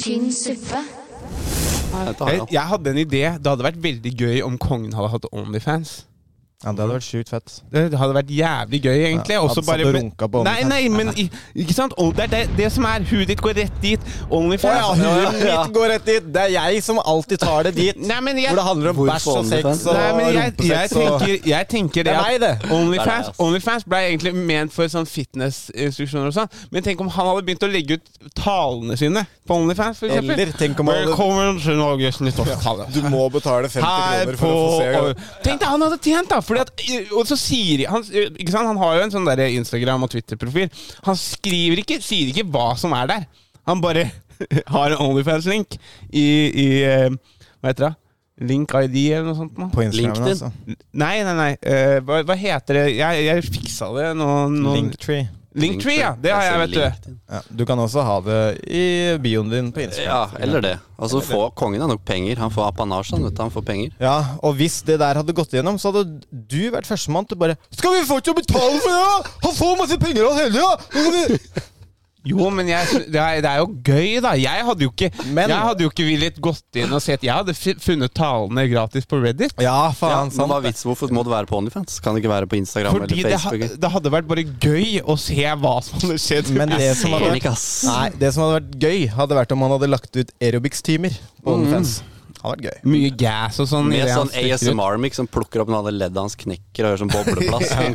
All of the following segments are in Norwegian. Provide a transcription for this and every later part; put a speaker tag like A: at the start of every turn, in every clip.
A: tynn suppe.
B: Dette har jeg
C: Jeg,
B: hatt.
C: jeg hadde en idé. Det hadde vært veldig gøy om kongen hadde hatt Onlyfans.
D: Ja, det hadde vært sjukt fett.
C: Det det hadde vært jævlig gøy, egentlig.
D: Ja,
C: Også
D: hadde
C: bare
D: satt og
C: men-
D: runka på
C: Nei,
D: OnlyFans.
C: nei, men i- ikke sant? Og det er det, det som er Huet ditt går rett dit. Onlyfans.
D: mitt går rett dit! Det er jeg som alltid tar det dit.
C: Nei, men jeg,
D: Hvor det handler om
B: Hvorfor
D: bæsj og sex
B: OnlyFans?
D: og
C: nei, men jeg, jeg,
D: rumpesex og
C: tenker, jeg tenker det
D: Det er meg,
C: at
D: det.
B: Det er deg,
C: Onlyfans,
B: altså. ass.
C: Onlyfans ble egentlig ment for sånn fitnessinstruksjoner og sånn. Men tenk om han hadde begynt å legge ut talene sine på Onlyfans, for eksempel.
D: Eller tenk om han hadde-
C: Velkommen til Norges nyttårstale.
E: Du må betale 50
C: Her
E: kroner
C: på
E: for å få se.
C: og, Tenk deg, han hadde tjent, da! Fordi at, og så sier han ikke sant? Han har jo en sånn der Instagram- og Twitter-profil. Han skriver ikke, sier ikke hva som er der. Han bare har en Onlyfans-link i, i eh, Hva heter det? Link ID eller noe sånt? nå.
D: På Instagram,
B: LinkedIn.
D: altså.
C: Nei, nei, nei. eh, hva, hva heter det? Jeg, jeg fiksa det nå. nå-
D: Linktree.
C: Linktree, ja! Det har jeg,
E: Altså,
C: vet du.
B: du.
D: Ja, du kan også ha det i bioen din på Instagram.
B: Ja, eller det. Altså, få, kongen har nok penger. Han får apanasje, han, vet du. Han får penger.
D: Ja, og hvis det der hadde gått igjennom, så hadde du vært førstemann til bare Skal vi få til å betale for det?! da? Han får masse penger av hele tida!
C: Jo, men jeg, sy- det, er, det er jo gøy, da. Jeg hadde jo ikke,
D: Men-
C: jeg hadde jo ikke villet gått inn og sett Jeg hadde fi- funnet talene gratis på Reddit.
B: Ja,
D: Ja, faen,
B: men hva er
D: sant.
B: vitsen? Hvorfor må det være på OnlyFans? Kan det ikke være på Instagram
C: Fordi
B: eller
C: det, ha,
B: Facebook?
C: det hadde vært bare gøy å se hva som hadde skjedd.
D: Men det som hadde
B: Enig,
D: vært
B: ass.
D: Nei, det som hadde vært gøy, hadde vært om han hadde lagt ut aerobics-timer
B: Mm.
D: på OnlyFans. Hadde vært gøy.
C: Mye gas og sånn. i
B: Med
C: det han
B: sånn
C: stikker ut.
B: ASMR-mic som plukker opp noen av leddet hans knekker og gjør sånn bobleplass. Sånn.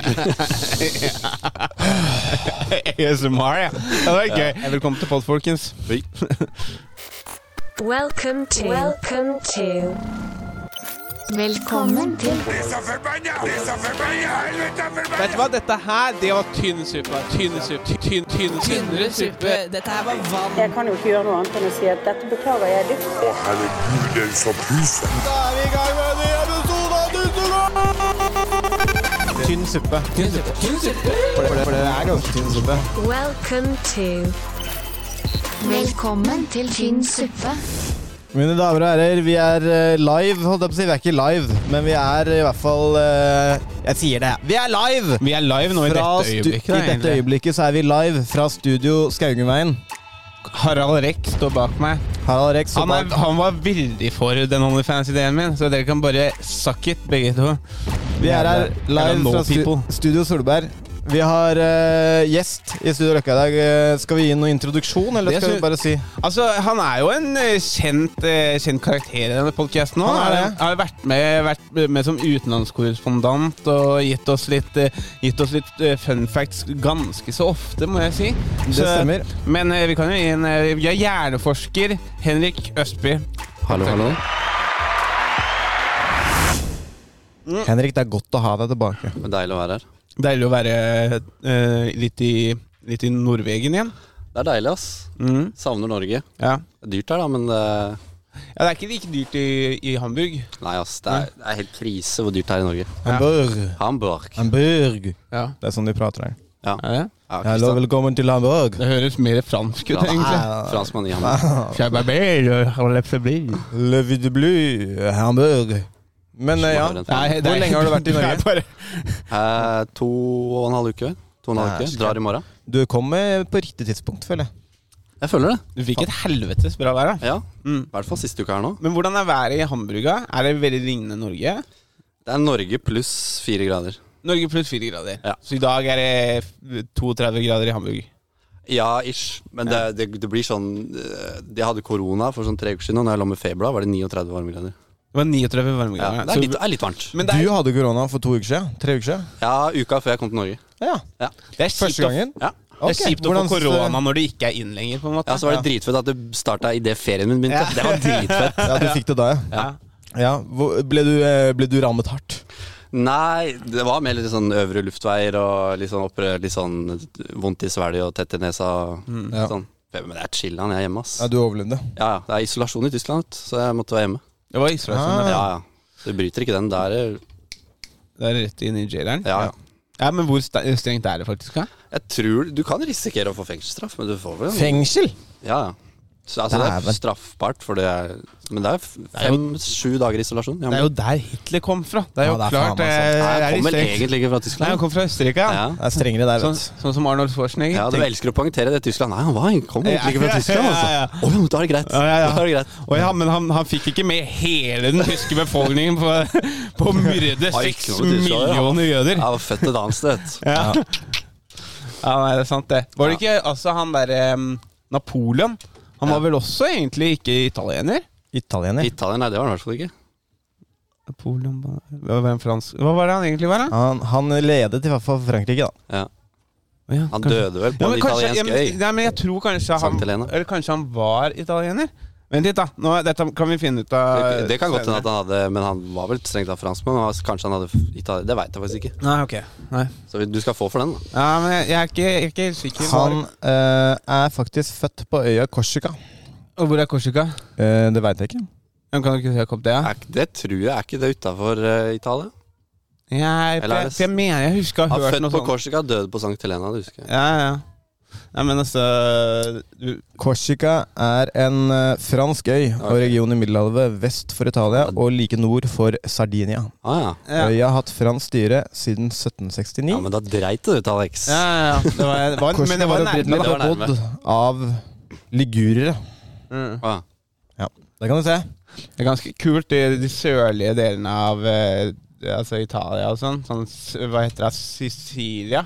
C: ASMR, ja. Det var gøy. Velkommen til pod, folkens.
B: Oi.
F: Welcome to. Welcome to.
A: Velkommen til
C: Vet du hva, dette her, det var tynn suppe. Tynn suppe. Tynn, tynn, tynnere suppe.
G: Dette her var vann.
H: Jeg kan jo ikke gjøre noe annet enn å si at dette beklager jeg dypt.
I: Å, herregud, den som puser.
D: Tynn suppe. Tynn suppe. For, det, for det er ganske tynn suppe.
F: Welcome to.
A: Velkommen til tynn suppe.
D: Mine damer og herrer, vi er eh, live. Holdt jeg på å si, vi er ikke live, men vi er i hvert fall eh, Jeg sier det. Vi er live!
C: Vi er live nå i
D: Fra
C: dette
D: stu-
C: øyeblikket.
D: I dette øyeblikket så er vi live fra studio Skaugenveien.
C: Harald Reck står bak meg.
D: Harald Rex og
C: Han, er,
D: Dag-
C: han var veldig for den OnlyFans-ideen min, så dere kan bare suck it, begge to.
D: Vi er her
C: Eller
D: live
C: no
D: fra stu
C: people.
D: Studio Solberg. Vi har eh, gjest i Studio Løkka i dag. Eh, skal vi gi noen introduksjon, eller
C: Det syns-
D: skal vi bare si
C: Altså, Han er jo en eh, kjent, eh, kjent karakter i denne podkasten. Han
D: Han er
C: har
D: det.
C: har vært med, vært med som utenlandskorrespondent og gitt oss litt, eh, gitt oss litt eh, fun facts ganske så ofte, må jeg si.
D: Det stemmer.
C: Men eh, vi kan jo gi en eh, Vi har hjerneforsker Henrik Østby.
B: Hallo, hallo.
C: Mm.
D: Henrik, det er godt å ha deg tilbake.
B: Det er Deilig å være her.
C: Deilig å være eh, litt, i, litt i Norvegen igjen.
B: Det er deilig, ass.
C: Mm,
B: Savner Norge.
C: ja.
B: Det er dyrt her, da, men det
C: ja, Det er ikke like dyrt i, i Hamburg.
B: Nei, ass. Det er, det er helt krise hvor dyrt det er i Norge.
D: Hamburg.
B: Hamburg.
D: Hamburg.
C: Ja.
D: Det er sånn de prater der.
B: Ja.
C: Er det?
B: Ja,
D: Hallo,
B: Kristian.
D: velkommen til Hamburg.
C: det høres mer fransk ut,
B: Ja, eh, det er-
C: egentlig.
B: Franskmann i Hamburg.
C: Hvor
D: Le Vie de Blue, Hamburg. Men eh, ja,
B: Smart, den.
D: hvor lenge har du vært i Norge?
B: Eh, to og en halv uke. To og en halv
D: Nei,
B: uke. Drar i morgen.
D: Du kommer på riktig tidspunkt, føler jeg.
B: Jeg føler det.
C: Du fikk et helvetes bra vær, da.
B: Ja.
C: Mm.
B: I hvert fall siste uka her nå.
C: Men hvordan er været i Hamburga? Er det veldig lignende Norge?
B: Det er Norge pluss fire grader.
C: Norge pluss fire grader.
B: Ja.
C: Så i dag er det 32 grader i Hamburg.
B: Ja, ish. Men det, det, det blir sånn eh, Jeg hadde korona for sånn tre uker siden, og når jeg lå med feber da, var det 39 varmegrader.
C: Det var 39
B: Ja,
C: varmegrader.
B: det er
C: Så-
B: litt, det er litt varmt.
C: men det
D: Du
C: er,
D: hadde korona for to uker siden? Tre uker siden?
B: Ja, uka før jeg kom til Norge.
D: Ja.
C: det er kjipt
D: Første
C: å-
D: gangen?
B: Ja.
C: Det er
D: Ok,
C: kjipt å
D: hvordan-
C: få korona når du ikke er inn lenger, på en måte.
B: Ja, Så var det dritfett at det starta idet ferien min begynte. Det var dritfett.
D: Ja, du fikk det da, ja.
C: Ja.
D: Ja, hvor- ble, du, eh, ble du rammet hardt?
B: Nei, det var mer litt sånn øvre luftveier og litt sånn, opprør, litt sånn vondt i svelget og tett i nesa.
C: Mm,
D: Ja.
B: Sånn. Men det er chillan, jeg er hjemme, ass.
D: Ja, du overlevde.
B: Ja, ja. Det er isolasjon i Tyskland, vet du, så jeg måtte være hjemme.
C: Det var isolasjon.
D: Ah.
C: da.
B: Ja, ja. Så du bryter ikke den. Det er
C: Det er rett inn i jaileren.
B: Ja, ja.
C: Ja, men hvor sta- strengt er det faktisk? da?
B: Jeg tror Du kan risikere å få fengselsstraff, men du får vel
D: Fengsel?
B: Ja, ja. Så, altså, det er
D: Dæven.
B: straffbart, for det er Men det er fem-sju dager isolasjon. Ja,
C: Det
B: men,
C: er jo der Hitler kom fra. Det er jo
D: Ja, det er faen,
C: klart.
D: altså.
B: Nei,
C: eh,
B: han
C: er i
B: kommer
C: strek-
B: egentlig ikke fra
C: Nei, han
B: Tyskland.
C: kom fra Østerrike.
B: Ja,
C: Ja.
D: Det er strengere der,
C: Sånn,
D: vet du.
C: sånn som Arnold Schwarzenegger.
B: ja Du
C: Tenk-
B: elsker å poengtere det Tyskland. Nei, han var, han kom egentlig ikke
C: Ja,
B: fra
C: ja,
B: Tyskland,
C: ja, ja.
B: altså. Å ja, men da er det greit.
C: Ja, ja,
B: Da
C: ja.
B: er det greit.
C: Å ja, men han, han fikk ikke med hele den tyske befolkningen på, på å myrde
B: Har ikke
C: seks
B: noe tysk, ja.
C: millioner jøder.
B: Jeg var født et annet sted.
C: Ja. ja, nei, det er sant, det. Var det ikke altså han derre Napoleon? Han var vel også egentlig ikke italiener?
D: Italiener.
B: Italia, nei, det var han i hvert fall ikke.
C: Napoleon var- hva var, han fransk? hva var det han egentlig var, da?
D: Han, han ledet i hvert fall Frankrike, da.
B: Ja.
C: Ja,
B: Han
C: kanskje-
B: døde vel på
C: Ja, men
B: en
C: kanskje- ja,
B: italiensk
C: men-
B: øy.
C: Nei, men jeg tror kanskje han,
B: Sankt Helena.
C: eller kanskje han var italiener. Vent litt, da. Nå, dette kan vi finne ut av
B: Det, det kan godt hende
C: senere.
B: at han hadde Men han var vel strengt tatt franskmann. og Kanskje han hadde f- Italia, Det veit jeg faktisk ikke.
C: Nei, ok. Nei.
B: Så vi- du skal få for den, da.
C: Ja, men jeg, jeg, er ikke, jeg er ikke helt sikker.
D: Han eh, er faktisk født på øya Korsika.
C: Og hvor er Korsika?
D: Eh, det veit jeg ikke.
C: Jeg kan ikke søke opp det. Ja.
B: Er, ikke- det tror jeg er ikke det utafor Italia.
C: Jeg, for
B: Eller er
C: jeg,
B: det-
C: for jeg mener jeg husker å ha
B: Han er
C: hørt
B: født
C: noe
B: på
C: sånt.
B: Korsika, døde på Sankt Helena. Det husker jeg.
C: Ja, ja. Nei, men altså du,
D: Korsika er en eh, fransk øy og
B: Ok.
D: region i Middelhavet vest for Italia og like nord for Sardinia.
B: Ah, ja.
C: ja. ja,
D: Øya har hatt fransk styre siden
B: ja,
D: 1769.
B: men da dreit det ut, Alex.
C: ja, ja. Det var, det var, men
D: Korsika
C: det var
D: var
C: nærme,
D: opprinnelig
B: det
C: da.
B: var nærme.
D: bebodd av ligurere.
C: Mm.
B: Ah,
D: Det kan du se.
C: Det er ganske kult, de, de sørlige delene av eh, altså Italia og sånn. sånn. s- Hva heter det? Sicilia?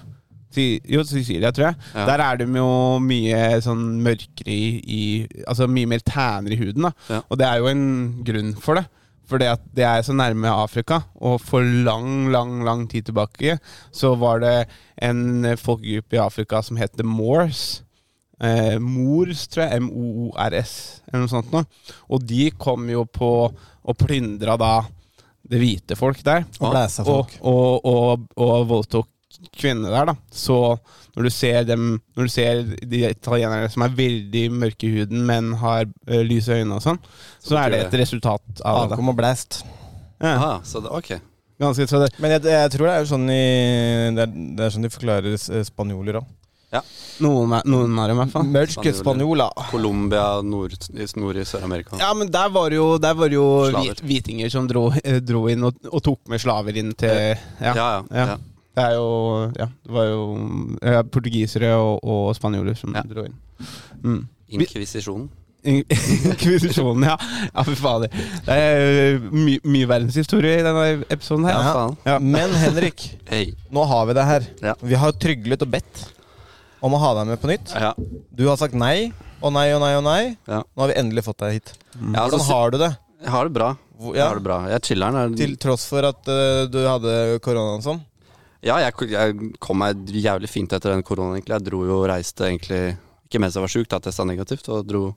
C: Si- Jo, Sicilia, tror jeg.
B: Ja.
C: Der er de jo mye sånn mørkere i, i Altså mye mer tæner i huden, da.
B: Ja.
C: Og det er jo en grunn for det. For det at det er så nærme Afrika, og for lang, lang lang tid tilbake så var det en folkegruppe i Afrika som het The Moors. Eh, Mors, tror jeg. M-O-O-R-S, eller noe sånt noe. Og de kom jo på og plyndra da det hvite folk der.
D: Og blæsa folk.
C: Og, og, og, og voldtok kvinner der, da. Så når du ser dem Når du ser de italienerne som er veldig mørke i huden, men har eh, lyse øyne og sånn, så er det et resultat av det.
D: Avkom og blæst.
C: Ja,
B: ah, så det, ok.
C: ganske så det.
D: Men jeg, jeg tror det er jo sånn i Det er, det er sånn de forklarer s- spanjoler òg.
C: Noen, er- noen av dem, i hvert fall.
D: Mørke spanjola.
B: Colombia, nord, nord i Sør-Amerika.
C: Ja, men der var det jo, der var det jo
B: Slaver.
C: hvit, hvitinger som dro, eh, dro inn og, og tok med slaver inn til Ja.
B: ja, ja,
C: ja.
B: ja.
C: Det er jo Ja, det var jo ja, portugisere og, og spanjoler som
B: Ja.
C: dro inn. Mm.
B: Inkvisisjonen.
C: In- Inkvisisjonen, ja. Ja, fy fader. Det er eh, my, mye verdenshistorie i denne episoden her.
B: Ja,
C: Ja.
B: faen.
D: Men Henrik,
B: Hei.
D: nå har vi det her.
B: Ja.
D: Vi har tryglet og bedt om å ha deg med på nytt.
B: Ja.
D: Du har sagt nei og nei og nei og nei.
B: Ja.
D: Nå har vi endelig fått deg hit.
C: Mm.
B: Ja, altså,
D: Hvordan har du det?
B: Jeg har det bra.
D: Hvor-
B: Jeg
D: Ja,
B: har det bra. Jeg chiller'n. er-
D: til tross for at eh, du hadde koronaen sånn.
B: Ja, jeg, jeg kom meg jævlig fint etter den koronaen, egentlig. Jeg dro jo og reiste egentlig Ikke mens jeg var sjuk, da testa negativt, og dro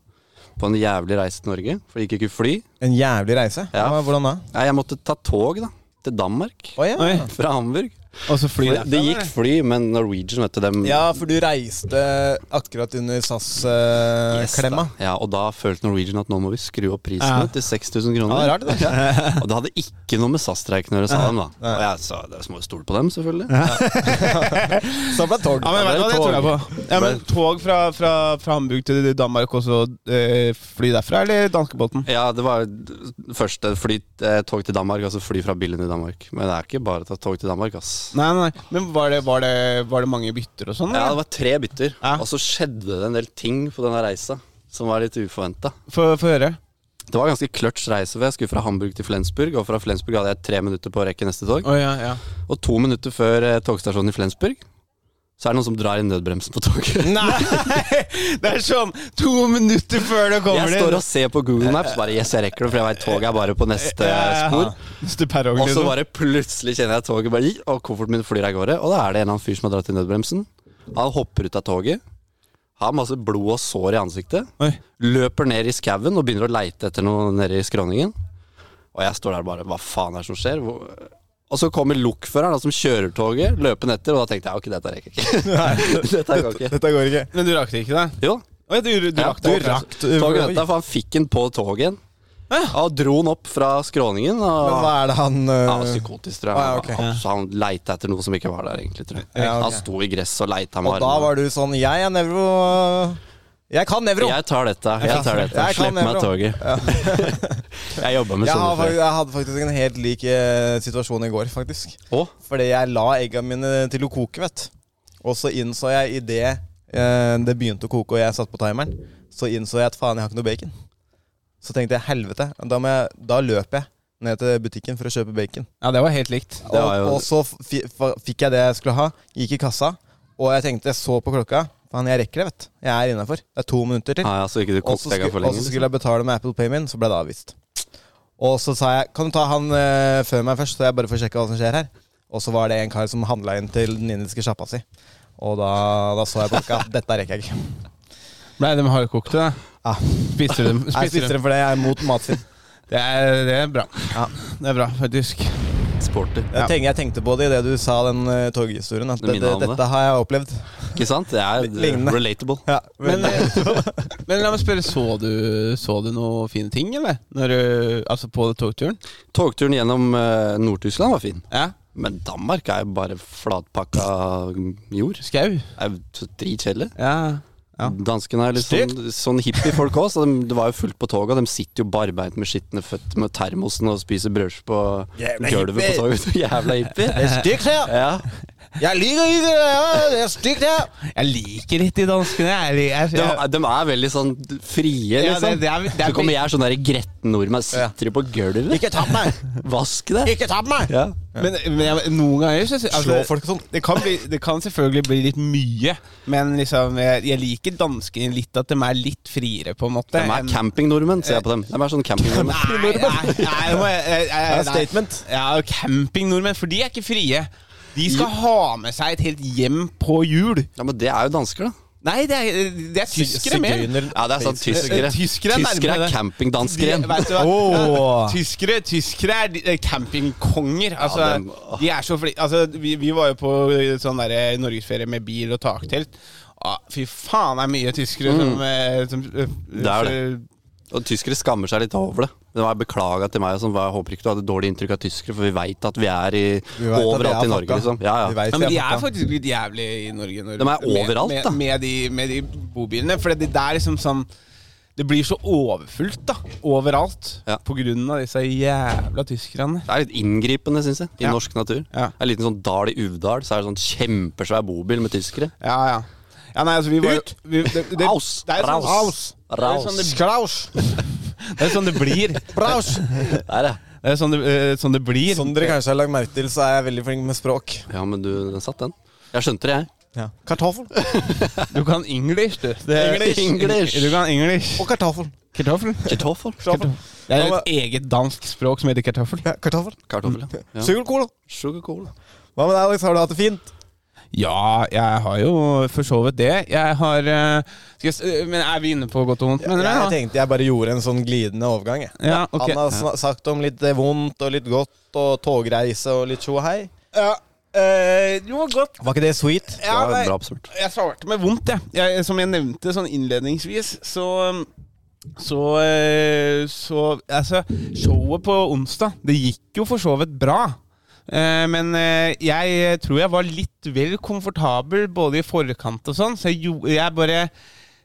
B: på en jævlig reise til Norge. For jeg gikk ikke fly.
D: En jævlig reise.
B: Ja.
D: Hva- Hvordan da?
B: Nei, jeg måtte ta tog, da. Til Danmark.
D: Å ja.
C: Oi.
B: Fra Hamburg.
C: Og så fly
B: For
C: derfra,
B: det gikk
C: eller?
B: fly, men Norwegian, vet du, dem
D: ja, for du reiste akkurat under eh,
B: Yes, da.
D: SAS-klemma.
B: Ja, og da følte Norwegian at nå må vi skru opp prisen
C: Ja.
B: til 6000 kroner.
D: ja, det er rart, det.
B: Og det hadde ikke noe med SAS-streiken å gjøre, sa de da. Og jeg sa dere må jo stole på dem, selvfølgelig.
D: Så ble det tog.
C: Ja, men vet du hva, det tror jeg på. Ja, men Tog fra, fra, fra Hamburg til Danmark, og så eh, fly derfra, eller danskebåten?
B: Ja, det var først et fly, eh, tog til Danmark, og så fly fra Billund i Danmark. Men det er ikke bare å ta tog til Danmark, ass.
C: Nei, nei, nei. Men var det, var det, var det mange bytter og sånn?
B: Ja, det
C: eller?
B: var tre bytter,
C: Ja.
B: og så skjedde det en del ting på denne reisa som var litt uforventa.
C: Få få høre.
B: Det var en ganske kløtsj reise, for jeg skulle fra Hamburg til Flensburg, og fra Flensburg hadde jeg tre minutter på å rekke neste tog.
C: Å, ja, ja.
B: Og to minutter før eh, togstasjonen i Flensburg, så er det noen som drar i nødbremsen på toget.
C: Nei! Det er sånn to minutter før det kommer
B: Jeg står og ser på Google Maps, bare yes, jeg rekker det, for jeg veit toget er bare på neste spor.
C: Stuperong,
B: Og så
C: liksom.
B: bare plutselig kjenner jeg toget bare «Gi», Og kofferten min flyr av gårde Og da er det en eller annen fyr som har dratt i nødbremsen Han hopper ut av toget Har masse blod og sår i ansiktet
C: Oi.
B: Løper ned i skaven og begynner å leite etter noe nede i skråningen Og jeg står der bare Hva faen er det som skjer? Hvor... Og så kommer lokføreren da, som kjører toget Løpende etter Og da tenkte jeg ok, dette rekker jeg ikke Dette går ikke
D: Dette går ikke.
C: Men du rakk det ikke, da?
B: Jo
C: Oi, du, du,
B: ja,
C: rakk det.
B: toget- Toget ventet, for han fikk den på togen Og dro den opp fra skråningen og...
D: Men hva er det han øh,
B: Han var psykotisk, tror jeg.
D: Ah, ja, ok.
B: han, så han leita etter noe som ikke var der, egentlig. Tror jeg.
D: Ja, ok.
B: Han sto i gresset og leita med
D: Og da var du sånn Jeg er nevro. Jeg kan nevro!
B: Jeg tar dette. Jeg tar dette.
D: Jeg kan
B: Slipp
D: det,
B: meg
D: bro.
B: toget. jeg jobba med
D: Jeg, har,
B: sånne
D: fak-
B: før.
D: jeg hadde faktisk en helt lik eh, situasjon i går, faktisk.
B: Å?
D: Fordi jeg la eggene mine til å koke, vet Og så innså jeg idet eh, det begynte å koke og jeg satte på timeren, så innså jeg at faen, jeg har ikke noe bacon. Så tenkte jeg helvete, da, må jeg, da løper jeg ned til butikken for å kjøpe bacon.
C: Ja, det var helt likt.
B: Det var
D: og,
B: jo-
D: og så f- fi- f- fikk jeg det jeg skulle ha, gikk i kassa, og jeg tenkte, jeg så på klokka. Faen, jeg rekker det, vet Jeg er innafor. Det er to minutter til.
B: Ah, ja, så ikke du
D: Og så
B: kokte
D: skulle,
B: egga for
D: og
B: lenge.
D: så
B: liksom.
D: skulle jeg betale med Apple Payment, så ble det avvist. Og så sa jeg kan du ta han eh, før meg først, så jeg bare får sjekke hva som skjer her. Og så var det en kar som handla inn til den indiske sjappa si. Og da, da så jeg på klokka. Dette rekker jeg ikke.
C: Blei de hardkokte, da?
D: Ja.
C: Spiser du dem?
D: Jeg
C: Spiser
D: spiser
C: dem.
D: den fordi jeg er mot matsvinn.
C: Det, er, det er bra.
D: Ja.
C: Det er bra, faktisk.
B: Sporty.
D: Jeg, tenk, jeg tenkte på det idet du sa den eh, toghistorien. At
B: Det
D: det,
B: minner
D: det,
B: om det.
D: dette har jeg opplevd.
B: Ikke sant? Det er
D: Lignende.
B: relatable.
D: Ja,
C: Men,
D: men, eh,
C: men la meg spørre, så du, så du noen fine ting, eller? Når du, altså på togturen?
B: Togturen gjennom eh, Nord-Tyskland var fin.
C: Ja.
B: Men Danmark er jo bare flatpakka jord.
C: Skau?
B: Det er jo dritkjedelig.
C: Ja. Ja.
B: Danskene er litt sånn, sånn hippiefolk òg, så de, det var jo fullt på toget. og De sitter jo barbeint med skitne føtter med termosen og spiser brødskive på
D: Jævla
B: gulvet på
D: hippie.
B: toget. Jævla hippie.
D: det er stygt her!
B: Ja.
D: Jeg liker ikke det! her, Det er stygt her!
C: Jeg liker litt de danskene. Jeg, li- jeg,
B: De,
C: jeg,
B: de er veldig sånn frie,
C: Ja,
B: liksom.
C: det- det er- det er-
B: så kommer jeg sånn der gretten nordmann, sitter jo på gulvet.
D: Ikke tapp meg!
B: Vask det!
D: Ikke tapp meg!
B: Ja.
C: men, men jeg, noen ganger så
D: Slå folk og sånn.
C: det kan, bli, det kan selvfølgelig bli litt mye, men liksom, jeg, jeg liker danskene litt at de er litt friere, på en måte.
B: De er
C: enn-
B: campingnordmenn, ser jeg på dem. De er sånn
C: Nei,
B: campingnordmenn.
C: nei, nei, nei, nå må jeg- jeg- jeg-
D: Det er
C: nei.
D: statement.
C: Ja, campingnordmenn, for de er ikke frie. De skal ha med seg et helt hjem på jul.
B: Ja, men det er jo dansker, da.
C: Nei, det er, det er tyskere mer.
D: Sigøyner-
B: Ja, det er sant. Tyskere.
C: Eh, Tyskere er nærmere
B: Tyskere
C: det.
B: er
C: De,
B: campingdansker igjen.
C: vet du hva?
D: Åh.
C: Tyskere, tyskere er de- eh, campingkonger. Altså,
B: dem- åh.
C: de er så flinke. Altså, vi, vi var jo på eh, sånn derre norgesferie med bil og taktelt. Ah, fy faen, det er mye tyskere som, eh, som eh,
B: er det. Og tyskere skammer seg litt over det. Det var beklaga til meg. og Sånn, hva, jeg håper ikke du hadde dårlig inntrykk av tyskere, for vi veit at vi er i,
D: Vi vet at
B: overalt
D: jeg
B: i
D: er
B: Norge,
D: fucka.
B: liksom. Ja,
D: Vi
B: ja.
D: vet
C: Ja, men de
D: jeg
C: er
D: fucka.
C: faktisk litt jævlig i Norge. Når,
B: De er overalt,
C: med,
B: da.
C: Med, med, de, med de bobilene. For det, det er liksom sånn Det blir så overfullt, da. Overalt.
B: Ja.
C: På grunn av disse jævla tyskerne.
B: Det er litt inngripende, syns jeg, i
C: Ja.
B: norsk natur.
C: Ja.
B: Det er En liten sånn dal i Uvdal, så er det sånn kjempesvær bobil med tyskere.
C: Ja, ja. Ja, nei, altså, vi var jo-
D: Ut!
C: vi- det- det- det er
B: Raus!
C: sånn-
B: Raus!
C: Raus! Det er
B: Raus.
C: sånn det-
D: Skraus!
C: det er sånn det blir. Det
D: Braus!
B: Der, ja.
C: er sånn det, eh, sånn det blir.
D: Som dere kanskje har lagt merke til, så er jeg veldig flink med språk.
B: Ja, men du, den satt, den. Jeg skjønte det, jeg.
D: Kartoffel
C: Du kan english, du.
B: English. English.
C: Du kan english.
D: og kartoffel.
C: Kartoffel.
B: Kartoffel.
C: Det er jo et eget dansk språk som heter kartoffel.
D: Ja, kartoffel.
B: Kartoffel, ja. ja.
D: Sugercola.
B: Sugar cola.
D: Hva med deg, Alex? Har du hatt det fint?
C: Ja, jeg har jo for så vidt det. Jeg har eh, skal jeg, s- eh, Men er vi inne på godt og vondt, mener
D: jeg
C: du?
D: tenkte jeg bare gjorde en sånn glidende overgang. Jeg.
C: Ja, ok.
D: Han har sna- sagt om litt eh, vondt og litt godt og togreise og litt tjo og hei.
C: Ja, eh, jo, godt.
D: Var ikke det sweet?
C: Ja,
B: det
C: nei,
B: var bra oppsummert.
C: jeg svarte med vondt, jeg. jeg. Som jeg nevnte sånn innledningsvis, så um, så, eh, så Altså, showet på onsdag, det gikk jo for så vidt bra. Eh, Men eh, jeg tror jeg var litt vel komfortabel både i forkant og sånn, så jeg, gjo- jeg bare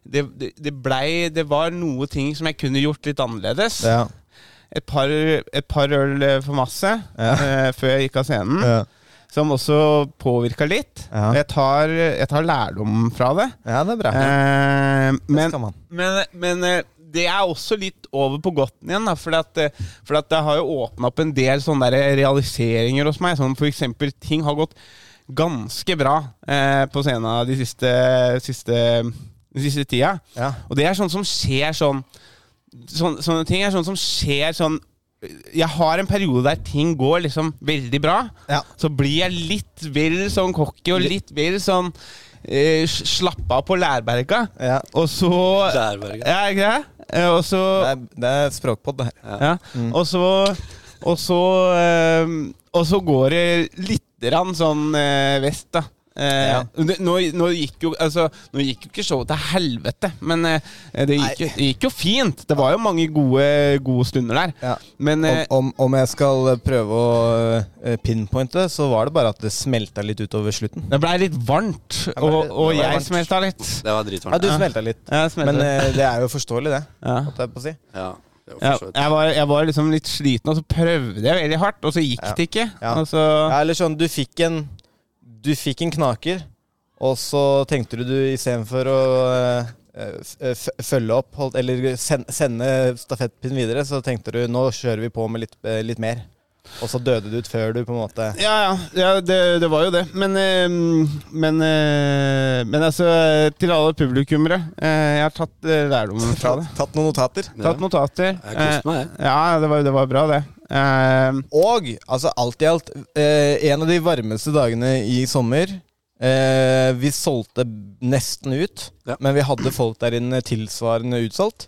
C: det, det, det blei Det var noe ting som jeg kunne gjort litt annerledes.
D: Ja.
C: Et, par, et par øl eh, for masse eh, før jeg gikk av scenen
D: Ja.
C: som også påvirka litt.
D: Ja.
C: Og Jeg, tar, jeg tar lærdom fra det.
D: ja, det er bra.
C: Eh, men,
D: skal man.
C: men, men eh, det er også litt over på godten igjen, da, fordi at, eh, fordi at det har jo åpna opp en del sånne der eh, realiseringer hos meg. Som for eksempel ting har gått ganske bra eh, på scenen de siste, siste, de siste tida.
D: Ja.
C: Og det er sånn som skjer sånn, sånn Sånne ting er sånn som skjer sånn Jeg har en periode der ting går liksom veldig bra.
D: Ja.
C: Så blir jeg litt vel sånn cocky og litt vel sånn eh, s- slappa på lærberga.
D: Ja.
C: Og så
B: Lærberga.
C: Ja, ikke det? Eh, Og så
D: Det er, det er språkpod, det her.
C: ja. Og så Og så eh, Og så går det litt grann sånn eh, vest, da. Eh,
D: Ja.
C: det, nå, nå, gikk jo, altså, nå gikk jo ikke showet til helvete, men eh, det, gikk, jo- det gikk jo fint. Det var jo mange gode, gode stunder der.
D: Ja.
C: Men eh,
D: Om, om, om jeg skal prøve å eh, pinpointe det, så var det bare at det smelta litt utover slutten.
C: det blei litt varmt, og,
D: det
C: og
D: ble
C: jeg
D: varmt.
C: smelta litt.
B: Det var
D: Ja,
B: dritvarmt.
D: du smelta litt.
C: Ja, jeg smelta
D: Men
C: litt.
D: eh, det er jo forståelig, det.
C: Ja.
D: Holdt jeg på å si.
B: Ja, det var
C: Ja,
B: for så vidt.
C: jeg, var, jeg var liksom litt sliten, og så prøvde jeg veldig hardt, og så gikk
D: Ja.
C: det ikke.
D: Ja.
C: Og så,
D: Ja, eller sånn, du fikk en Du fikk en knaker, og så tenkte du du istedenfor å eh, f- f- følge opp, holdt, eller sen, sende stafettpinnen videre, så tenkte du nå kjører vi på med litt, eh, litt mer. Og så døde du ut før du på en måte
C: ja, ja, ja det, det var jo det. Men, eh, men, eh, men altså, til alle publikummere eh, Jeg har tatt eh, lærdommen fra
D: tatt,
C: det.
D: tatt noen notater.
C: Tatt notater.
B: Jeg koste meg, jeg.
C: Eh, Ja, det var, det var bra, det. Eh,
D: Og altså, alt i alt, eh, en av de varmeste dagene i sommer. Eh, vi solgte nesten ut,
B: Ja.
D: men vi hadde folk der inne tilsvarende utsolgt.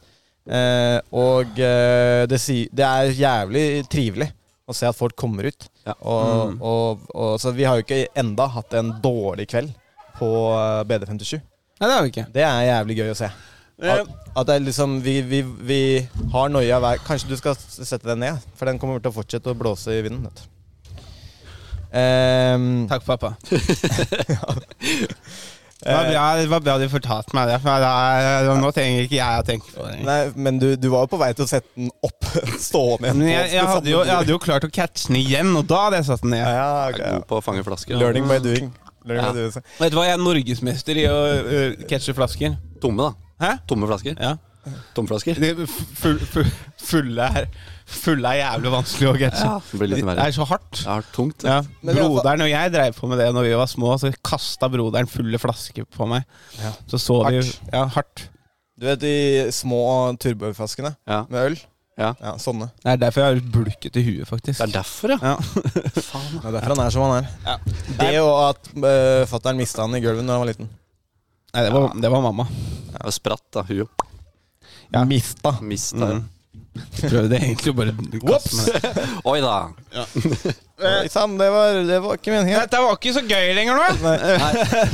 D: Eh, og eh, det, si, det er jævlig trivelig å se at folk kommer ut.
B: Ja. Mm.
D: Og, og, og, så vi har jo ikke enda hatt en dårlig kveld på eh, BD57.
C: Nei, det har vi ikke.
D: Det er jævlig gøy å se. At, at det er liksom vi, vi, vi har noia hver Kanskje du skal s- sette den ned? For den kommer til å fortsette å blåse i vinden. Vet du. Ehm,
C: Takk, pappa. det, var bra, det var bra du fortalte meg det, for da- nå trenger ikke jeg å tenke på det.
D: nei, men du, du var jo på vei til å sette den opp. Stående igjen.
C: Men jeg, jeg, hadde jo, jeg hadde jo klart å catche den igjen, og da hadde jeg satt den ned.
D: ja,
B: Jeg er
D: ok,
B: god
D: ja.
B: på å fange flasker. da.
D: Learning by doing. Learning by doing.
C: Vet du hva, jeg er norgesmester i å øh, catche flasker.
B: Tomme, da.
C: Hæ?
B: Tomme flasker.
C: Ja.
B: Tomflasker.
C: Det er full, full, fulle, er, fulle er jævlig vanskelig å catche.
B: Ja, det blir litt verre.
C: Det er så hardt.
B: Det er tungt.
C: Ja.
D: Men i alle fall-
C: Broderen og jeg drev på med det når vi var små, så kasta broderen fulle flasker på meg. Så så de
D: Hardt.
C: Ja, hardt.
D: Du vet de små turboflaskene
B: Ja.
D: med øl?
B: Ja.
D: ja Sånne.
C: Det er derfor jeg har bulket i huet, faktisk.
B: Det er derfor, ja.
C: Ja.
B: Faen.
D: Det er derfor han er som han er.
C: Ja.
D: Det og at uh, fatter'n mista han i gulvet da han var liten.
C: Nei, det var, det var mamma.
B: Det er spratt, da. Huet
C: Ja.
D: Mista.
B: mista
C: Mm. Jeg prøvde egentlig å bare kaste meg ned.
B: Oi da.
C: Eh.
D: Oi, Sam, det var, det var ikke meningen.
C: Dette var ikke så gøy lenger nå.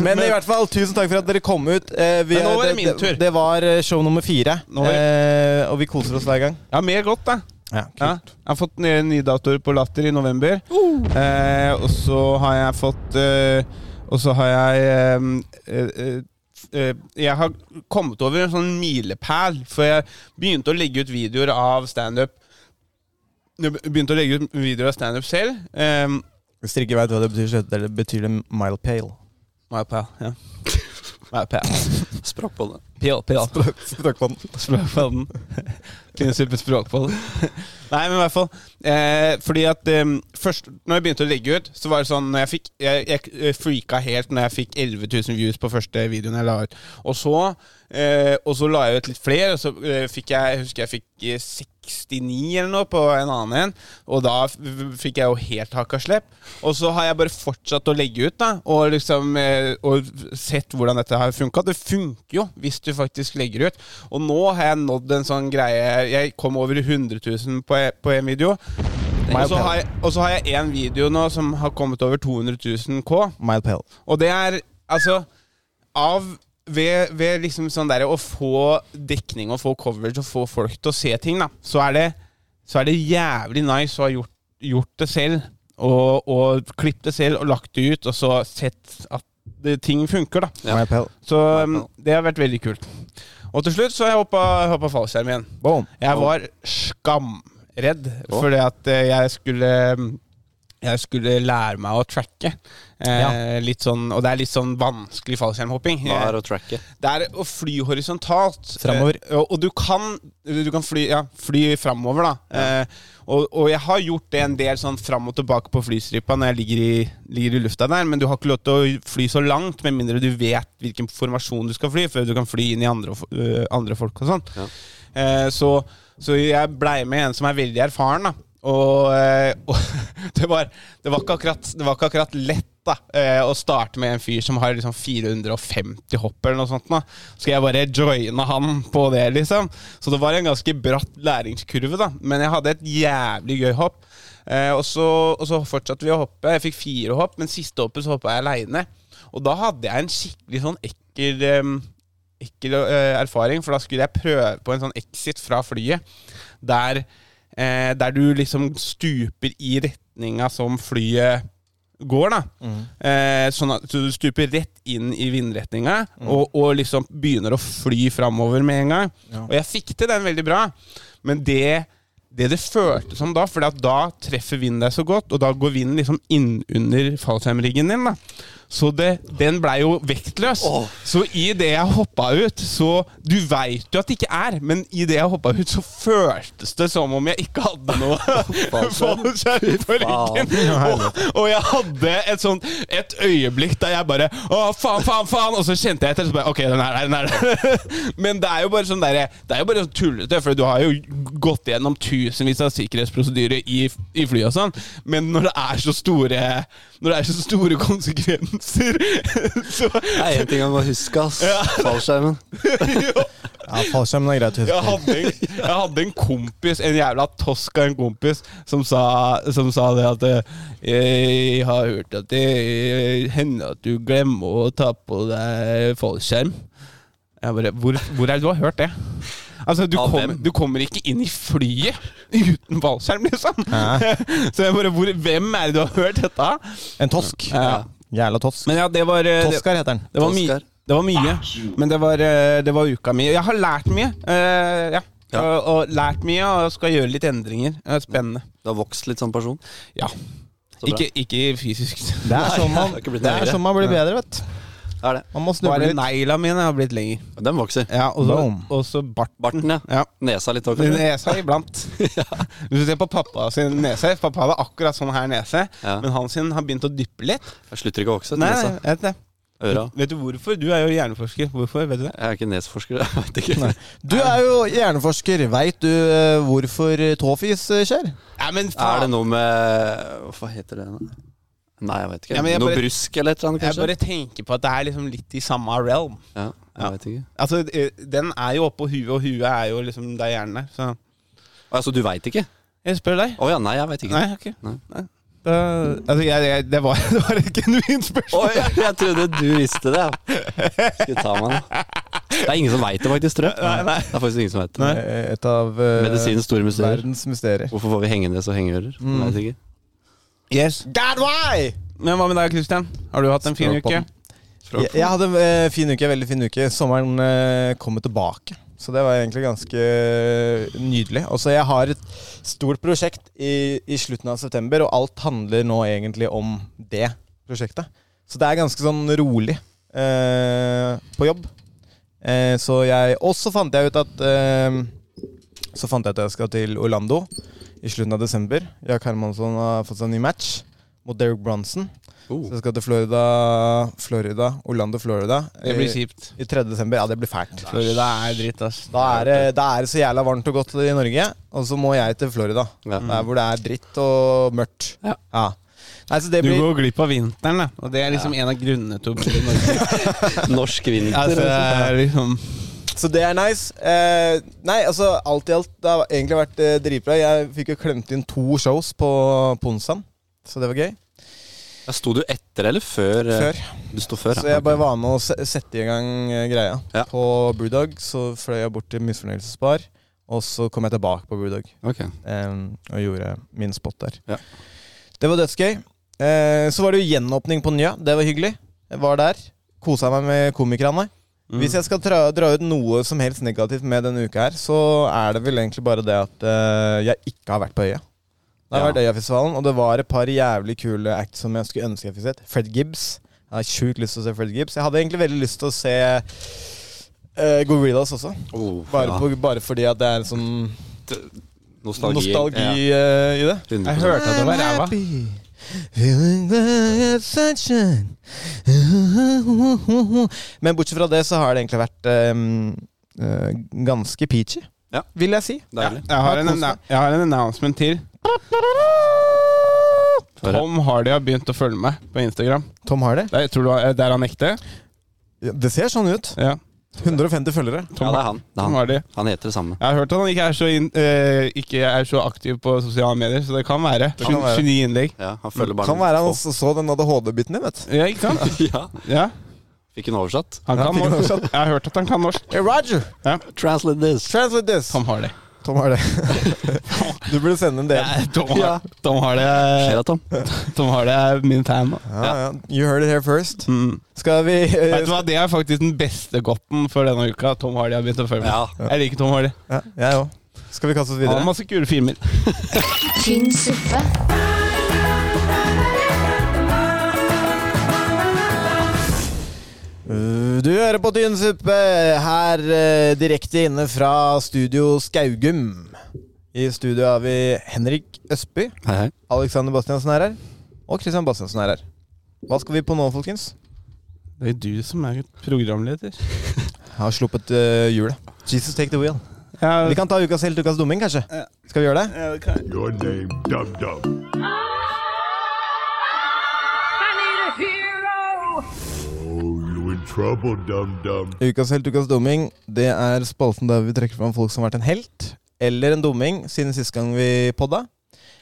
D: Men i hvert fall, tusen takk for at dere kom ut. Eh, vi-
C: Men nå var det min tur.
D: Det, det var eh, show nummer fire,
C: Nå var det-
D: eh, og vi koser oss hver gang.
C: Ja, mer godt, da.
D: Ja,
C: Ja. Jeg har fått nye, nye datoer på Latter i november. Eh, og så har jeg fått eh, Og så har jeg eh, eh, eh, f- eh, Jeg har kommet over en sånn milepæl, for jeg begynte å legge ut videoer av standup. Jeg be- begynte å legge ut videoer av standup selv. Eh,
D: Hvis dere ikke vet hva det betyr, så heter det- betyr det mile pale.
C: milepæl, ja. Milepæl.
B: Sprakk på det.
C: Pil, pil.
D: Språkvann.
C: Språkpodden. Tine Super Språkpodden. Nei, men i hvert fall. Eh, fordi at eh, først Når jeg begynte å legge ut, så var det sånn når Jeg, fikk, jeg, jeg eh, freaka helt når jeg fikk 11 000 views på første videoen jeg la ut. Og så, eh, og så la jeg ut litt flere, og så eh, fikk jeg jeg husker jeg fikk eh, 69 eller noe på en annen en. Og da f- f- fikk jeg jo helt hakka slepp. Og så har jeg bare fortsatt å legge ut, da. Og liksom eh, Og sett hvordan dette har funka. Det funker jo hvis du faktisk legger ut. Og nå har jeg nådd en sånn greie Jeg kom over 100 000 på, e- på en video. Og så har jeg- og så har jeg én video nå som har kommet over 200 000 K.
D: Mile pale.
C: Og det er altså av ved, ved liksom sånn der, å få dekning og få coverage og få folk til å se ting, da, så er det, så er det jævlig nice å ha gjort, gjort det selv. Og, og klippet det selv og lagt det ut, og så sett at det, ting funker, da.
B: Ja.
D: Mile pale.
C: Så um, det har vært veldig kult. Og til slutt så har jeg hoppa, hoppa fallskjerm igjen.
D: Boom.
C: Jeg var skamredd fordi at eh, jeg skulle jeg skulle lære meg å tracke. Eh, litt sånn, og det er litt sånn vanskelig fallskjermhopping.
B: Hva er å tracke?
C: Det er å fly horisontalt.
D: Fremover.
C: Eh, og- og du kan, du kan fly, ja, fly framover, da. Eh, og, og jeg har gjort det en del sånn fram og tilbake på flystripa når jeg ligger i, ligger i lufta der, men du har ikke lov til å fly så langt med mindre du vet hvilken formasjon du skal fly, før du kan fly inn i andre, fo- øh, andre folk og sånn. Eh, så, så jeg blei med en som er veldig erfaren, da. Og, eh, og det, var, det, var ikke akkurat, det var ikke akkurat lett da, eh, å starte med en fyr som har liksom 450 hopp eller noe sånt. Da. Skal jeg bare joine han på det, liksom? Så det var en ganske bratt læringskurve, da. Men jeg hadde et jævlig gøy hopp. Eh, og, så, og så fortsatte vi å hoppe. Jeg fikk fire hopp, men siste hoppet så hoppa jeg aleine. Og da hadde jeg en skikkelig sånn ekkel, em, ekkel eh, erfaring, for da skulle jeg prøve på en sånn exit fra flyet, der, eh, der du liksom stuper i retninga som flyet går, da. Eh, sånn at så du stuper rett inn i vindretninga, og, og liksom begynner å fly framover med en gang. Og jeg fikk til den veldig bra, men det det det føltes som da, for da treffer vinden deg så godt, og da går vinden liksom innunder fallskjermriggen din. da. Så det, den blei jo vektløs. Så i det jeg hoppa ut, så Du veit jo at det ikke er, men i det jeg hoppa ut, så føltes det som om jeg ikke hadde noe fallskjerm på ryggen. Og, og jeg hadde et sånt et øyeblikk der jeg bare Å, faen, faen, faen! Og så kjente jeg etter, så bare OK, den er der, den er der. Men det er jo bare sånn derre Det er jo bare sånn tullete, for du har jo gått gjennom tusenvis av sikkerhetsprosedyrer i, i fly og sånn, men når det er så store Når det er så store konsekvenser, så
B: Det er én ting jeg må huske, ass. Fallskjermen.
D: Ja, fallskjermen er greit å
C: jeg
D: huske.
C: hadde, en, jeg hadde en kompis, en jævla tosk av en kompis, som sa, som sa det at eh, Jeg har hørt at det hender at du glemmer å ta på deg fallskjerm. Jeg bare, hvor, hvor er det du har hørt det? Altså, du,
B: Av
C: kom,
B: hvem?
C: du kommer ikke inn i flyet uten fallskjerm, liksom! Så jeg bare, hvor, hvem er det du har hørt dette av?
D: En tosk.
C: Ja.
D: Jævla tosk.
C: Men ja, det var eh, det-
D: Toskar heter den.
C: det var, mye,
B: Oscar.
C: det var mye,
B: Ah,
C: men det var, eh, det var uka mi. Jeg har lært mye. eh, ja.
B: Ja.
C: Og, og lært mye og skal gjøre litt endringer. Det er Spennende.
B: Du har vokst litt som person.
C: Ja.
B: Så bra.
C: Ikke, ikke fysisk.
D: Det er sånn man,
B: Nei, jeg har ikke blitt
D: det er
B: nærmere.
D: sånn man blir bedre, vet du.
B: Det er det.
D: Man må snuble
C: Bare
D: litt.
C: negla mine har blitt lengre.
B: Den vokser.
C: Ja, og så,
D: Boom.
C: og så barten.
B: Barten, ja.
C: Ja.
B: Nesa litt òg, kanskje.
C: Nesa iblant. Hvis du ser på pappa sin nese Pappa hadde akkurat sånn her nese,
B: Ja.
C: men han sin har begynt å dyppe litt.
B: Jeg slutter ikke å vokse.
C: Nei,
B: Nesa.
C: jeg vet det.
B: Øra.
C: Vet du hvorfor? Du er jo hjerneforsker. Hvorfor? Vet du det?
B: Jeg er ikke nesforsker. Jeg vet ikke.
D: Du er jo hjerneforsker. Veit du eh, hvorfor tåfis eh, skjer?
C: Nei, men
B: Er
C: faen.
B: det noe med Hva heter det? nå? Nei, jeg vet ikke.
C: Ja, men jeg
B: noe
C: bare-
B: brusk eller et eller annet,
C: Jeg
B: kanskje?
C: bare tenker på at det er liksom litt i samme realm.
B: Ja, jeg
C: Ja.
B: vet ikke.
C: Altså, eh, den er jo oppå huet, og huet er jo liksom der hjernen er. Så
B: Altså, du veit ikke?
C: jeg spør deg.
B: Å ja, nei, jeg veit ikke.
C: Nei, ok.
B: Nei.
C: Nei. Da, altså, jeg, jeg, det, var, det var et genuint spørsmål.
B: Oi, jeg trodde du visste det. Skal ta meg nå. Det er ingen som veit det, faktisk, tror jeg. Det er faktisk ingen som vet det.
D: Eh, Et av eh,
B: Medisinens store mysterier.
D: verdens mysterier.
B: Hvorfor får vi hengende så hengeører? Jeg Vet ikke.
C: Yes.
D: God why?
C: Men hva med deg, Christian? Har du hatt en fin
D: Språk på
C: uke?
D: den. Jeg, jeg hadde en eh, fin uke, veldig fin uke. Sommeren eh, kommer tilbake. Så det var egentlig ganske eh, nydelig. Og så jeg har et stort prosjekt i, i slutten av september, og alt handler nå egentlig om det prosjektet. Så det er ganske sånn rolig eh, på jobb. Eh, så jeg Og så fant jeg ut at eh, Så fant jeg ut at jeg skal til Orlando i slutten av desember. Jack Hermansson har fått seg en ny match mot Derek Bronson.
C: Oh.
D: Så jeg skal til Florida, Florida Orlando, Florida. eh,
C: Det blir kjipt.
D: I 3. desember. Ja, det blir fælt.
C: Florida er dritt, ass.
D: Da er, det, da er det så jævla varmt og godt i Norge, og så må jeg til Florida.
B: Ja.
D: Der hvor det er dritt og mørkt.
B: Ja.
D: Nei, så det
C: Du
D: blir
C: går glipp av vinteren, da. Og det er liksom en av grunnene til å bo i Norge.
B: Norsk vinter.
C: altså, det er liksom
D: Så det er nice. Eh, nei, altså alt i alt, det har egentlig vært eh, dritbra. Jeg fikk jo klemt inn to shows på Ponsan, så det var gøy.
B: Ja, Sto du etter eller før? eh,
D: Før.
B: Du sto før,
D: Så jeg bare var med å se- sette i gang eh, greia.
B: Ja.
D: På Brewdog så fløy jeg bort til Misfornøyelsesbar, og så kom jeg tilbake på Brewdog
B: Ok.
D: eh, og gjorde min spot der.
B: Ja.
D: Det var dødsgøy. Eh, så var det jo gjenåpning på Njø. Det var hyggelig. Jeg var der. Kosa meg med komikerne.
B: Mm.
D: Hvis jeg skal dra, dra ut noe som helst negativt med denne uka her, så er det vel egentlig bare det at eh, jeg ikke har vært på Øya. Det har
B: Ja.
D: vært Øyafestivalen, og det var et par jævlig kule acts som jeg skulle ønske jeg fikk sett. Fred Gibbs. Jeg har sjukt lyst til å se Fred Gibbs. Jeg hadde egentlig veldig lyst til å se eh, Gorillaz også.
B: Oh,
D: Bare,
B: ja.
D: på, bare fordi at det er en sånn
B: nostalgi.
D: nostalgi
B: Ja.
D: eh, i det.
B: 100%.
C: Jeg hørte at det var ræva.
D: Men bortsett fra det så har det egentlig vært ehm, eh, ganske peachy,
B: Ja.
D: vil jeg si.
B: Deilig.
C: Jeg har, en, anna- jeg har en announcement til.
B: Få høre.
C: Tom Hardy har begynt å følge meg på Instagram.
D: Tom har det.
C: Der, tror du, han- der er han ekte?
D: Det ser sånn ut.
C: Ja.
D: 150 følgere.
B: Ja, det er han. Det er
C: Tom
B: han.
C: Hardy.
B: han heter det samme.
C: Jeg har hørt at han ikke er så, inn, eh, ikke er så aktiv på sosiale medier, så det kan være.
D: kan være.
C: 29 innlegg.
B: Ja, han følger bare
D: Kan
B: noen
D: være han
B: få.
D: også så den ADHD-biten din, vet du.
C: Ja, ikke sant?
B: Ja,
C: Ja,
B: Fikk hun oversatt?
C: han kan
D: fikk han
C: norsk.
D: oversatt.
C: Jeg har hørt at han kan norsk.
D: Hey, Roger,
C: Ja.
B: Translate this.
D: translate this.
C: Tom Hardy.
D: Tom har det. du burde sende en del.
C: Ja, Tom, Har-
B: Ja.
C: Tom Hardy
B: Skjer
C: er-
B: det, Tom?
C: Tom Hardy er min fan. da.
D: Ja, ja. You heard it here first.
C: Mm.
D: Skal vi eh,
C: Vet du hva, Det er faktisk den beste godten for denne uka. Tom Hardy har begynt å følge med.
B: Ja.
C: Jeg liker Tom Hardy.
D: Ja, jeg òg. Skal vi kaste oss
C: Han har
D: videre?
C: masse kule filmer.
A: Tynn suppe.
D: Uh, Du hører på Tynn suppe her eh, direkte inne fra studio Skaugum. I studio har vi Henrik Østby,
B: Hei, hei.
D: Alexander Bastiansen er her, og Christian Bastiansen er her. Hva skal vi på nå, folkens?
C: Det er du som er programleder.
D: Jeg har sluppet eh, hjulet. Jesus take the wheel.
C: Ja,
D: Vi kan ta ukas helt, ukas dumming, kanskje? Skal vi gjøre det?
C: ja, det kan-
I: Your name, Dum Dum. Oh, you in trouble, Dum Dum.
D: Ukas helt, ukas dumming, det er spalten der vi trekker fram folk som har vært en helt eller en dumming siden sist gang vi podda.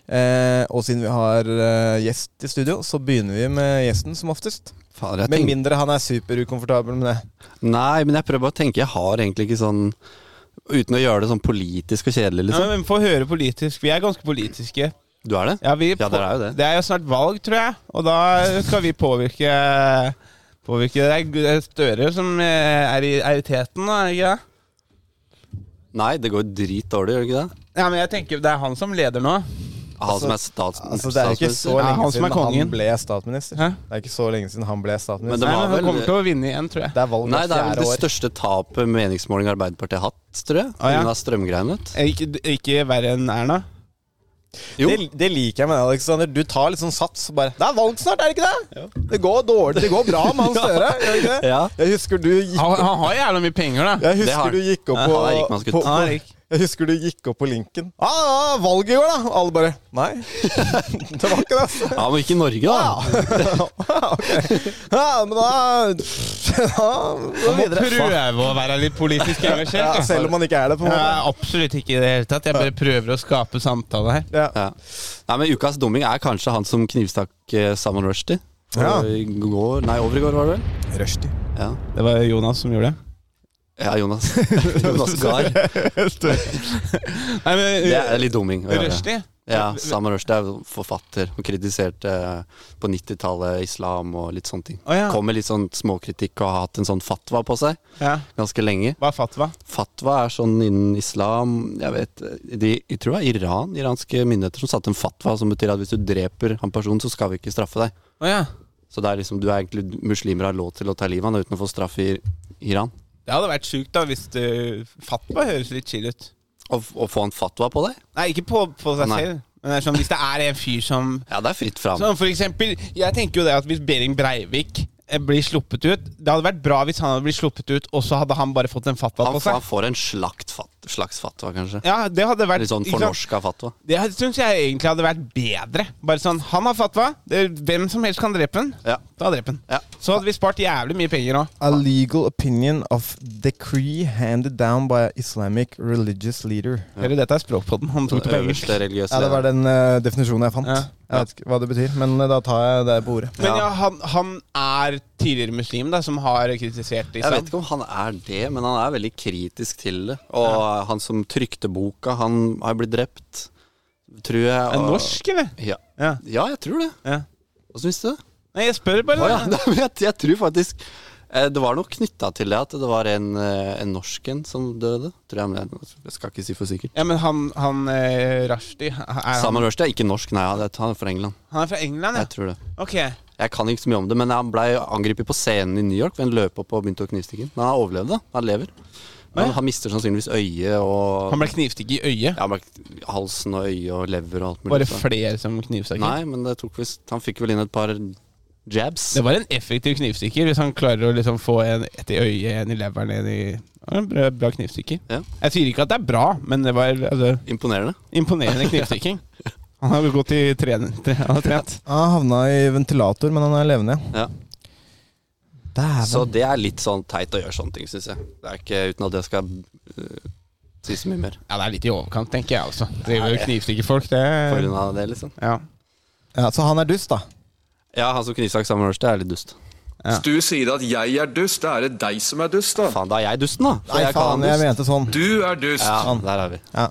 D: Eh, og siden vi har eh, gjest i studio, så begynner vi med gjesten som oftest.
B: Fader, jeg
D: Med
B: tenker-
D: mindre han er superukomfortabel med det.
B: Nei, men jeg prøver bare å tenke. Jeg har egentlig ikke sånn Uten å gjøre det sånn politisk og kjedelig,
C: Ja,
B: liksom.
C: men Få høre politisk. Vi er ganske politiske.
B: Du er det?
C: Ja, vi
B: Ja, dere er jo det.
C: Det er jo snart valg, tror jeg. Og da skal vi påvirke, påvirke Det er Støre som eh, er i, er i teten, da, er det ikke det?
B: Nei, det går jo dritdårlig, gjør det ikke det?
C: Ja, men jeg tenker Det er han som leder nå.
B: Han som er stats
D: Altså, det er ikke
B: statsminister.
D: så
C: Ja, han
D: lenge
C: som er
D: siden han
C: kongen.
D: ble statsminister.
C: Hæ?
D: Det er ikke så lenge siden han ble
B: Men
D: statsminister.
B: det var
C: Nei, men Han
B: vel
C: kommer til å vinne igjen, tror jeg.
D: Det er valg
B: Nei,
D: hvert
B: det er vel
D: fjerde
B: det
D: år.
B: største tapet meningsmåling Arbeiderpartiet har hatt, tror jeg.
C: Ah, ja.
B: Pga. strømgreiene. vet du.
C: Ikke, ikke verre enn Erna.
B: Jo.
D: Det, det liker jeg med deg, Alexander. Du tar litt sånn sats. og Bare, det er valg snart, er det ikke det? Det går dårlig. Det går bra med han Støre. gjør det ikke det?
B: Ja.
D: Jeg husker du gikk
C: Han, han har jævla mye penger, da.
D: Jeg
B: Det har
D: husker du
B: han.
D: gikk opp
B: Ja,
D: på,
B: han er rik mannsgutt.
D: på,
C: Han er rik.
D: på Jeg husker du gikk opp på linken. Ah, ah, valget i år, da! Alle bare Nei. det var ikke det. altså.
B: Ja, men ikke i Norge, da.
D: Ah, ok. Ja, men da ja, gå
C: Han må
D: videre.
C: prøve å være litt politisk
D: Ja,
C: engasjert.
D: selv om man ikke er det, på en
C: Jeg
D: måte.
C: er absolutt ikke i det hele tatt. Jeg bare prøver å skape samtale her.
D: Ja.
B: Ja. Nei, men Ukas dumming er kanskje han som knivstakk eh, Salman Rushdie.
D: Ja.
B: Og I går, nei, over i går, var det vel?
D: Rushdie.
B: Ja,
C: Det var Jonas som gjorde det.
B: ja Jonas. Jonas Gahr.
C: Nei, men,
B: Det er litt dumming. å gjøre.
C: Rushdie?
B: Ja, Salman Rushdie er jo forfatter og kritiserte eh, på 90-tallet islam og litt sånne ting.
C: Å, ja.
B: Kom med litt sånn småkritikk og har hatt en sånn fatwa på seg
C: Ja.
B: ganske lenge.
C: Hva er fatwa?
B: Fatwa er sånn innen islam Jeg vet eh, de, Jeg tror det er Iran, iranske myndigheter, som satte en fatwa som betyr at hvis du dreper en person, så skal vi ikke straffe deg.
C: Å ja.
B: Så det er liksom, du er egentlig muslimer har lov til å ta livet av han uten å få straff i Iran.
C: Det hadde vært sjukt da hvis det Fatwa høres litt chill ut.
B: Å f- å få en fatwa på deg?
C: Nei, ikke på, på seg
B: Nei.
C: selv. Men det er sånn, hvis det er en fyr som
B: Ja, det er fritt fram.
C: Som for eksempel Jeg tenker jo det at hvis Behring Breivik eh, blir sluppet ut Det hadde vært bra hvis han hadde blitt sluppet ut, og så hadde han bare fått en fatwa
B: Han,
C: på
B: f- han
C: seg.
B: får en slakt fat, slags fatwa, kanskje.
C: Ja, det hadde vært
B: Litt sånn
C: ikke sant?
B: fornorska fatwa.
C: Det syns jeg egentlig hadde vært bedre. Bare sånn, Han har fatwa. Det, hvem som helst kan drepe han.
B: Ja.
C: Da dreper han.
B: Ja.
C: Så hadde vi spart jævlig mye penger òg.
D: A legal opinion of decree handed down by Islamic religious leader.
C: Eller dette er språkpodden. Han tok det på engelsk.
B: Øverste religiøse
D: Ja, Det var den eh, definisjonen jeg fant.
C: Ja.
D: Jeg vet ikke hva det betyr, men eh, da tar jeg det på ordet.
C: Men
B: Ja.
C: ja, han, han er tidligere muslim, da, som har kritisert liksom.
B: Jeg
C: islam.
B: vet ikke om han er det, men han er veldig kritisk til det. Og han som trykte boka, han har blitt drept, tror jeg.
C: Er han
B: og-
C: norsk, eller?
B: Ja.
C: Ja.
B: ja, jeg tror det.
C: ja.
B: Hva syns du?
C: Nei, jeg spør bare.
B: Å ja,
C: da.
B: nei, men jeg, jeg tror faktisk eh, Det var noe knytta til det at det var en, eh, en norsk en som døde. Tror jeg, men jeg- jeg skal ikke si for sikkert.
C: Ja, men han, han eh, Rushdie er han,
B: Salman Rushdie er ikke norsk, nei, han er- han er fra England.
C: han er fra England,
B: Jeg
C: ja?
B: tror det.
C: Ok.
B: Jeg kan ikke så mye om det, men han blei angrepet på scenen i New York ved en løpehopp og begynte å knivstikke. Men han overlevde, da. han lever. Men
C: ja.
B: han mister sannsynligvis øyet og
C: Han ble knivstukket i øyet.
B: ja, han ble halsen og øyet og lever og alt mulig.
C: Var det
B: sånn.
C: flere som knivstakk?
B: Nei, men det tok visst Han fikk vel inn et par jabs.
C: Det var en effektiv knivstikker, hvis han klarer å liksom få en ett i øyet, en i leveren, en i Det var en bra, bra knivstikker.
B: Ja.
C: Jeg sier ikke at det er bra, men det var altså,
B: Imponerende.
C: imponerende knivstikking. Han har jo gått i trening. Tre, han har trent.
D: Han havna i ventilator, men han er levende.
B: Ja. Så
D: Dæven.
B: det er litt sånn teit å gjøre sånne ting, syns jeg. Det er ikke uten at jeg skal øh, si så mye mer
C: Ja, det er litt i overkant, tenker jeg altså. også. Driver og knivstikker folk, det
B: på grunn av det, liksom.
C: ja.
D: Ja, så han er dust, da.
B: Ja, han som knivstakk Samuel Ørstad er litt dust.
E: Hvis du sier at jeg er dust, da er det deg som er dust, da.
B: Faen, da er jeg dusten, da! For
D: Nei,
B: jeg
D: faen,
B: kan ha
D: jeg
B: en dust.
D: mente sånn.
E: Du er dust.
B: Ja, der er vi.
D: Ja.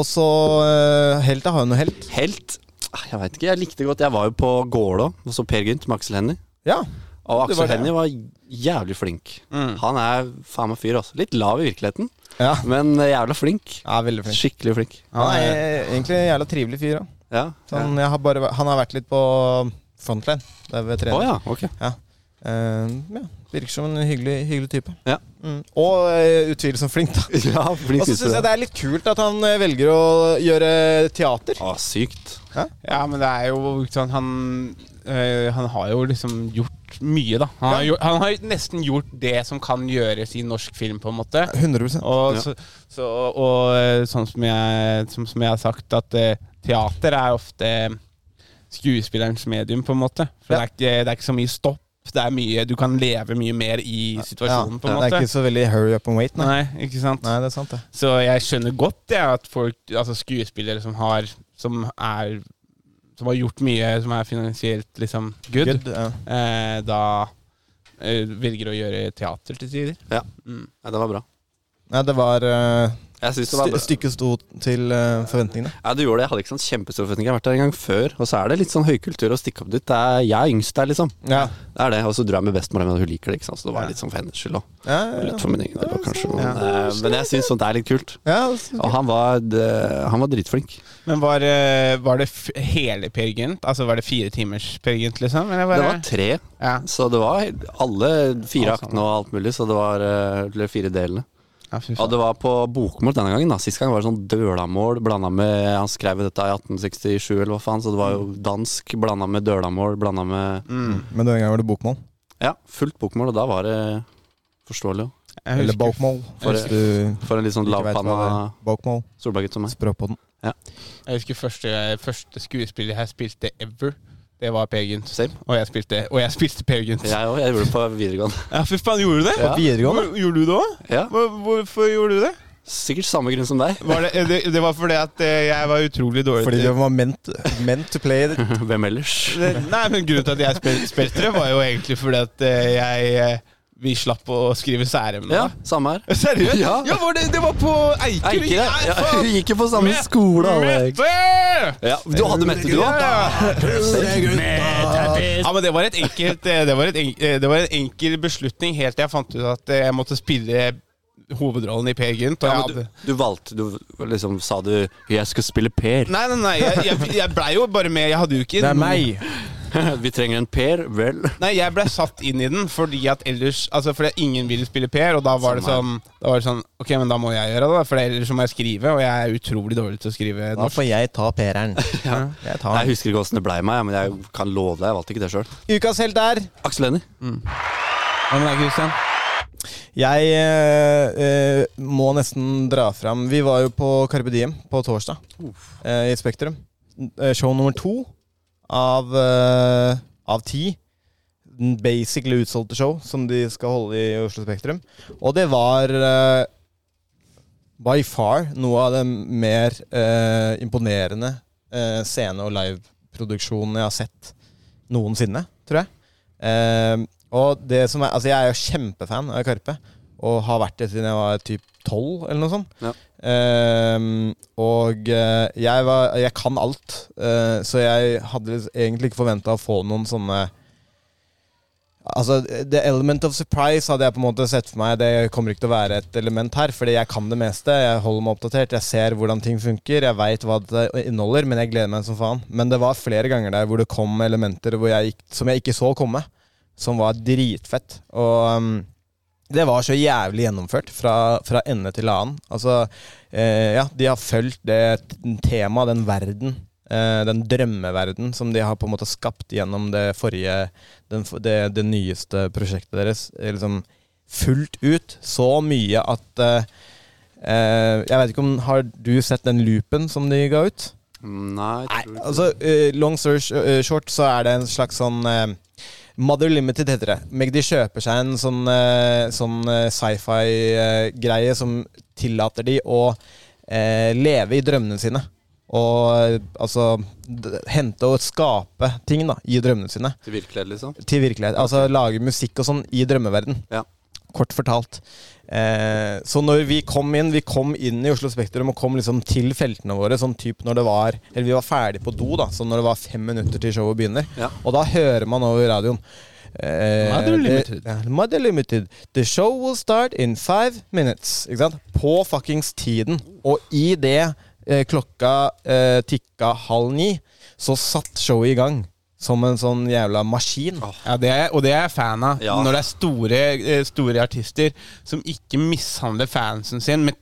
D: Og så uh, Helt, da. Har du noe helt?
B: Helt? Ah, Jeg veit ikke. Jeg likte godt Jeg var jo på Gålå og så Per Gynt med Aksel Hennie.
D: Ja.
B: Og
D: Det
B: Aksel
D: var det. Mm.
B: Hennie var jævlig flink. Han er faen meg fyr, altså. Litt lav i virkeligheten,
D: Ja,
B: men eh, jævla flink.
D: ja veldig flink.
B: Skikkelig flink.
D: Han er eh, egentlig en jævla trivelig fyr. da.
B: Ja.
D: Så Han, jeg har bare, væ- han har vært litt på um, frontline. Det er ved
B: Å
D: trening.
B: ja, ok.
D: Eh, ja. Virker som en hyggelig, hyggelig type.
B: Ja.
D: Mm. Og eh, utvilsomt flink, da.
B: Ja,
D: Og
B: flink
D: så syns jeg det er litt kult at han eh, velger å gjøre teater.
B: Å, sykt.
C: ja, men det er jo sånn Han, øh, han har jo liksom gjort mye, da. Han har, gjort, han har nesten gjort det som kan gjøres i norsk film, på en måte.
D: 100
C: Og,
B: Ja.
C: så, så, og eh, sånn som jeg, som, som jeg har sagt, at eh, teater er ofte skuespillerens medium, på en måte. For det,
D: Ja.
C: er ikke, det er ikke så mye stopp. Det er mye, du kan leve mye mer i situasjonen, på en
D: Det
C: måte.
D: er ikke så veldig hurry up and wait, nei.
C: Nei, ikke sant?
D: Nei, det er sant, det.
C: Så jeg skjønner godt det at folk, altså skuespillere som har Som er Som har gjort mye som er finansielt liksom good,
D: Good, ja.
C: Eh, da eh, velger å gjøre teater til tider.
B: Ja.
D: Mm.
B: ja, det var bra.
D: Nei, det var eh,
B: Jeg synes det var
D: st
B: bra.
D: Stykket sto til eh, forventningene.
B: Ja, du gjorde det. Jeg hadde ikke sånn kjempestor forventning. Jeg har vært der en gang før. Og så er det litt sånn høykultur å stikke opp dit. Det er, jeg er yngst der, liksom.
D: Ja.
B: Det er det. Og så drar jeg med bestemor, men hun liker det, ikke sant. Så det var litt sånn for hennes skyld òg.
D: Ja, ja,
B: Litt for min egen del også, kanskje. Men, eh, men jeg syns sånt er litt kult.
D: ja.
B: Og han var, det- han var dritflink.
C: Men var, eh, var det f hele Per Gynt? Altså var det fire timers Per Gynt, liksom? Eller var
B: Det
C: det,
B: var tre,
C: ja.
B: så det var helt- alle fire
C: Alt sammen.
B: aktene og alt mulig. Så det var eh, eller fire delene.
C: ja, fy
B: Og
C: faen.
B: det var på bokmål denne gangen. da Sist gang var det sånn dølamål blanda med Han skrev jo dette i 1867, eller hva faen, så det var
D: Mm.
B: jo dansk blanda med dølamål blanda med
C: Mm.
D: Men denne gangen var det bokmål.
B: Ja, fullt bokmål, og da var det forståelig jo.
C: Jeg
D: Eller
C: husker-
D: bokmål,
B: For-
D: hvis du
B: For en litt sånn
D: ikke vet hva det er.
B: lavpanna
D: Bokmål.
B: solberggutt som meg.
D: Språkpodden.
C: Jeg husker første, første skuespiller jeg spilte ever. Det var Per Gynt.
B: Same.
C: Og jeg spilte, og jeg spilte Per Gynt.
B: Jeg òg. Jeg gjorde det på videregående.
C: Ja, fy faen, gjorde du det?
D: På videregående?
C: Hvor- Gjorde du det òg?
B: Ja,
C: Hvorfor gjorde du det?
B: Sikkert samme grunn som deg.
C: Var det, det? Det var fordi at eh, jeg var utrolig dårlig
D: Fordi
C: til
D: det var meant, meant to play. it.
B: Hvem ellers?
C: det, Nei, men grunnen til at jeg spil, spilte det, var jo egentlig fordi at eh, jeg eh, Vi slapp å skrive særemne.
B: Ja, samme her.
C: Seriøst? Ja,
B: Ja.
C: var det, det var på Eiker.
B: Eiker, ja.
C: Nei,
B: Ja,
C: faen.
B: vi gikk jo på samme
C: Mette!
B: skole, alle. Ja, du hadde Mette, du òg?
C: Ja, men det var, et enkelt, eh, det, var et enk, eh, det var en enkel beslutning helt til jeg fant ut at eh, jeg måtte spille hovedrollen i Per Gynt. Og
B: Ja,
C: jeg
B: men du,
C: hadde,
B: du valgte Du liksom sa du 'Jeg skal spille Per'.
C: nei, nei, nei, jeg, jeg, jeg blei jo bare med. Jeg hadde jo ikke
D: Det er meg.
B: Vi trenger en Per, vel?
C: Nei, jeg ble satt inn i den fordi at ellers Altså fordi ingen ville spille Per, og da var det sånn Da var det sånn Ok, men da må jeg gjøre det, da, for ellers så må jeg skrive, og jeg er utrolig dårlig til å skrive
D: Da
C: norsk.
D: får jeg ta Pereren. Jeg tar
B: Jeg
D: den.
B: husker ikke åssen det blei meg, ja, men jeg kan love deg, jeg valgte ikke det sjøl.
D: Ukas helt er
B: Aksel Hennie.
C: Ja, men nei, Christian.
D: Jeg eh, eh, må nesten dra fram Vi var jo på Carpe Diem på torsdag eh, i Spektrum. Eh, Show nummer to av, eh, av ti. Basically utsolgte show som de skal holde i Oslo Spektrum. Og det var eh, by far noe av det mer eh, imponerende eh, scene- og liveproduksjonen jeg har sett noensinne, tror jeg. Eh, og det som er, altså jeg er jo kjempefan av Karpe, og har vært det siden jeg var typ 12 eller noe sånt.
B: Ja.
D: Ehm, og eh, jeg, var, jeg kan alt, eh, så jeg hadde liksom egentlig ikke forventa å få noen sånne Altså, The element of surprise hadde jeg på en måte sett for meg. Det kommer ikke til å være et element her, fordi jeg kan det meste. Jeg holder meg oppdatert, jeg ser hvordan ting funker, jeg veit hva det inneholder, men jeg gleder meg som faen. Men det var flere ganger der hvor det kom elementer hvor jeg, gikk- som jeg ikke så komme som var dritfett. Og um, det var så jævlig gjennomført fra, fra ende til annen. Altså, eh, ja, de har fulgt det t- temaet, den verden, eh, den drømmeverden som de har på en måte skapt gjennom det forrige, den, f- det, det nyeste prosjektet deres, eh, liksom fullt ut. Så mye at eh, eh, Jeg vet ikke om Har du sett den loopen som de ga ut?
B: Nei, jeg tror ikke.
D: Altså, eh, long story sh- eh, short, så er det en slags sånn eh, Mother Limited heter det. Meg de kjøper seg en sånn, eh, sånn sci-fi-greie som tillater de å eh, leve i drømmene sine. Og eh, altså d- hente og skape ting da, i drømmene sine.
B: Til virkelighet, liksom.
D: Til virkelighet. Altså lage musikk og sånn i drømmeverden.
B: Ja.
D: Kort fortalt. Eh, så når vi kom inn Vi kom inn i Oslo Spektrum og kom liksom til feltene våre sånn typ når det var Eller vi var ferdig på do, da, sånn når det var fem minutter til showet begynner.
B: Ja.
D: Og da hører man over radioen eh,
C: Mother
D: det-
C: Limited.
D: ja, Mother Limited. The show will start in five minutes. Ikke sant? På fuckings tiden. Og i det eh, klokka eh, tikka halv ni, så satt showet i gang. Som en sånn jævla maskin.
C: Ja, det er, og det er jeg fan av.
B: Ja.
C: Når det er store, eh, store artister som ikke mishandler fansen sin med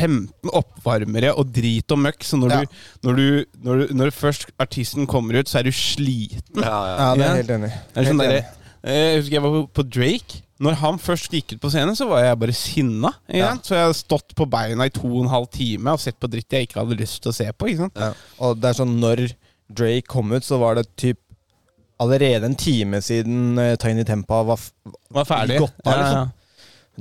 C: 15 oppvarmere og drit og møkk. Så når,
D: Ja.
C: du, når, du, når, du, når først artisten kommer ut, så er du sliten.
B: Ja, ja.
D: Ja, det er
C: Ja.
D: jeg helt enig i.
C: Det er sånn
D: Helt
C: der,
D: enig.
C: eh, jeg husker jeg var på- på Drake. Når han først gikk ut på scenen, så var jeg bare sinna. ikke sant? Så jeg hadde stått på beina i to og en halv time og sett på dritt jeg ikke hadde lyst til å se på. ikke sant?
D: Ja. Og det er sånn når Drake kom ut, så var det typ allerede en time siden eh, Tiny Tempa var, f-
C: Var ferdig.
D: Godt da, liksom.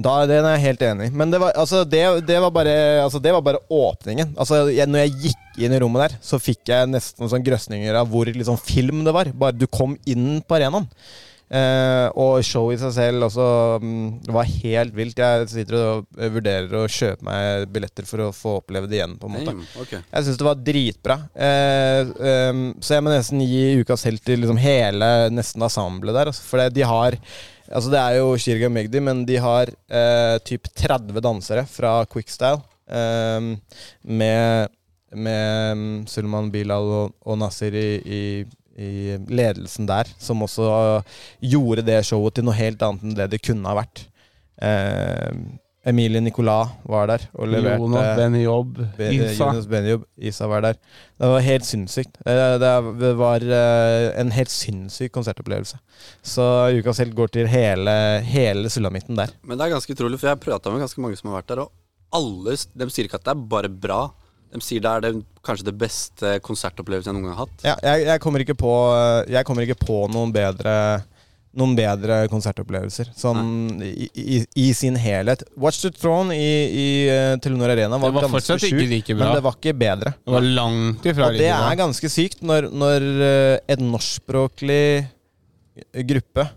D: da, Den er jeg helt enig i. Men det var, altså, det, det, var bare, altså, det var bare åpningen. Altså, jeg, når jeg gikk inn i rommet der, så fikk jeg nesten sånn grøsninger av hvor liksom, film det var. Bare du kom inn på arenaen. Eh, og showet i seg selv også mm, Det var helt vilt. Jeg sitter og eh, vurderer å kjøpe meg billetter for å få oppleve det igjen. på en måte
B: Damn, ok.
D: jeg syns det var dritbra. Eh, ehm, så jeg må nesten gi ukas helt til liksom hele nesten ensemblet der. Altså, for det- de har Altså Det er jo Shirga og Magdi, men de har eh, typ 30 dansere fra Quickstyle. ehm, med med mm, Sulman Bilal og, og Nasir i, i, i ledelsen der, som også eh, gjorde det showet til noe helt annet enn det det kunne ha vært. Ehm, Emilie Nicolas var der og leverte
C: Jonas, Benny Jobb,
D: Be eh,
C: Isa.
D: Jonas Benjob, Isa var der. Det var helt sinnssykt. Eh, Det det var eh, en helt sinnssyk konsertopplevelse. Så ukas helt går til hele, hele sulamitten der.
B: Men det er ganske utrolig, for jeg har prata med ganske mange som har vært der, og alle s- de sier ikke at det er bare bra. De sier det er den, kanskje det beste konsertopplevelsen jeg noen gang har hatt.
D: Ja, jeg, jeg, kommer ikke på, eh, jeg kommer ikke på noen bedre noen bedre konsertopplevelser. Sånn i, i, i sin helhet. Watch the Throne i, i eh, Telenor Arena var,
C: Det var
D: ganske
C: fortsatt ikke
D: sjukt,
C: like bra.
D: men det var ikke bedre.
C: Det var langt ifra
D: Og det
C: like bra.
D: er ganske sykt når, når eh, et norskspråklig gruppe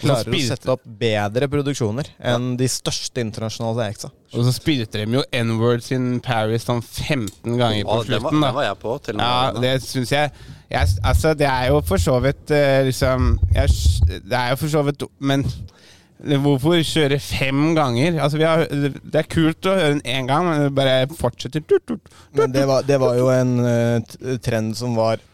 D: klarer å
C: spilte-
D: sette opp bedre produksjoner enn de største internasjonale exa.
C: Og så spilte de jo N-Word sin Paris sånn 15 ganger på
B: Og det var,
C: slutten.
B: det
C: da.
B: var jeg på. Til og med
C: Ja,
B: Arena.
C: det syns jeg, jeg Altså, det er jo for så vidt eh, liksom jeg, s- Det er jo for så vidt Men hvorfor kjøre fem ganger? Altså, vi har, det er kult å høre den én gang, men det bare fortsetter tut, tut,
D: Men det var, det var jo en eh, t- trend som var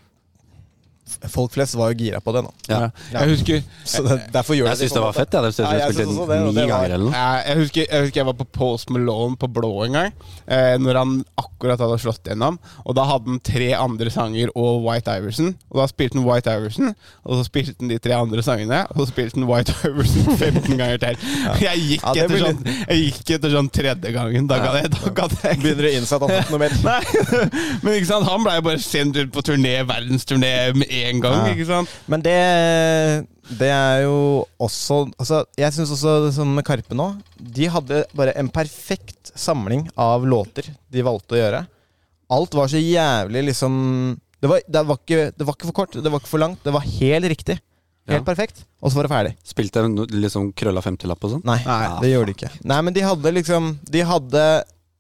D: f- Folk flest var jo gira på det nå.
B: Ja.
C: Jeg husker
D: Så det, derfor gjør
B: Jeg syns det var fett, jeg. De
D: Ja, jeg
B: spilte
D: synes også det,
B: ni
D: og det var-
B: ganger eller noe.
C: Eh, jeg, husker, jeg husker jeg var på Post Malone på Blå en gang. Eh, når han akkurat hadde slått gjennom. Og da hadde han tre andre sanger og White Iverson. Og da spilte han White Iverson, og så spilte han de tre andre sangene. Og så spilte han White Iverson 15 ganger til. Jeg, gikk
D: Ja, det
C: etter
D: blir
C: sånn, jeg gikk etter sånn tredje gangen. Da gadd jeg. Da gadd jeg. ikke.
D: Begynner å innse at han har fått noe mer.
C: Nei, men ikke sant? han blei bare sendt ut på turné, verdensturné med en gang.
D: Ja.
C: ikke sant?
D: Men det, det er jo også altså, Jeg syns også, det som med Karpe nå De hadde bare en perfekt samling av låter de valgte å gjøre. Alt var så jævlig liksom Det var, det var, ikke, det var ikke for kort, det var ikke for langt. Det var helt riktig. Helt
B: Ja.
D: perfekt. Og så var det ferdig.
B: Spilte en liksom krølla femtilapp og sånn.
D: Nei, det gjorde de ikke. Nei, men de hadde liksom De hadde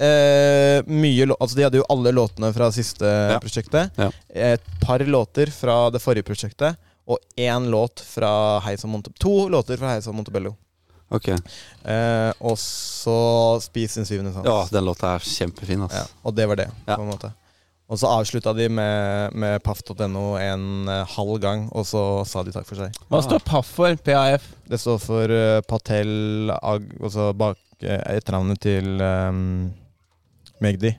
D: eh, mye lå- Altså, de hadde jo alle låtene fra siste prosjektet.
B: Ja.
D: Et par låter fra det forrige prosjektet. Og én låt fra Heis og Monte... To låter fra Heis og Montebello.
B: Ok.
D: Eh, og så Spis din syvende sans.
B: Ja, den låta er kjempefin, ass.
D: Ja, og det var det,
B: Ja.
D: på en måte. Og så avslutta de med, med paff.no en eh, halv gang, og så sa de takk for seg.
C: Hva står Paff for? PAF?
D: Det står for eh, Patel Ag... Altså bak eh, etternavnet til ehm, Magdi.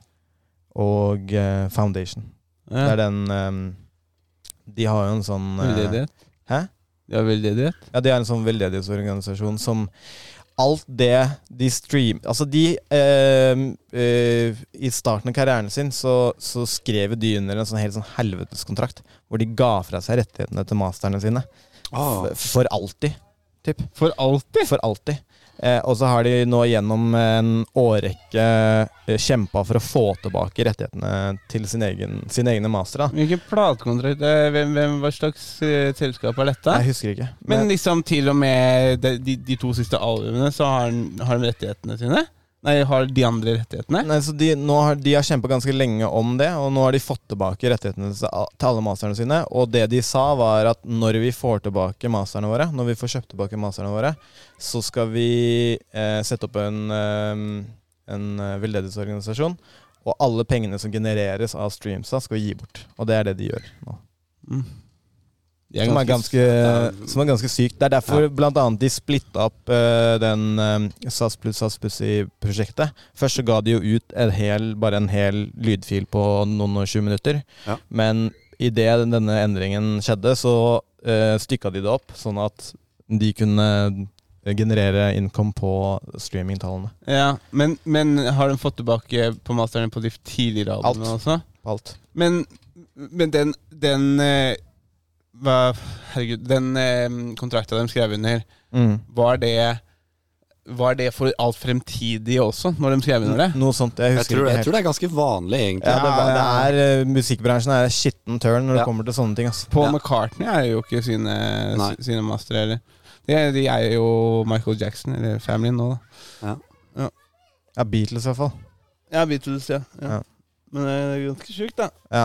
D: Og eh, Foundation. Det er den ehm, De har jo en sånn eh,
C: Veldedighet?
D: Hæ?
C: Ja, veldedighet.
D: Ja, de har en sånn veldedighetsorganisasjon som Alt det de stream... Altså, de ehm, eh, I starten av karrieren sin så, så skrev de under en sånn helt sånn helveteskontrakt hvor de ga fra seg rettighetene til masterne sine.
B: Ah.
D: f- for alltid. Typ.
C: For alltid?
D: For alltid. Eh, og så har de nå gjennom en årrekke eh, kjempa for å få tilbake rettighetene til sin egen, sine egne mastere. da.
C: Hvilken platekontrakt eh, hvem, hvem, Hva slags eh, selskap er dette?
D: Jeg husker ikke.
C: Men liksom til og med de, de, de to siste albumene, så har, han- har de rettighetene sine? Nei, har de andre rettighetene?
D: Nei, så de, nå har, de har kjempa ganske lenge om det, og nå har de fått tilbake rettighetene til al- til alle masterne sine. Og det de sa, var at når vi får tilbake masterne våre, når vi får kjøpt tilbake masterne våre, så skal vi eh, sette opp en, eh, en eh, veldedighetsorganisasjon. Og alle pengene som genereres av streamsa, skal vi gi bort. Og det er det de gjør nå.
C: Mm. Jeg
D: Som er ganske, eh, som er ganske sykt. Det er derfor blant annet de splitta opp eh, den eh, SAS pluss SAS Pussy-prosjektet. Først så ga de jo ut en hel, bare en hel lydfil på noen og 20 minutter.
B: Ja.
D: Men idet denne endringen skjedde, så uh, stykka de det opp, sånn at de kunne eh, generere income på streamingtallene.
C: Ja, men, men har de fått tilbake på masterne på de tidligere albumene
D: Alt.
C: også?
D: På alt.
C: Men, men den, den eh, hva, Herregud, den eh, kontrakta de skrev under,
D: Mm.
C: var det var det for alt fremtidig også, når de skrev under det?
D: Noe sånt. Jeg
B: Jeg
D: husker
B: tror,
D: ikke
B: jeg
D: helt.
B: tror det er ganske vanlig, egentlig.
D: Ja, det, var-
C: Ja, ja.
D: det er, eh, musikkbransjen er skitten tørn
B: Ja.
D: når det kommer til sånne ting. ass.
C: Paul
B: Ja.
C: McCartney er jo ikke sine,
B: Nei.
C: sine mastere heller. De, er- de er jo Michael Jackson, eller familien nå, da.
D: Ja, Beatles i hvert fall.
C: Ja, Beatles, ja.
D: Ja.
C: Men det er ganske sjukt, da.
D: Ja.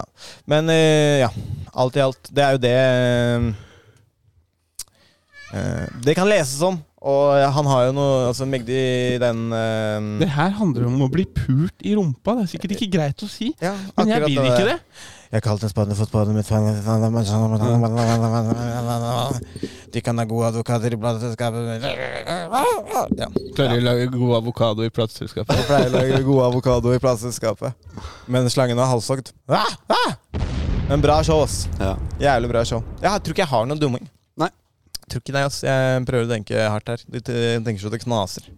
D: Men eh, ja, alt i alt. Det er jo det eh, eh, Det kan leses om. Og han har jo noe altså Magdi, den eh,
C: Det her handler om å bli pult i rumpa. Det er sikkert ikke greit å si.
D: ja,
C: Men jeg
D: akkurat
C: vil ikke det.
D: Jeg kalte en spade for spaden mitt De kan ha gode advokater i plateselskapet Ja.
C: Klarer å lage god avokado i plateselskapet.
D: Jeg pleier å lage gode avokado i plateselskapet. Men slangen var halshogd. Ah, ah! Men bra show, ass.
B: Ja.
D: Jævlig bra show. Jeg tror ikke jeg har noen dumming.
B: Nei.
D: Tror ikke det, ass. Jeg prøver å tenke hardt her. Du t- tenker så det knaser.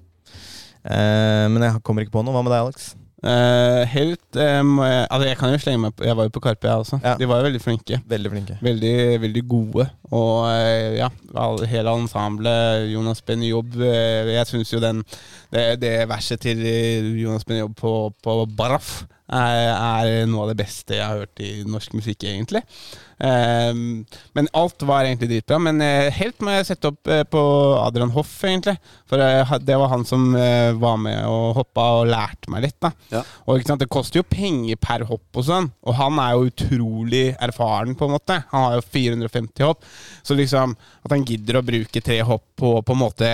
D: Eh, men jeg kommer ikke på noe. Hva med deg, Alex?
C: Eh, helt eh, må jeg, altså jeg kan jo slenge meg på Jeg var jo på Karpe, jeg også.
D: Ja.
C: De var jo veldig flinke.
D: Veldig flinke.
C: Veldig, veldig gode. Og eh, ja, all, hele ensemblet. Jonas Benjob. eh, Jeg syns jo den det, det verset til eh, Jonas Benjob på, på Baraf er, er noe av det beste jeg har hørt i norsk musikk, egentlig. Eh, men alt var egentlig dritbra. Men eh, helt må jeg sette opp eh, på Adrian Hoff, egentlig. For eh, ha- det var han som eh, var med og hoppa og lærte meg litt. da
B: Ja.
C: Og ikke sant, Det koster jo penger per hopp og sånn, og han er jo utrolig erfaren, på en måte. Han har jo 450 hopp, så liksom at han gidder å bruke tre hopp på på en måte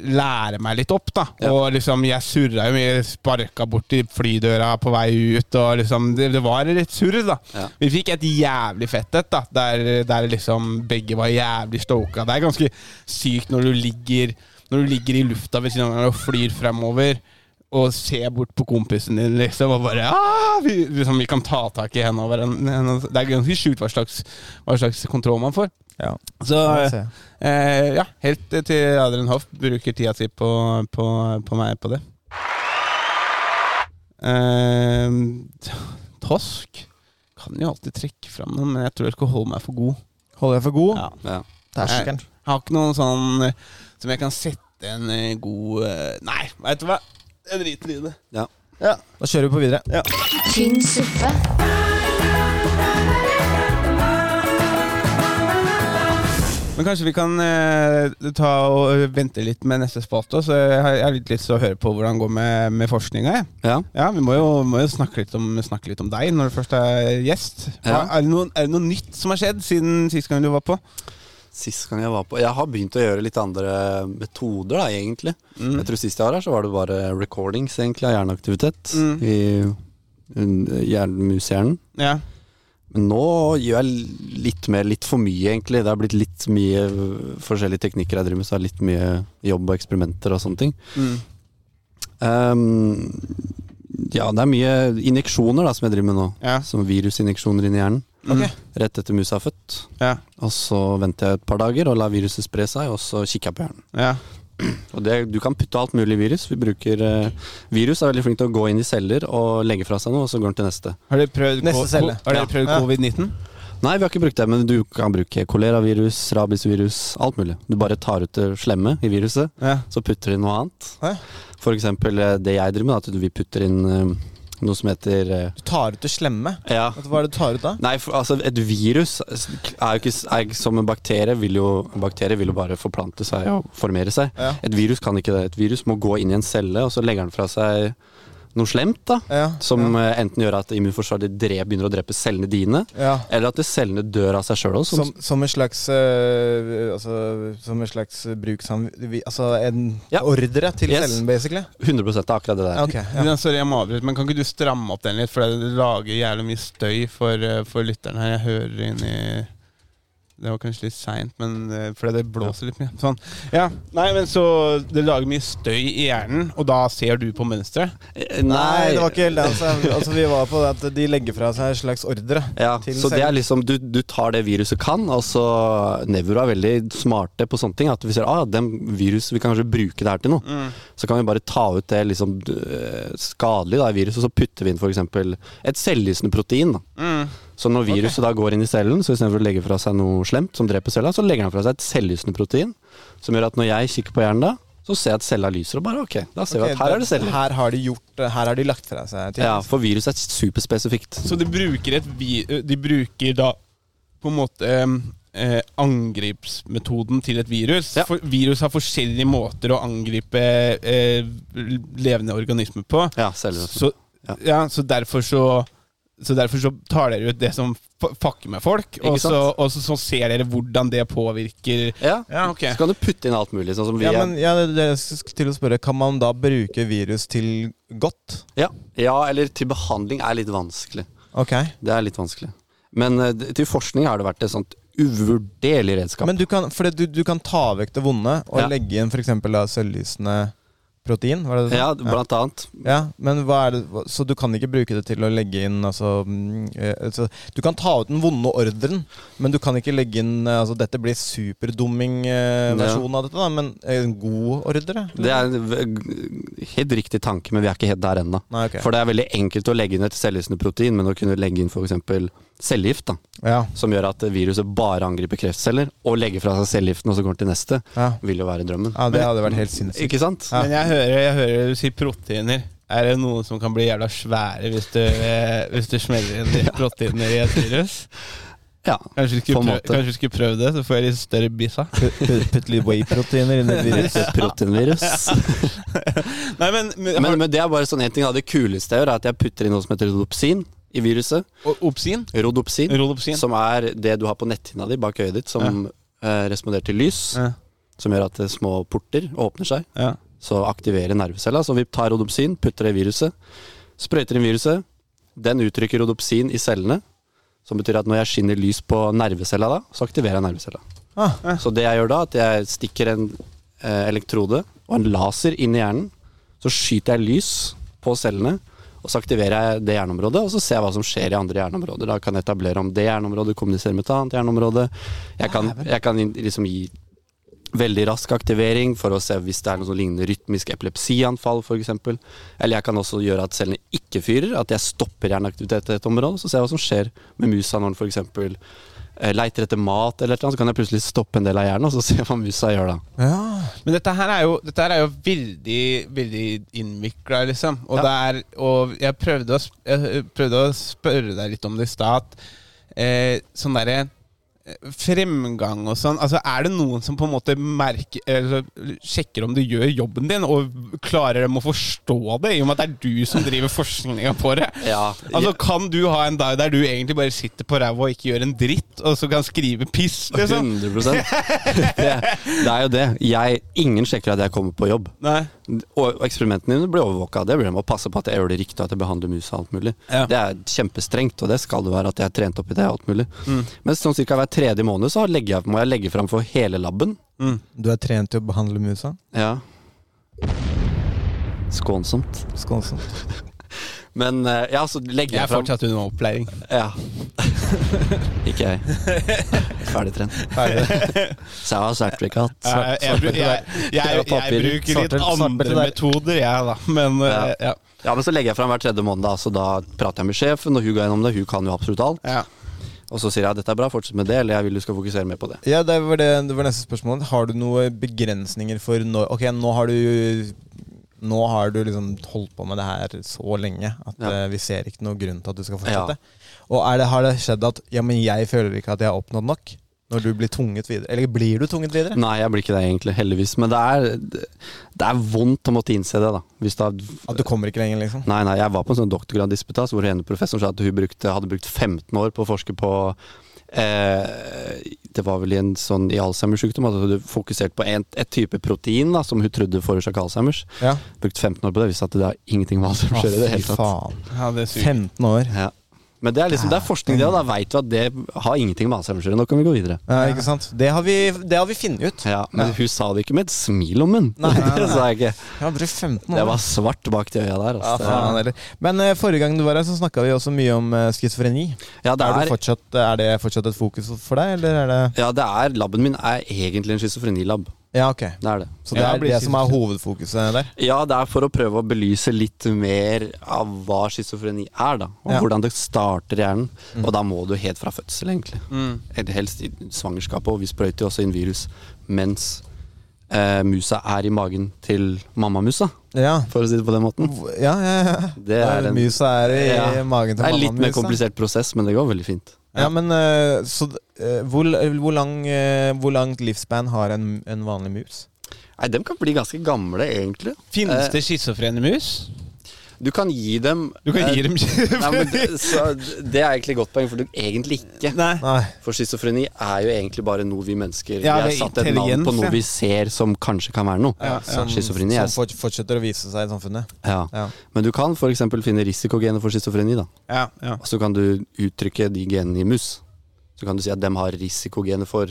C: lære meg litt opp, da.
B: Ja.
C: Og liksom, jeg surra jo mye, sparka borti flydøra på vei ut, og liksom Det, det var litt surr, da.
B: Ja.
C: Vi fikk et jævlig fett et, da, der, der liksom begge var jævlig stoka. Det er ganske sykt når du ligger, når du ligger i lufta ved siden av hverandre og flyr fremover, og ser bort på kompisen din, liksom, og bare «Ah!» vi, liksom, vi kan ta tak i hendene over henne. Det er ganske sjukt hva slags, hva slags kontroll man får.
D: Ja.
C: Så
D: det ser jeg.
C: eh, ja, helt til Adrian Hoff bruker tida si på, på, på meg på det. Eh, tosk kan jo alltid trekke fram noe, men jeg tror jeg skal holde meg for god.
D: Holder jeg for god?
C: Ja.
B: Ja.
D: Terskelen.
C: Jeg har ikke noen sånn eh, som jeg kan sette en eh, god eh, Nei, veit du hva? Jeg driter i det.
B: Ja.
D: Da kjører vi på videre.
A: tynn suppe,
C: Men kanskje vi kan eh, ta og vente litt med neste spalte. Så jeg har- jeg har litt lyst til å høre på hvordan det går med, med forskninga. jeg.
B: Ja.
C: Ja, vi må jo, må jo snakke, litt om, snakke litt om deg når du først er gjest. Hva,
B: Ja.
C: er, det noe, er det noe nytt som har skjedd siden sist gang du var på?
B: Sist gang jeg var på Jeg har begynt å gjøre litt andre metoder, da, egentlig.
D: Mm.
B: Jeg tror sist jeg var her, så var det bare recordings, egentlig, av hjerneaktivitet
C: Mm.
B: i un- hjernemushjernen.
C: Ja.
B: Men nå gjør jeg litt mer, litt for mye, egentlig. Det har blitt litt mye øh, forskjellige teknikker jeg driver med, så det er litt mye jobb og eksperimenter og sånne ting.
C: Mm.
B: Ehm, ja, det er mye injeksjoner da, som jeg driver med nå.
C: Ja.
B: Som virusinjeksjoner inn i hjernen. Mm.
C: Ok.
B: Rett etter musa er født.
C: Ja.
B: Og så venter jeg et par dager og lar viruset spre seg, og så kikker jeg på hjernen.
C: ja.
B: Og det, du kan putte alt mulig i virus. Vi bruker eh, Virus er veldig flink til å gå inn i celler og legge fra seg noe, og så går den til neste.
C: Har dere prøvd,
D: Neste
C: ko-
D: celle.
C: ko- har dere
D: Ja.
C: prøvd
D: Ja.
C: covid-19?
B: Nei, vi har ikke brukt det, men du kan bruke koleravirus, rabiesvirus, alt mulig. Du bare tar ut det slemme i viruset,
C: Ja.
B: så putter du inn noe annet.
D: Hæ?
B: For eksempel eh, det jeg driver med, at du- vi putter inn eh, noe som heter eh,
D: Du tar ut det slemme.
B: Ja.
D: Hva er det du tar ut da?
B: Nei, for, altså et virus er jo ikke er, ikke som en bakterie. Vil jo, en bakterie vil jo bare forplante seg og formere seg.
D: Ja.
B: Et virus kan ikke det. Et virus må gå inn i en celle, og så legger den fra seg noe slemt. da
D: Ja,
B: Som eh, enten gjør at immunforsvaret ditt dre- begynner å drepe cellene dine,
D: Ja.
B: eller at cellene dør av seg sjøl.
D: Som, som en slags øh, altså, Som en slags bruksanv... vi- Altså en
B: Ja.
D: ordre til
B: Yes.
D: cellen, basically?
B: 100 av akkurat det der.
D: Ok, ja.
C: Ja. Sorry, jeg må avbryte, men kan ikke du stramme opp den litt? For det lager jævlig mye støy for, eh, for lytteren her. Jeg hører inn i Det var kanskje litt seint, men eh, fordi det blåser litt mye. Sånn. Ja, nei, men så Det lager mye støy i hjernen, og da ser du på mønsteret.
B: Eh,
D: Nei, det var ikke helt det. Altså, altså, vi var på det at de legger fra seg en slags ordre.
B: ja,
D: til
B: så det er
D: cellen.
B: liksom, du, du tar det viruset kan, og så Nevro er veldig smarte på sånne ting. At vi ser ah, den virus, vi kan kanskje bruke det her til noe.
D: Mm.
B: Så kan vi bare ta ut det liksom, d- eh, skadelige da, i viruset, og så putter vi inn f.eks. et selvlysende protein. Da.
D: Mm.
B: Så når viruset da går inn i cellen, så istedenfor å legge fra seg noe slemt som dreper cella, så legger den fra seg et selvlysende protein, som gjør at når jeg kikker på hjernen da, så ser jeg at cella lyser, og bare ok, da ser vi
D: Ok,
B: at her er det celler.
D: Her har de gjort Her har de lagt fra seg ting.
B: Ja, for viruset er superspesifikt.
C: Så de bruker et vi- eh, De bruker da på en måte eh, eh, angripsmetoden til et virus.
B: Ja.
C: For virus har forskjellige måter å angripe eh, levende organismer på.
B: Ja, celler.
C: Så,
B: Ja.
C: ja. så derfor så så Derfor så tar dere ut det som fa- fucker med folk, og så,
B: sant?
C: og så, så ser dere hvordan det påvirker
B: Ja.
C: Ja, ok.
B: Så kan du putte inn alt mulig, sånn som vi
D: Ja,
B: er-
D: men ja, det, det, jeg skulle til å spørre, Kan man da bruke virus til godt?
B: Ja. ja, eller til behandling er litt vanskelig.
D: Ok
B: Det er litt vanskelig. Men eh, d- til forskning har det vært et sånt uvurderlig redskap.
D: Men du kan, for det, du, du kan ta vekk det vonde og
B: Ja.
D: legge inn f.eks. sølvlysende protein? Var det det? du sa?
B: ja, blant annet.
D: ja, men hva er det, hva- Så du kan ikke bruke det til å legge inn altså, mm, eh, altså Du kan ta ut den vonde ordren, men du kan ikke legge inn eh, altså, Dette blir superdumming-versjonen av dette, da, men eh, en god ordre?
B: Det er en v- helt riktig tanke, men vi er ikke helt der ennå.
D: Nei, ok.
B: For det er veldig enkelt å legge inn et selvlysende protein, men å kunne legge inn f.eks. cellegift, da,
D: Ja.
B: som gjør at viruset bare angriper kreftceller, og legger fra seg cellegiften, og så går den til neste,
D: Ja.
B: vil jo være drømmen.
D: ja, det hadde vært helt sinnssykt.
B: Ikke sant?
C: Men jeg hører, jeg hører du sier proteiner. Er det noen som kan bli jævla svære hvis du, eh, hvis du smeller inn litt proteiner i et virus?
B: Ja.
C: Kanskje du
B: På
C: skulle
B: en
C: prøve,
B: måte.
C: kanskje du skulle prøve det, så får jeg litt større bissa.
D: Putt putt litt whey-proteiner inn i et virus.
B: Proteinvirus.
C: Nei, men, men,
B: Men, men det er bare sånn en ting da. Det kuleste jeg gjør, er at jeg putter inn noe som heter rodopsin i viruset.
C: har, Opsin?
B: Rodopsin,
C: Rodopsin?
B: som er det du har på netthinna di bak øyet ditt, som eh, responderer til lys.
C: Ja.
B: Som gjør at eh, små porter åpner seg.
C: Ja.
B: Så aktiverer nervecella. Så vi tar rodopsin, putter det i viruset. Sprøyter inn viruset. Den uttrykker rodopsin i cellene. Som betyr at når jeg skinner lys på nervecella da, så aktiverer jeg nervecella.
D: Ah.
B: Så det jeg gjør da, at jeg stikker en eh, elektrode og en laser inn i hjernen. Så skyter jeg lys på cellene, og så aktiverer jeg det hjerneområdet. Og så ser jeg hva som skjer i andre hjerneområder. Da kan jeg etablere om det hjerneområdet kommuniserer med et annet hjerneområde. Jeg kan, jeg kan in- liksom gi veldig rask aktivering for å se hvis det er noe som ligner rytmisk epilepsianfall f.eks. Eller jeg kan også gjøre at cellene ikke fyrer, at jeg stopper hjerneaktivitet i et område, så ser jeg hva som skjer med musa når den f.eks. leiter etter mat eller et eller annet, så kan jeg plutselig stoppe en del av hjernen, og så se hva musa gjør da.
C: Men dette her er jo, dette her er jo veldig, veldig innvikla, liksom. Og, det er, og jeg, prøvde å, sp- jeg prøvde å spørre deg litt om det i stad. at, Eh, sånn derre eh, Fremgang og sånn. Altså, er det noen som på en måte merker eller, sjekker om du gjør jobben din, og klarer dem å forstå det, i og med at det er du som driver forskninga på det?
B: Ja.
C: Altså, Kan du ha en dag der du egentlig bare sitter på ræva og ikke gjør en dritt, og så kan skrive piss, liksom?
B: 100 det, det er jo det. Jeg, ingen sjekker at jeg kommer på jobb.
C: Nei.
B: Og eksperimentene dine blir overvåka. Det blir de å passe på at jeg gjør det riktig, og at jeg behandler mus og alt mulig.
C: Ja.
B: Det er kjempestrengt, og det skal det være, at jeg er trent opp i det. og alt mulig
C: Mm.
B: Men sånn ca. hver tredje måned så legger jeg, må jeg legge fram for hele laben.
D: Du er trent til å behandle musa?
B: Ja. Skånsomt.
D: Skånsomt.
B: Men eh, ja, så legger
C: Jeg
B: jeg
C: er
B: fram
C: fortsatt under opplæring.
B: Ja. Ikke jeg. Ferdig trent. Så jeg har sertifikat.
C: Jeg, jeg, bru- jeg, jeg,
B: og
C: jeg
B: papirer.
C: bruker litt
D: Svarte- svarte
C: andre
D: der.
C: metoder, jeg, da. Men
B: Ja.
C: eh, ja.
B: Ja, men så legger jeg fram hver tredje måned, da, så da prater jeg med sjefen, og hun går gjennom det. Hun kan jo absolutt alt.
C: ja.
B: Og Og så sier jeg dette er bra, fortsett med det, eller jeg vil du skal fokusere mer på det.
D: Ja, det var, det, det var neste spørsmål. Har du noen begrensninger for når Ok, nå har du Nå har du liksom holdt på med det her så lenge at
B: Ja.
D: eh, vi ser ikke noen grunn til at du skal fortsette. Og er det, har det skjedd at Ja, men jeg føler ikke at jeg har oppnådd nok? Når du blir tvunget videre? Eller blir du tvunget videre?
B: Nei, jeg blir ikke det egentlig, heldigvis. Men det er, det er vondt å måtte innse det, da. Hvis det er,
D: At du kommer ikke lenger, liksom?
B: Nei, nei, jeg var på en sånn doktorgraddisputas hvor ene professoren sa at hun brukte, hadde brukt 15 år på å forske på eh, Det var vel i en sånn i Alzheimersykdom at hun hadde fokusert på en, et type protein da, som hun trodde forårsaka Alzheimers.
D: Ja.
B: Brukt 15 år på det, visste at det har ingenting med
D: Å,
B: Alzheimers å gjøre i det
D: fy
B: hele tatt.
D: faen.
C: Ja, det suger.
D: 15 år.
B: Ja. Men det er liksom, det er forskning, det, og da veit du at det har ingenting med Alzheimers å gjøre. Nå kan vi gå videre.
D: Ja, ikke sant? Det har vi, det har vi funnet ut.
B: Ja, Men hun sa det ikke med et smil om munnen.
D: Nei, nei,
B: det sa jeg ikke.
D: Jeg har brukt 15 år.
B: Det var svart bak de øya der.
D: Ja,
B: Altså.
D: faen, eller. Men eh, forrige gang du var her, så snakka vi også mye om uh, schizofreni.
B: Ja, det
D: Er,
B: er,
D: du fortsatt, eh, er det fortsatt et fokus for deg, eller er det
B: ja, det er Laben min er egentlig en schizofrenilab.
D: Ja, ok.
B: Det er det.
D: Så det
C: Ja,
D: er
C: blir
D: det som er hovedfokuset der?
B: Ja, det er for å prøve å belyse litt mer av hva schizofreni er, da. Og
D: Ja.
B: hvordan det starter i hjernen.
C: Mm.
B: Og da må du helt fra fødsel, egentlig. Eller helst i svangerskapet, og vi sprøyter jo også inn virus mens eh, musa er i magen til mammamusa,
D: Ja.
B: for å si det på den måten.
D: Ja, ja, ja.
B: Det er en-
D: Musa er i
B: Ja.
D: magen til
B: Det er litt mer
D: mammamusa.
B: komplisert prosess, men det går veldig fint.
D: Ja, men eh, så eh, hvor, hvor, lang, eh, hvor langt livsspan har en, en vanlig mus?
B: Nei, dem kan bli ganske gamle, egentlig.
C: Finnes
B: Eh,
C: det schizofrene mus?
B: Du kan gi dem
C: Du kan gi
B: eh,
C: dem
B: Nei, men det, så, det er egentlig et godt poeng, for du egentlig ikke.
C: Nei.
D: Nei.
B: For schizofreni er jo egentlig bare noe vi mennesker
C: Ja,
B: Vi har
C: det er
B: satt et navn på
C: intelligens, ja.
B: noe vi ser som kanskje kan være noe.
C: Ja,
B: Så
D: Som,
B: schizofreni
D: som
B: er
D: fort- fortsetter å vise seg i samfunnet.
B: ja.
D: Ja.
B: Men du kan f.eks. finne risikogener for schizofreni. da
C: Ja, ja.
B: Og Så kan du uttrykke de genene i mus. Så kan du si at dem har risikogener for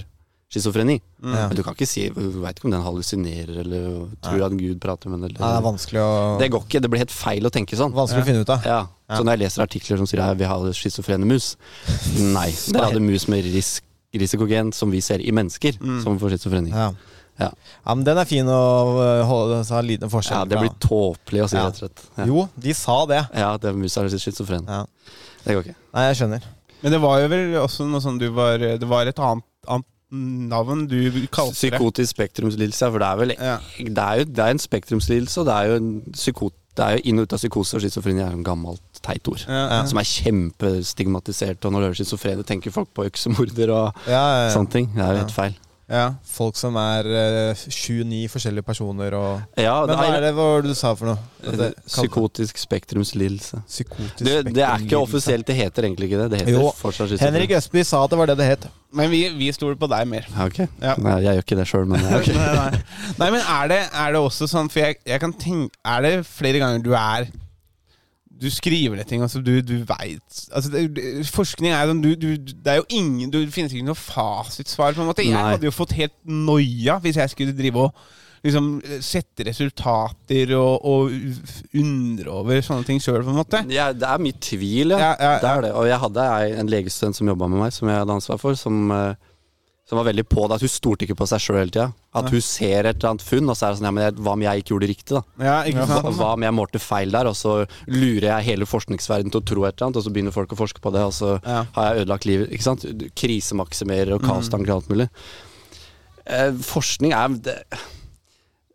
B: schizofreni.
D: Ja.
B: Men du kan ikke si Du veit ikke om den hallusinerer eller tror at Gud prater med den.
D: Nei, det er
B: Eller.
D: vanskelig å,
B: Det går ikke. Det blir helt feil å tenke sånn.
D: vanskelig å finne ut av.
B: Ja. Så når jeg leser artikler som sier at vi har schizofrene mus Nei, dere hadde mus med ris risikogen som vi ser i mennesker, som får schizofreni.
D: Mm. Ja.
B: Ja.
D: ja, men den er fin å eh, holde, så ha en liten forskjell.
B: Ja, det blir tåpelig å si,
D: Ja.
B: rett og slett. Ja.
D: Jo, de sa det.
B: Ja, det er musa er schizofren.
D: Ja.
B: Det går ikke.
D: Nei, jeg skjønner.
C: Men det var jo vel også noe sånn du var Det var et annet, annet navn du kalte det.
B: Psykotisk spektrumslidelse, for det er vel
C: Ja.
B: Det er jo det er en spektrumslidelse, og det er jo en psyko... Det er jo inn og ut av psykose, og schizofreni er et gammelt teit ord.
C: Ja, ja.
B: Som er kjempestigmatisert, og når du hører schizofrene, tenker folk på øksemorder og
D: Ja, ja, ja.
B: sånne ting. Det er jo helt feil.
C: Ja.
D: Folk som er eh, sju-ni forskjellige personer og
B: Ja,
D: Men hva er det hva var det du sa for noe? At det-
B: Psykotisk spektrumslidelse.
D: Psykotisk
B: Det, det er ikke
D: spektrumlidelse.
B: offisielt, det heter egentlig ikke det. Det heter
D: Jo,
B: fortsatt schizofren.
D: Henrik Østby sa at det var det det het.
C: Men vi, vi stoler på deg mer.
B: Ja, ok.
C: Ja.
B: Nei, jeg gjør ikke det sjøl, men ok.
C: nei, nei. nei, men er det, er det også sånn For jeg, jeg kan tenke Er det flere ganger du er Du skriver ned ting, altså du, du veit altså, det- det- Forskning er sånn du, du, Det er jo ingen du, Det finnes ikke noe fasitsvar, på en måte. Jeg
B: Nei.
C: hadde jo fått helt noia hvis jeg skulle drive og liksom sette resultater og, og undre over sånne ting sjøl, på en måte.
B: Ja, det er mye tvil, ja.
C: Ja, ja,
B: Det er det. Og jeg hadde ei- en legestudent som jobba med meg, som jeg hadde ansvar for, som, eh, som var veldig på det. At hun stolte ikke på seg sjøl hele tida. At hun ser et eller annet funn, og så er det sånn ja, men jeg, hva om jeg ikke gjorde det riktig, da?
C: Ja, ikke
B: Hva,
C: sant?
B: hva om jeg målte feil der, og så lurer jeg hele forskningsverdenen til å tro et eller annet, og så begynner folk å forske på det, og så
C: Ja. Mm.
B: har jeg ødelagt livet. Ikke sant? Du Krisemaksimerer og kaostanker og alt mulig. Eh, forskning er det,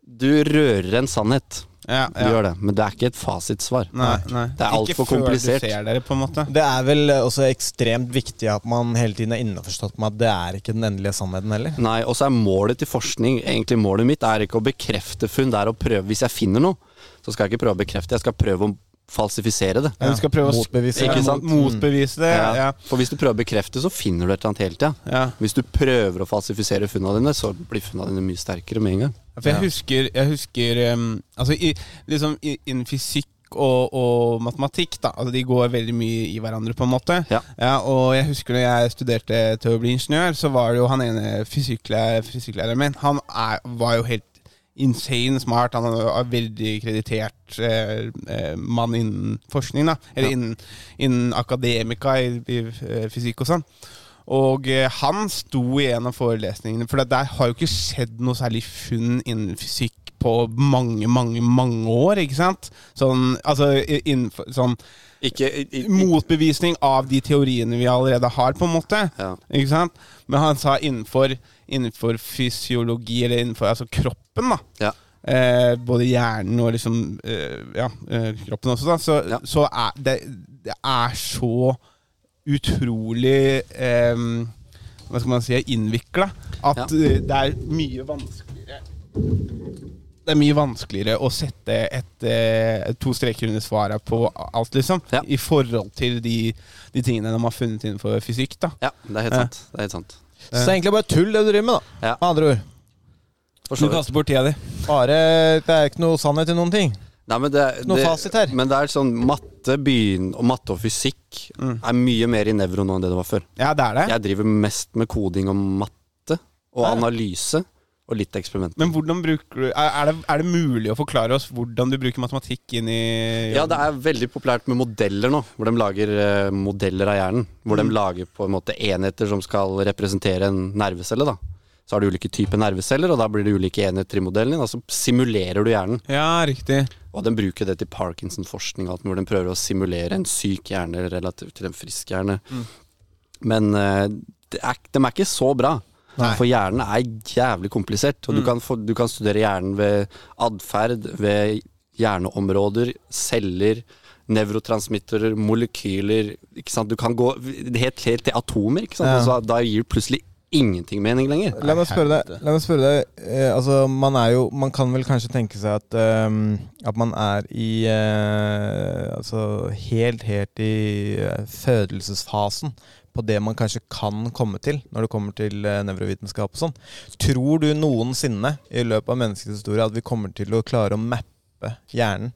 B: Du rører en sannhet.
C: Ja,
B: Du
C: ja.
B: gjør det, men det er ikke et fasitsvar.
C: Nei, nei.
B: Det er
C: Ikke
B: altfor
C: før
B: komplisert.
C: Du ser dere, på en måte.
D: Det er vel også ekstremt viktig at man hele tiden er innforstått med at det er ikke den endelige sannheten heller.
B: Nei, og så er målet til forskning Egentlig målet mitt er ikke å bekrefte funn Det er å prøve, hvis jeg finner noe Så skal jeg ikke prøve å bekrefte, jeg skal prøve å falsifisere det
C: Ja, du skal prøve å
D: Motbevise
B: det.
C: ja,
B: Ikke sant? Mm.
C: mot- Motbevise det. Ja. Ja.
B: For hvis du prøver å bekrefte, så finner du et eller annet hele tida
C: Ja.
B: Hvis du prøver å falsifisere funnene dine Så blir funnene dine mye sterkere med en gang
C: For jeg husker, jeg husker um, Altså i, liksom i- innen fysikk og, og matematikk, da. Altså, de går veldig mye i hverandre, på en måte.
B: Ja.
C: og jeg husker når jeg studerte til å bli ingeniør, så var det jo han ene fysikklærer, fysikklæreren min Han er, var jo helt insane smart. Han er en veldig kreditert eh, eh, mann innen forskning, da. Eller innen, innen akademika i, i eh, fysikk og sånn. Og eh, han sto i en av forelesningene, for det der har jo ikke skjedd noe særlig funn innen fysikk på mange, mange, mange år, ikke sant? Sånn, altså, i- innenfor, sånn
B: Ikke i, i, i,
C: motbevisning av de teoriene vi allerede har, på en måte.
B: Ja.
C: Ikke sant? Men han sa innenfor, innenfor fysiologi, eller innenfor altså kroppen, da.
B: ja.
C: Eh, både hjernen og liksom eh, ja, eh, kroppen også, da. Så,
B: Ja.
C: så er det, det er så utrolig eh, Hva skal man si innvikla at
B: Ja.
C: eh, det er mye vanskeligere det er mye vanskeligere å sette et, eh, to streker under svaret på alt, liksom.
B: Ja.
C: I forhold til de, de tingene de har funnet innenfor fysikk, da.
B: ja, det er helt
C: Ja.
B: sant. Det er helt sant.
D: Så det er egentlig bare tull det du driver med, da.
B: Ja.
D: Med andre ord.
B: For så vidt.
C: bort tida di.
D: Bare, det er ikke noe sannhet i noen ting.
B: Nei, men det,
D: noe fasit her.
B: Men det er sånn matte, begyn, og matte og fysikk er mye mer i nevro nå enn det det var før.
C: Ja, det er det.
B: Jeg driver mest med koding og matte og analyse og litt eksperiment.
C: Men hvordan bruker du er, er, det, er det mulig å forklare oss hvordan du bruker matematikk inn i
B: Ja, det er veldig populært med modeller nå, hvor de lager eh, modeller av hjernen. Hvor de lager på en måte enheter som skal representere en nervecelle, da. Så har du ulike typer nerveceller, og da blir det ulike enheter i modellen din. Og så simulerer du hjernen.
C: Ja, riktig.
B: Og de bruker det til Parkinson-forskning, og alt, hvor de prøver å simulere en syk hjerne relativt til en frisk hjerne.
D: Mm.
B: Men eh, det er, de er ikke så bra. For hjernen er jævlig komplisert.
D: Mm.
B: Og du, kan få, du kan studere hjernen ved atferd, ved hjerneområder, celler, nevrotransmittere, molekyler ikke sant? Du kan gå helt, helt til atomer. Ikke sant?
D: Ja.
B: Og så da gir plutselig ingenting mening lenger.
D: La meg spørre deg, la meg spørre deg eh, altså, man, er jo, man kan vel kanskje tenke seg at, ehm, at man er i eh, altså, helt, helt i eh, fødelsesfasen på det man kanskje kan komme til når det kommer til eh, nevrovitenskap og sånn. Tror du noensinne i løpet av menneskets historie at vi kommer til å klare å mappe hjernen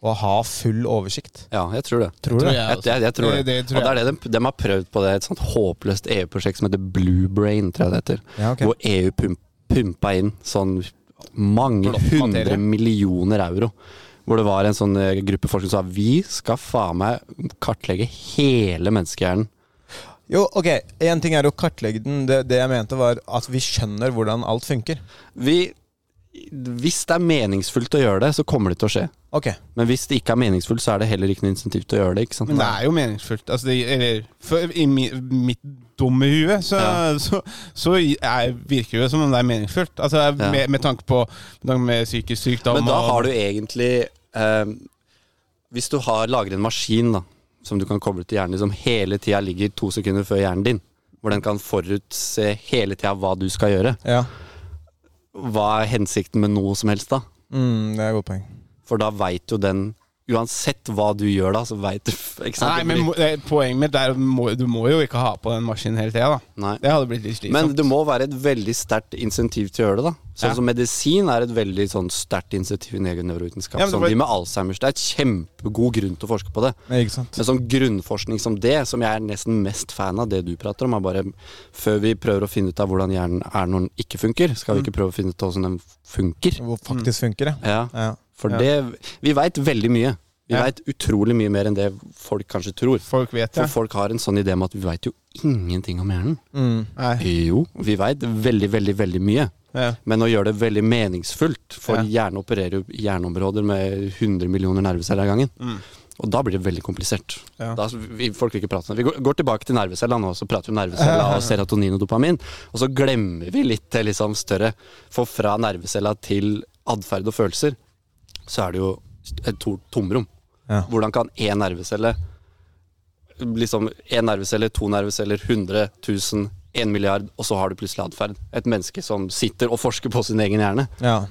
D: og ha full oversikt?
B: Ja, jeg tror det.
D: Tror du det?
B: Jeg, jeg, jeg tror det.
C: Det- det tror
B: og det er det de, de har prøvd på det. Et sånt håpløst EU-prosjekt som heter Blue Brain, tror jeg det heter.
D: Ja, ok.
B: Hvor EU pump, pumpa inn sånn mange
C: Blått materie.
B: hundre millioner euro. Hvor det var en sånn eh, gruppe forskere som sa vi skal faen meg kartlegge hele menneskehjernen.
D: Jo, ok. Én ting er å kartlegge den. Det, det jeg mente, var at vi skjønner hvordan alt funker.
B: Vi, hvis det er meningsfullt å gjøre det, så kommer det til å skje.
D: Ok.
B: Men hvis det ikke er meningsfullt, så er det heller ikke noe insentiv til å gjøre det. ikke sant?
C: Men det er jo meningsfullt. Altså, det, eller, for, I mi, mitt dumme hue så,
B: Ja.
C: så, så er, virker det som om det er meningsfullt. Altså, med, med tanke på med, tanke med psykisk sykdom
B: Men da
C: og-
B: har du egentlig eh, Hvis du har lager en maskin da som du kan koble til hjernen din, som hele tida ligger to sekunder før hjernen din, hvor den kan forutse hele tida hva du skal gjøre,
D: Ja.
B: hva er hensikten med noe som helst da?
D: Mm, det er et godt poeng.
B: For da veit jo den Uansett hva du gjør da, så veit du ikke sant?
C: Nei, men må- det- Poenget mitt er at må, du må jo ikke ha på den maskinen hele tida.
B: Nei.
C: Det hadde blitt litt
B: Men
C: slitsomt.
B: det må være et veldig sterkt insentiv til å gjøre det. da Sånn
C: Ja.
B: som medisin er et veldig sånn sterkt insentiv i egen nevrovitenskap.
C: Ja, men det
B: sånn,
C: var-
B: de med Alzheimers, det er kjempegod grunn til å forske på det.
D: Nei, ikke sant?
B: Men sånn grunnforskning som det, som jeg er nesten mest fan av det du prater om, er bare før vi prøver å finne ut av hvordan hjernen er når den ikke funker, skal
D: Mm.
B: vi ikke prøve å finne ut av hvordan den funker?
D: Hvor faktisk funker det.
B: Ja,
D: Ja.
B: for det Vi veit veldig mye. Vi
C: Ja.
B: vet veit utrolig mye mer enn det folk kanskje tror.
C: Folk vet
B: For
C: det.
B: folk har en sånn idé om at vi veit jo ingenting om hjernen.
C: Nei.
B: Jo, vi veit veldig, veldig, veldig mye.
C: Ja.
B: Men å gjøre det veldig meningsfullt, for
C: Ja.
B: hjernen opererer jo i hjerneområder med 100 millioner nerveceller av gangen. Og da blir det veldig komplisert.
C: Mm. Ja.
B: Da, vi, folk vil ikke prate om det. Vi går, går tilbake til nervecella nå, så prater vi om nervecella og serotonin og dopamin. Og så glemmer vi litt det liksom større. For fra nervecella til atferd og følelser, så er det jo et to- tomrom.
D: Ja.
B: Hvordan kan én nervecelle Liksom én nervecelle, to nerveceller, 100 000, 1 milliard, og så har du plutselig atferd. Et menneske som sitter og forsker på sin egen hjerne.
D: Ja.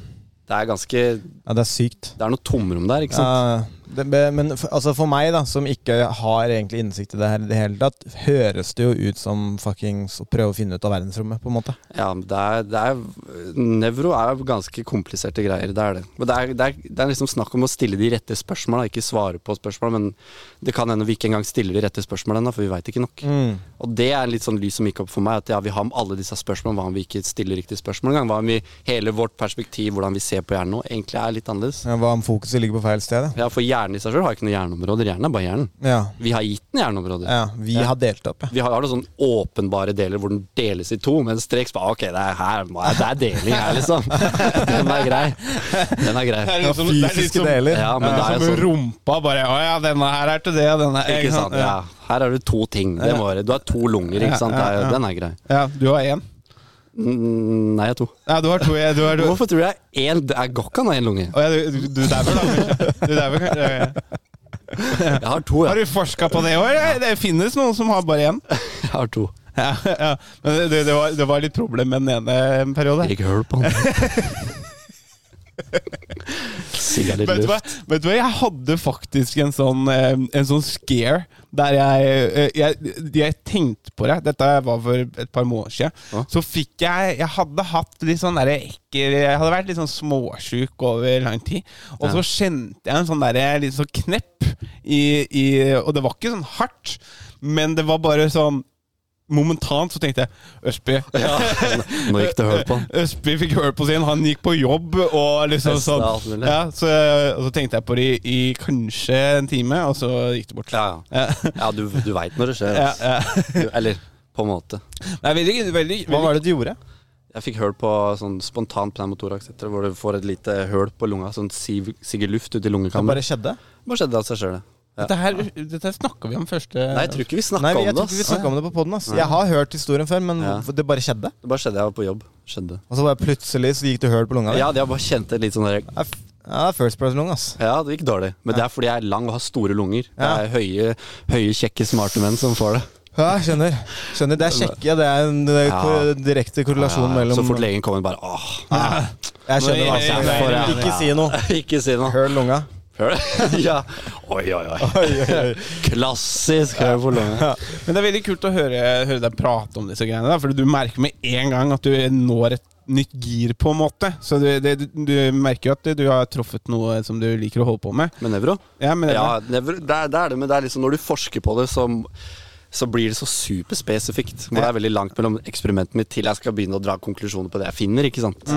B: Det er ganske Det
D: ja, det er sykt.
B: er noe tomrom der, ikke sant?
D: Ja, det, be- men for, altså for meg, da, som ikke har egentlig innsikt i det her i det hele tatt, høres det jo ut som fuckings å prøve å finne ut av verdensrommet, på en måte.
B: Ja, men det er, det er Nevro er ganske kompliserte greier, det er det. Men det er, det, er, det er liksom snakk om å stille de rette spørsmåla, ikke svare på spørsmål. Men det kan hende vi ikke engang stiller de rette spørsmåla ennå, for vi veit ikke nok.
D: Mm.
B: Og det er litt sånn lys som gikk opp for meg, at ja, vi har med alle disse spørsmålene. Hva om vi ikke stiller riktige spørsmål engang? Hva om vi hele vårt perspektiv, hvordan vi ser på hjernen nå, egentlig er litt annerledes?
D: Ja, Hva om fokuset ligger på feil sted? da?
B: Ja, for hjer- hjernen i seg sjøl har ikke noen hjerneområder. Hjernen er bare hjernen.
D: Ja.
B: Vi har gitt den hjerneområder.
D: ja. Vi har delt opp, ja.
B: Vi har, har noen sånn åpenbare deler hvor den deles i to, men streks bare Ok, det er her, det er deling her, liksom. Den er grei. Den er grei.
C: Det er liksom litt som- det er litt
D: Fysiske
C: som-
D: deler.
B: Ja, men det er
C: som
B: jo sånn
C: rumpa bare Å ja, denne her er til det, og denne
B: Ikke sant? Ja. Her har du to ting. Det må være. Du har to lunger, ikke sant. Det er, jo- den er grei.
C: ja, du har én.
B: Mm, Nei, jeg har to.
C: Ja, du har to. Ja, du har, du,
B: Hvorfor tror jeg én Det er- går ikke an å ha én lunge.
C: Å ja, du, du, du dauer, da. kanskje? Du dauer, kanskje. Ja, ja.
B: Jeg har to,
C: Har
B: ja.
C: du forska på det i år? eller? Det finnes noen som har bare én.
B: Jeg har to.
C: Ja, ja. Men det, det, var, det var litt problem med den ene en periode.
B: Ikke hør på han. Sigga litt
C: Vet du, hva,
B: luft.
C: vet du hva, jeg hadde faktisk en sånn, eh, en sånn scare der jeg, eh, jeg Jeg tenkte på det, dette var for et par måneder siden.
B: Ja.
C: Så fikk jeg Jeg hadde hatt litt sånn derre ekkel Jeg hadde vært litt sånn småsjuk over lang tid. Og
B: Ja.
C: så kjente jeg en sånn derre litt sånn knepp i, i Og det var ikke sånn hardt, men det var bare sånn Momentant så tenkte jeg Østby,
B: Nå gikk det hull på han.
C: Østby fikk høre på sin, han gikk på jobb og liksom
B: Festa
C: sånn.
B: alt mulig.
C: Ja, så, og så tenkte jeg på det i, i kanskje en time, og så gikk det bort.
B: Ja, ja.
C: Ja,
B: ja du, du veit når det skjer.
C: ja,
B: Altså.
C: ja.
B: Du- Eller på en måte.
C: Nei, veldig, veldig,
D: Hva
C: veldig.
D: var det du gjorde?
B: Jeg fikk hull på sånn spontant pneumotoraks etter, hvor du får et lite hull på lunga. Sånn siv- siger luft ut i
D: Det
B: lungekammeret.
D: bare skjedde?
B: Hva skjedde av seg sjøl? Ja.
C: Dette her, dette her snakka vi om første
B: Nei, jeg tror ikke vi
D: Nei,
B: snakka
D: vi-
B: om
D: jeg
B: det. altså.
D: tror ikke vi
B: Ass.
D: snakka om det på poden. Jeg har hørt historien før, men
B: Ja.
D: hvorfor- det bare skjedde.
B: Det bare skjedde. Jeg var på jobb. Skjedde.
D: Og så bare plutselig så gikk det høl på lunga. di.
B: Ja, jeg bare kjente litt sånn der,
D: Ja, f- Ja, det er first person-lunge, ass.
B: Ja, det gikk dårlig. Men det er fordi jeg er lang og har store lunger.
D: Ja.
B: Det er høye, høye kjekke, smarte menn som får det.
D: Ja, skjønner. skjønner. Det er kjekke, ja, det er en det er
B: Ja.
D: kor- direkte korrelasjon
B: Ja,
D: mellom
B: Så fort legen kommer, bare åh.
D: Jeg skjønner
C: Nei,
D: hva som
C: nei,
D: er.
C: nei, nei.
D: Ikke si noe.
B: Ikke si noe.
D: Høl lunga.
B: Hør det? ja. Oi, oi, oi. Klassisk hør på lunga.
C: Men det er veldig kult å høre, høre deg prate om disse greiene. Da, for du merker med en gang at du når et nytt gir, på en måte. Så du, det, du, du merker jo at du har truffet noe som du liker å holde på med.
B: Med nevro?
C: Ja, men
B: Ja, nevro, det, er, det er det, men det er liksom når du forsker på det, så, så blir det så superspesifikt. Hvor det er veldig langt mellom eksperimentene mine til jeg skal begynne å dra konklusjoner på det jeg finner. ikke sant?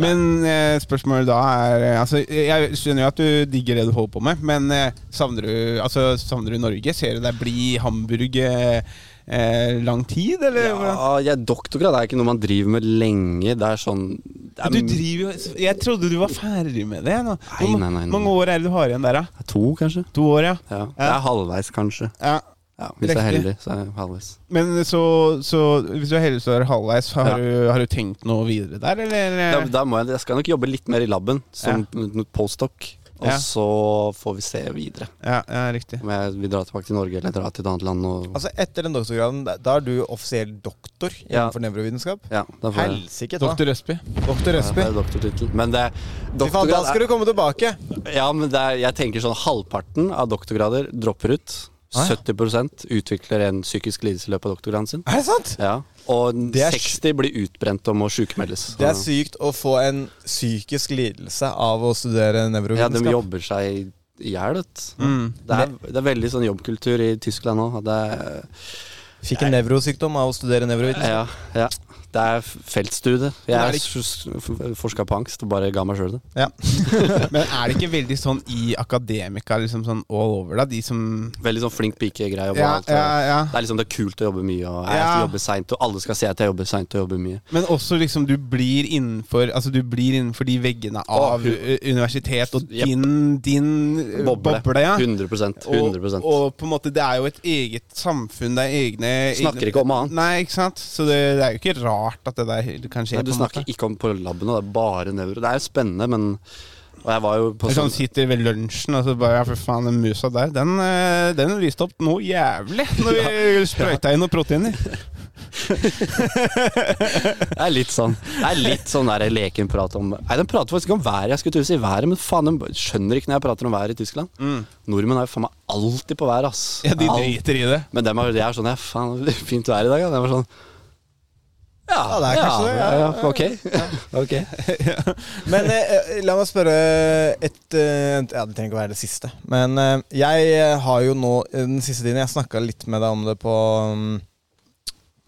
C: Men eh, spørsmålet da er eh, altså, Jeg skjønner jo at du digger det du holder på med, men eh, savner, du, altså, savner du Norge? Ser du deg bli i Hamburg eh, eh, lang tid, eller? hvordan?
B: Ja, jeg, doktorgrad er ikke noe man driver med lenge. Det er sånn det er,
C: Du driver jo Jeg trodde du var ferdig med det. Nå. Hvor
B: Nei, nei, nei, nei.
C: mange år er det du har igjen der, da?
B: To, kanskje?
C: To år, ja.
B: Ja, Det er halvveis, kanskje.
C: ja.
B: Ja, hvis jeg er
C: Riktig.
B: heldig, så er jeg halvveis.
C: Men så, så hvis du er heldig så er det halvveis, har,
B: Ja.
C: du, har du tenkt noe videre der, eller?
B: Da, da må jeg, jeg skal nok jobbe litt mer i laben, som postdoc. Og
C: Ja.
B: så får vi se videre.
C: Ja, ja, riktig.
B: Om jeg vil dra tilbake til Norge eller dra til et annet land. Og,
D: Altså, etter den doktorgraden, da- da er du offisiell doktor
B: Ja.
D: innenfor nevrovitenskap.
B: ja, da får jeg,
D: Helsike ta.
C: Doktor Østby.
D: Doktor
B: ja,
D: Østby.
B: det er doktortittel. Men det,
D: Fy faen, da skal
B: doktorgrad
D: du komme tilbake!
B: er, ja, men det er, jeg tenker sånn halvparten av doktorgrader dropper ut.
D: Ah, ja.
B: 70 utvikler en psykisk lidelse i løpet av doktorgraden sin.
D: Er det sant?
B: Ja, og
D: Det er
B: 60 blir utbrent og må sjukmeldes.
D: Det er sykt å få en psykisk lidelse av å studere
B: Ja, de
D: nevrovitenskap.
B: jobber seg i hjel, vet du.
D: Mm.
B: Det, er- det er veldig sånn jobbkultur i Tyskland òg. Det er
D: Fikk en nevrosykdom av å studere nevrovitenskap.
B: Ja, ja. Det er feltstudie.
C: er
B: Jeg
C: det
B: forska på angst og bare ga meg sjøl det.
C: Men er det ikke veldig sånn i akademika, liksom sånn all over, da? De som
B: Veldig sånn flink pike-greie. og
C: Ja,
B: alt, og-
C: ja, ja.
B: Det er liksom det er kult å jobbe mye, og jeg
C: Ja.
B: skal jobbe sent, og alle skal se at jeg jobber seint og jobber mye.
C: Men også liksom du blir innenfor Altså du blir innenfor de veggene av
B: hu-
C: ø, universitet og
B: Jep.
C: din, din ø,
B: Boble.
C: boble ja.
B: 100 100
C: Og, og på en måte, det er jo et eget samfunn, det er egne
B: Snakker
C: egne-
B: ikke om annet.
C: Nei, ikke sant? Så det, det er jo ikke rart at det der he- kan skje.
B: Nei, Du
C: på en
B: snakker
C: måte.
B: ikke om på laben, og det er bare nevro. Det er jo spennende, men Og jeg var jo på
C: Det er sånn
B: sånn
C: sitter ved lunsjen og så bare Ja, for faen, den musa der, den, ø, den lyste opp noe jævlig når vi sprøyta inn noen proteiner.
B: Det er litt sånn Det er litt sånn der leken prat om Nei, den prater faktisk ikke om været. Jeg skulle til å si været, men faen, den skjønner ikke når jeg prater om været i Tyskland. Nordmenn er jo faen meg alltid på været, ass.
C: Mm. Ja, de
B: Alt-
C: driter i det.
B: Men dem er, det er sånn Ja, faen, det er fint vær i dag. Ja. Dem er sånn Ja,
D: Ja, det er kanskje det, ja,
B: ok. ok.
D: Men eh, la meg spørre et eh, Ja, det trenger ikke å være det siste. Men eh, jeg eh, har jo nå eh, den siste tiden Jeg snakka litt med deg om det på, mm,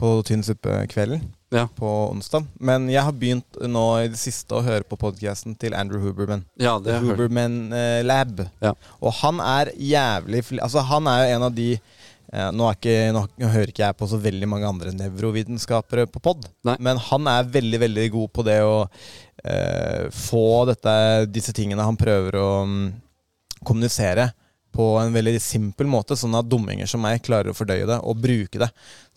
D: på Tynn suppe-kvelden.
B: Ja.
D: på onsdag. Men jeg har begynt nå i det siste å høre på podkasten til Andrew Huberman.
B: Ja, det har jeg hørt.
D: Huberman eh, Lab.
B: Ja.
D: Og han er jævlig fli- Altså, han er jo en av de eh, nå, er ikke, nå hører ikke jeg på så veldig mange andre nevrovitenskapere på pod,
B: Nei.
D: men han er veldig, veldig god på det å eh, få dette, disse tingene han prøver å mm, kommunisere på en veldig simpel måte, sånn at dumminger som meg klarer å fordøye det og bruke det.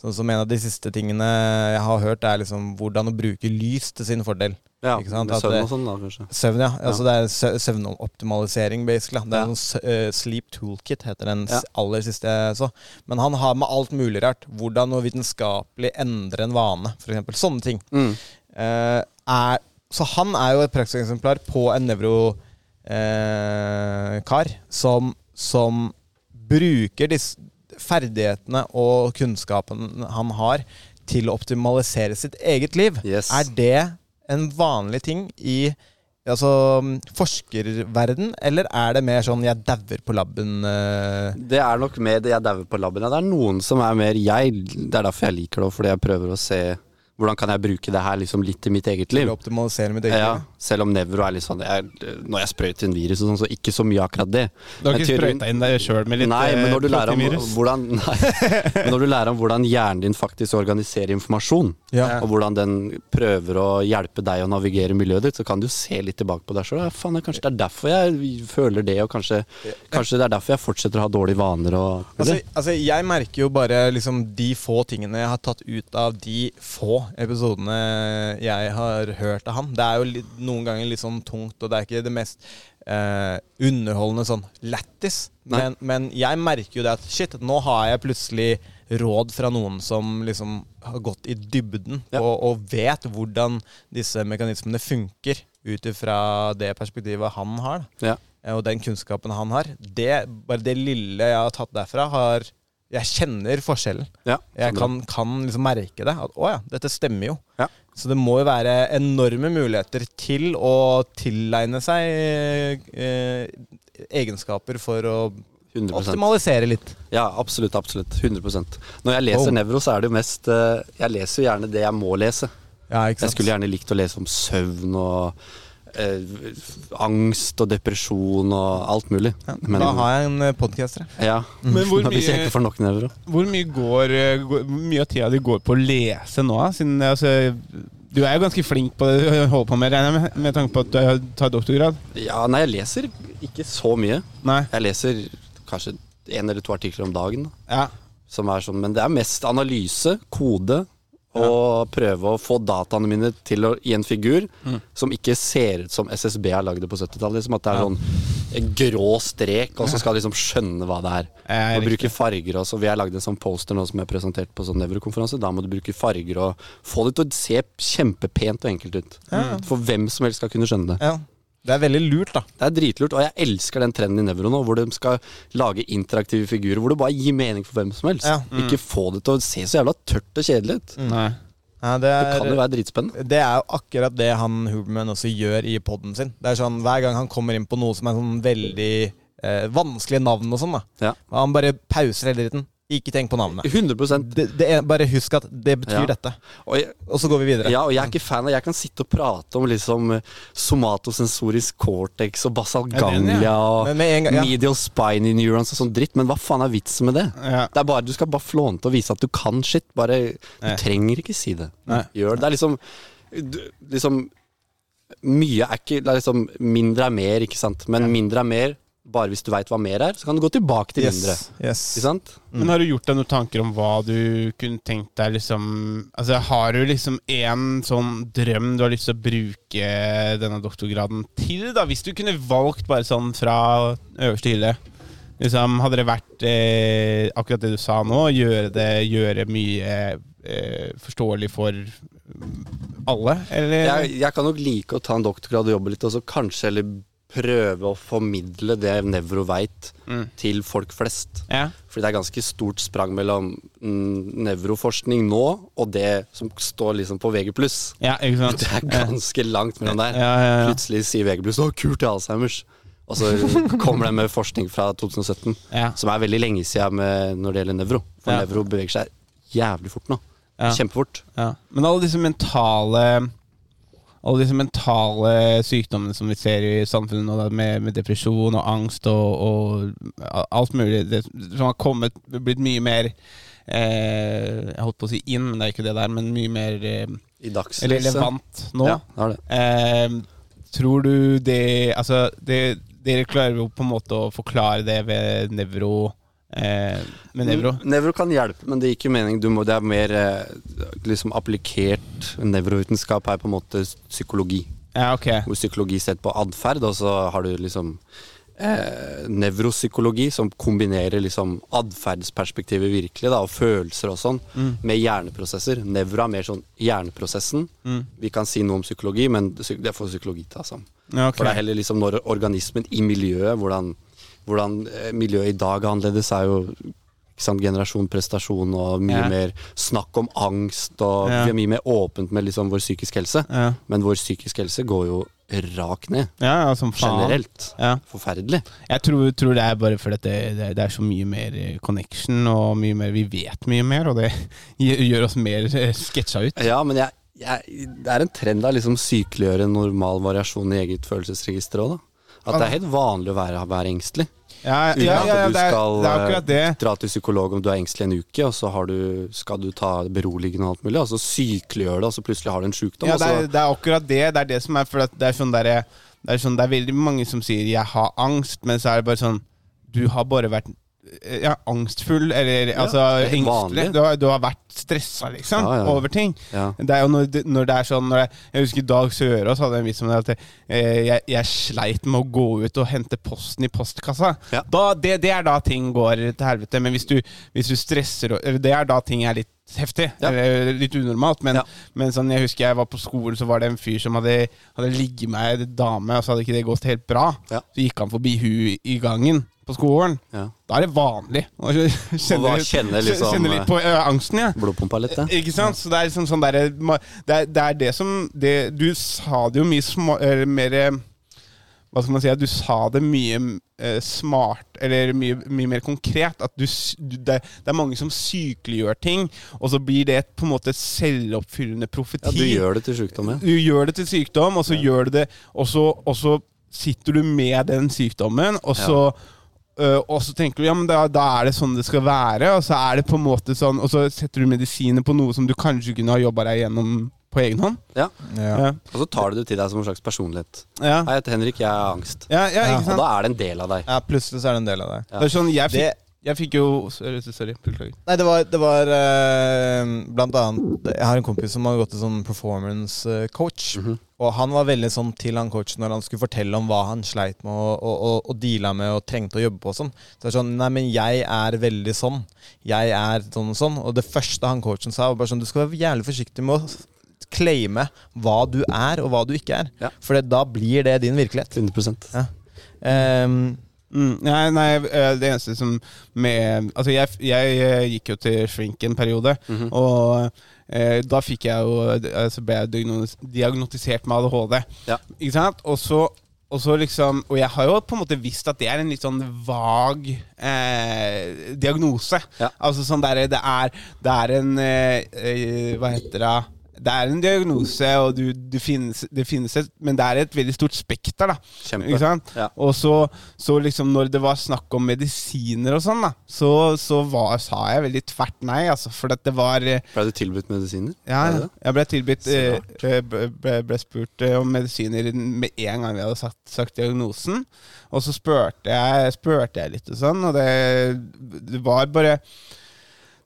D: Sånn som en av de siste tingene jeg har hørt, er liksom hvordan å bruke lys til sin fordel.
B: Ja,
D: Ikke sant,
B: med
D: at
B: søvn
D: eh, det-
B: og sånn, da, kanskje.
D: Søvn, ja. Altså det er sø- søvnoptimalisering, basically. Det er
B: Ja.
D: noen s- eh, Sleep Toolkit heter den s-
B: Ja.
D: aller siste jeg så. Men han har med alt mulig rart. Hvordan å vitenskapelig endre en vane, f.eks. Sånne ting.
B: Mm.
D: Eh, er, så han er jo et prakteksemplar på en nevrokar eh, kar som, som bruker disse ferdighetene og kunnskapen han har, til å optimalisere sitt eget liv.
B: Yes.
D: Er det en vanlig ting i altså, forskerverden, eller er det mer sånn 'jeg dauer på laben'? eh,
B: Det er nok mer det jeg dauer på laben. Det er noen som er mer jeg. Det er derfor jeg liker det, og fordi jeg prøver å se hvordan kan jeg bruke det her liksom litt i mitt eget liv.
D: til å optimalisere mitt eget
B: Ja,
D: liv?
B: selv om nevro er litt sånn jeg, Når jeg sprøyter inn virus og sånn, så ikke så mye akkurat det.
C: Du har
B: Men
C: ikke
B: teorien-
C: sprøyta inn deg sjøl med litt
B: Nei, men når du,
C: eh,
B: lærer om
C: protivirus?
B: hvordan, nei, men når du lærer om hvordan hjernen din faktisk organiserer informasjon,
D: Ja.
B: og hvordan den prøver å hjelpe deg å navigere miljøet ditt, så kan du se litt tilbake på deg sjøl. Ja, faen, det er kanskje det er derfor jeg føler det, og kanskje, kanskje det er derfor jeg fortsetter å ha dårlige vaner og
D: Altså, altså, jeg merker jo bare liksom de få tingene jeg har tatt ut av de få episodene jeg har hørt av ham. Det er jo litt, noen ganger litt sånn tungt, og det er ikke det mest eh, underholdende sånn lættis.
B: Nei.
D: Men, men jeg merker jo det at shit, nå har jeg plutselig råd fra noen som liksom har gått i dybden
B: Ja.
D: og, og vet hvordan disse mekanismene funker ut ifra det perspektivet han har. Da
B: Ja.
D: eh, og den kunnskapen han har, det, bare det lille jeg har tatt derfra, har Jeg kjenner forskjellen.
B: Ja,
D: Jeg
B: sånn
D: kan, kan liksom merke det. At å ja, dette stemmer jo.
B: Ja.
D: Så det må jo være enorme muligheter til å tilegne seg eh, egenskaper for å
B: 100
D: optimalisere litt.
B: Ja, absolutt. absolutt, 100 Når jeg leser
D: Wow.
B: nevro, så er det jo mest eh, Jeg leser jo gjerne det jeg må lese.
D: Ja, ikke
B: Jeg skulle gjerne likt å lese om søvn og eh, angst og depresjon og alt mulig. Men,
D: Da har jeg en podcaster.
B: ja.
C: Men hvor
B: Hvis jeg
C: mye-
B: ikke får nok nevro.
C: Hvor mye, går, eh, går, hvor mye av tida di går på å lese nå? da? Siden, eh, altså, du er jo ganske flink på det du holder på med, regner jeg med, med tanke på at du har- tar doktorgrad.
B: Ja, nei, jeg leser ikke så mye.
C: Nei.
B: Jeg leser kanskje én eller to artikler om dagen. Da,
C: Ja.
B: som er sånn, men det er mest analyse, kode, og prøve å få dataene mine til å, i en figur
C: Mm.
B: som ikke ser ut som SSB har lagd det på 70-tallet. Liksom at det er sånn en grå strek, og så skal jeg liksom skjønne hva det er.
C: Ja,
B: og
C: riktig.
B: bruke farger også. Vi har lagd en sånn poster nå som jeg presenterte på sånn nevrokonferanse. Da må du bruke farger og få det til å se kjempepent og enkelt ut. For hvem som helst skal kunne skjønne det.
D: Ja. Det er veldig lurt, da.
B: Det er dritlurt, og jeg elsker den trenden i Nevro nå, hvor de skal lage interaktive figurer hvor det bare gir mening for hvem som helst.
D: Ja.
B: Ikke få det til å se så jævla tørt og kjedelig ut.
C: Nei.
D: Ja, det,
B: Det
D: er,
B: kan jo være dritspennende.
D: Det er jo akkurat det han Huberman også gjør i poden sin. Det er sånn Hver gang han kommer inn på noe som er sånn veldig eh, vanskelige navn og sånn, da.
B: Ja.
D: Og han bare pauser hele dritten. Ikke tenk på navnet.
B: 100
D: Det, det er, bare husk at det betyr
B: Ja.
D: dette.
B: og jeg,
D: Og så går vi videre.
B: ja, og jeg er ikke fan av Jeg kan sitte og prate om liksom eh, somatosensorisk cortex og basal
C: Ja, den, ja.
B: ganglia og
D: Men med en gang- ja.
B: medial spiny neurons og sånn dritt, men hva faen er vitsen med det?
C: Ja.
B: Det er bare, Du skal bare flånte og vise at du kan shit. Bare, Du
C: Ja.
B: trenger ikke si det.
C: Nei.
B: Gjør det. Det er liksom, du, liksom Mye er ikke Det er liksom mindre er mer, ikke sant? Men mindre er mer bare hvis du veit hva mer er. Så kan du gå tilbake til mindre.
D: Yes. yes.
B: Ikke sant?
C: Men har du gjort deg noen tanker om hva du kunne tenkt deg liksom Altså, har du liksom en sånn drøm du har lyst til å bruke denne doktorgraden til, da? Hvis du kunne valgt bare sånn fra øverste hylle. Liksom, hadde det vært eh, akkurat det du sa nå, gjøre det gjøre mye eh, forståelig for alle, eller?
B: jeg, jeg kan nok like å ta en doktorgrad og jobbe litt, og så kanskje heller prøve å formidle det Nevro veit,
C: Mm.
B: til folk flest.
C: Ja.
B: Fordi det er ganske stort sprang mellom mm, nevroforskning nå og det som står liksom på VG+.
C: ja, ikke sant?
B: Det er ganske langt mellom der.
C: Ja, ja, ja.
B: Plutselig sier VG+, å kult, det er Alzheimers. Og så kommer det med forskning fra 2017,
C: Ja.
B: som er veldig lenge siden med, når det gjelder nevro. For
C: Ja.
B: nevro beveger seg jævlig fort nå.
C: Ja.
B: Kjempefort.
C: Ja. Men alle disse mentale alle disse mentale sykdommene som vi ser i samfunnet nå, da, med, med depresjon og angst og, og a- alt mulig, det som har kommet, blitt mye mer eh, Jeg holdt på å si inn, men det er ikke det der, men mye mer eh,
B: I dagslyset.
C: relevant nå.
B: Ja, det er det.
C: Eh, tror du det Altså, det, dere klarer jo på en måte å forklare det ved nevro eh,
B: Mm.
C: Med nevro.
B: Nevro kan hjelpe, men det gir ikke mening. Du må, det er mer eh, liksom applikert nevrovitenskap her, på en måte psykologi.
C: Ja, ok.
B: Hvor psykologi setter på atferd, og så har du liksom eh, nevropsykologi som kombinerer liksom atferdsperspektivet virkelig, da, og følelser og sånn,
C: Mm.
B: med hjerneprosesser. Nevro er mer sånn hjerneprosessen.
C: Mm.
B: Vi kan si noe om psykologi, men psy- det får psykologi ta seg om.
C: Ja, ok.
B: For det er heller liksom når organismen i miljøet Hvordan, hvordan eh, miljøet i dag er annerledes, er jo ikke sant, generasjon, prestasjon og mye
C: Ja.
B: mer snakk om angst. Og
C: Ja.
B: Vi er mye mer åpent med liksom vår psykiske helse.
C: Ja.
B: Men vår psykiske helse går jo rakt ned.
C: Ja, ja, som faen.
B: Generelt.
C: Ja.
B: Forferdelig.
C: Jeg tror, tror det er bare fordi at det, det, det er så mye mer eh, connection, og mye mer, vi vet mye mer, og det gjør gjør oss mer eh, sketsja ut.
B: Ja, men jeg, jeg, det er en trend av liksom sykeliggjøre normal variasjon i eget følelsesregister òg, da. At det er helt vanlig å være, være engstelig.
C: Ja,
B: Uten at du
C: det, er,
B: skal
C: det er akkurat det.
B: eh, dra til psykolog om du er engstelig en uke, og så har du, skal du ta beroligende og alt mulig, og så sykeliggjør det, og så plutselig har du en sjukdom.
C: Ja,
B: og
C: det
B: så,
C: er, det er akkurat det. Det er det som er for at det er sånn derre det, er sånn, det er veldig mange som sier 'jeg har angst', men så er det bare sånn Du har bare vært eh, ja, angstfull, eller altså
B: det er helt
C: engstelig.
B: vanlig.
C: Du har, du har vært stressa, liksom,
B: Ja, ja.
C: over ting.
B: Ja.
C: Det er jo når, det- når det er sånn når det, Jeg husker Dag Sørås hadde en vits om det at eh, jeg, jeg sleit med å gå ut og hente posten i postkassa.
B: Ja.
C: Da, det, det er da ting går til helvete. Men hvis du, hvis du stresser og- eller Det er da ting er litt heftig.
B: Ja.
C: Eller eh, litt unormalt. Men,
B: Ja.
C: men sånn, jeg husker jeg var på skolen, så var det en fyr som hadde, hadde ligget med en dame, og så hadde ikke det gått helt bra.
B: Ja.
C: Så gikk han forbi hun i gangen på skolen.
B: Ja.
C: Da er det vanlig. Og
B: da
C: kjenner,
B: kjenner liksom-
C: kjenner litt på ø, angsten, ja.
B: Blodpumpa litt, det.
C: Ikke sant? Så det er liksom sånn derre ma- det, er- det er det som det, Du sa det jo mye sma, eller mer eh, Hva skal man si? at Du sa det mye eh, smart, eller mye, mye mer konkret. At du, s- du det, det er mange som sykeliggjør ting, og så blir det et, på en måte selvoppfyllende profeti.
B: Ja, du gjør det til sjukdom, ja.
C: Du gjør det til sykdom, og så gjør du det og så, og så sitter du med den sykdommen, og så øh, og så tenker du ja, men da, da er det sånn det skal være, og så er det på en måte sånn Og så setter du medisiner på noe som du kanskje kunne ha jobba deg gjennom på egen hånd.
B: ja.
C: Ja,
B: Og så tar du det til deg som en slags personlighet.
C: ja,
B: Hei, jeg heter Henrik, jeg har angst.
C: ja, ja ikke
B: Og
C: sant?
B: da er det en del av deg.
D: Ja, plutselig så er det en del av det.
C: Det er sånn, jeg
D: Det-
C: fikk, jeg fikk jo Sorry, sorry, beklager.
D: Nei, det var, det var eh, blant annet Jeg har en kompis som har gått til sånn performance eh, coach. Og han var veldig sånn til han coachen når han skulle fortelle om hva han sleit med og, og, og, og deala med og trengte å jobbe på og sånn. Så det er sånn Nei, men jeg er veldig sånn. Jeg er sånn og sånn. Og det første han coachen sa, var bare sånn Du skal være jævlig forsiktig med å claime hva du er, og hva du ikke er.
B: Ja.
D: For det, da blir det din virkelighet.
B: 100
D: Ja. Ehm,
C: Mm, nei, nei, eh, det eneste som med, Altså, jeg, jeg eh, gikk jo til shrink en periode,
B: Mhm.
C: og eh, da fikk jeg jo eh, Så ble jeg diagnos- diagnotisert med ADHD.
B: Ja.
C: Ikke sant? Og så, og så liksom Og jeg har jo på en måte visst at det er en litt sånn vag eh, diagnose.
B: Ja.
C: Altså sånn derre Det er Det er en eh, eh, Hva heter det? Det er en diagnose, og du, du finnes, det finnes et, men det er et veldig stort spekter. da
B: Kjempe.
C: Ikke sant?
B: Ja.
C: Og så, så liksom når det var snakk om medisiner og sånn, da, så, så var, sa jeg veldig tvert nei, altså. For at det var eh,
B: Ble du tilbudt medisiner?
C: Ja,
B: Er det det?
C: jeg ble tilbudt
B: Så
C: eh, eh, ble, ble- ble spurt eh, om medisiner med en gang vi hadde sagt, sagt diagnosen. Og så spurte jeg, spurte jeg litt og sånn, og det, det var bare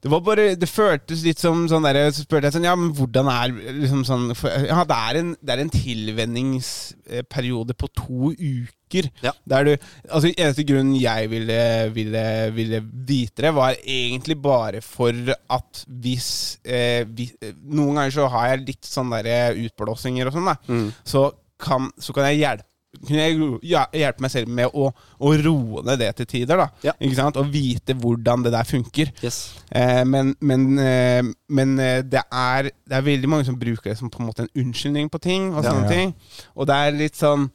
C: det var bare, det føltes litt som sånn der, Så spurte jeg sånn Ja, men hvordan er liksom sånn for, Ja, det er en, det er en tilvenningsperiode på to uker.
B: Ja.
C: Der du Altså, eneste grunnen jeg ville, ville, ville vite det, var egentlig bare for at hvis, eh, vi- eh, Noen ganger så har jeg litt sånn derre utblåsninger og sånn, da.
B: Mm.
C: Så, kan, så kan jeg hjelpe kunne jeg ro- ja, hjelpe meg selv med å, å roe ned det til tider. da
B: Ja.
C: Ikke sant? Og vite hvordan det der funker.
B: Yes.
C: Eh, men men, eh, men eh, det, er, det er veldig mange som bruker det som på en måte en unnskyldning på ting. Og
B: Ja.
C: sånne
B: Ja.
C: ting Og det er litt sånn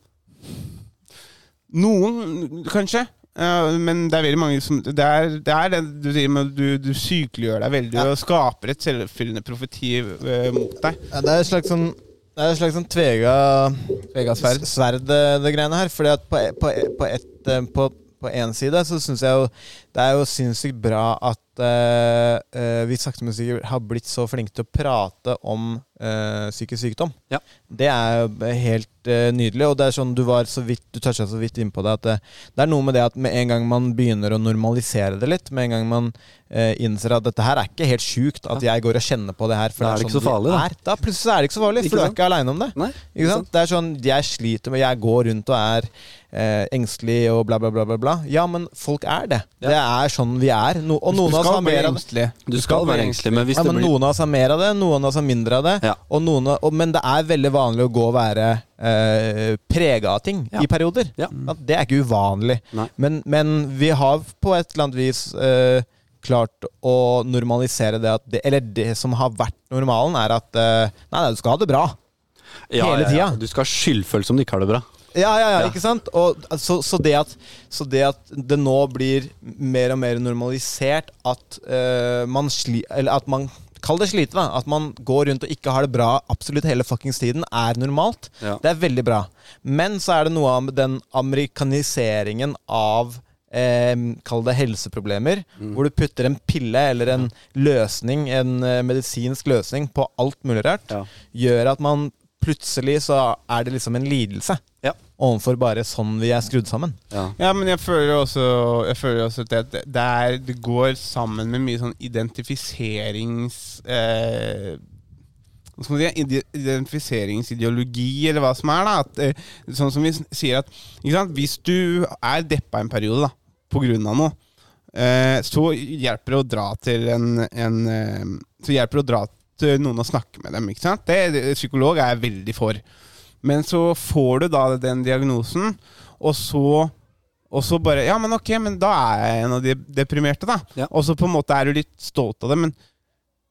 C: Noen, kanskje. Ja, men det er veldig mange som Det er det, er det du sier med at du, du sykeliggjør deg veldig og skaper et selvfyllende profeti eh, mot deg.
D: Ja, det er et slags sånn det er et slags sånn tvega, tvega sverd, sverd det, det greiene her. Fordi at på, e- på, e- på, et, eh, på, på en side så syns jeg jo det er jo sinnssykt bra at eh, eh, vi sakte, men sikkert har blitt så flinke til å prate om eh, psykisk sykdom.
B: Ja.
D: Det er jo helt eh, nydelig. Og det er sånn du var så vidt Du toucha så vidt innpå det at det, det er noe med det at med en gang man begynner å normalisere det litt, med en gang man eh, innser at dette her er ikke helt sjukt, at jeg går og kjenner på det her for
B: Da er
D: det
B: det
D: er
B: ikke
D: sånn
B: så farlig, da.
D: er, da plutselig er det ikke så farlig,
B: Ikke
D: for du er
B: sant?
D: ikke aleine om det.
B: Nei,
D: ikke sant? Det er sånn, Jeg sliter med Jeg går rundt og er eh, engstelig og bla, bla, bla, bla, bla. Ja, men folk er det. Det er sånn vi er. No, og noen av oss har mer av det.
B: Du skal være engstelig, men hvis
D: Ja,
B: det
D: men
B: blir
D: Noen av oss har mer av det, noen av oss har mindre av det.
B: Ja.
D: Og noen av, og, men det er veldig vanlig å gå og være eh, prega av ting
B: Ja.
D: i perioder.
B: Ja.
D: At det er ikke uvanlig.
B: Nei.
D: Men, men vi har på et eller annet vis eh, klart å normalisere det at det, Eller det som har vært normalen, er at eh, Nei, nei, du skal ha det bra.
B: ja,
D: hele
B: ja, ja.
D: tida.
B: Du skal ha skyldfølelse om du ikke har det bra.
D: Ja, ja, ja,
B: Ja.
D: ikke sant? Og, så, så, det at, så det at det nå blir mer og mer normalisert at eh, man sli... Eller at man Kall det slite, da. At man går rundt og ikke har det bra absolutt hele fuckings tiden, er normalt.
B: Ja.
D: Det er veldig bra. Men så er det noe av den amerikaniseringen av eh, Kall det helseproblemer,
B: Mm.
D: hvor du putter en pille eller en løsning, en eh, medisinsk løsning, på alt mulig rart,
B: Ja.
D: gjør at man plutselig så er det liksom en lidelse
B: Ja.
D: overfor bare sånn vi er skrudd sammen.
C: Ja, men jeg føler også, jeg føler også at det, det, er, det går sammen med mye sånn identifiserings... Eh, hva skal man si, ide- identifiseringsideologi, eller hva som er. da at, eh, Sånn som vi s- sier at ikke sant? Hvis du er deppa en periode da på grunn av noe, eh, så hjelper det å dra til en, en eh, Så hjelper det å dra til noen og snakke med dem. ikke sant? Det, det, psykolog er jeg veldig for. Men så får du da den diagnosen, og så og så bare Ja, men ok, men da er jeg en av de deprimerte, da.
B: Ja.
C: Og så på en måte er du litt stolt av det, men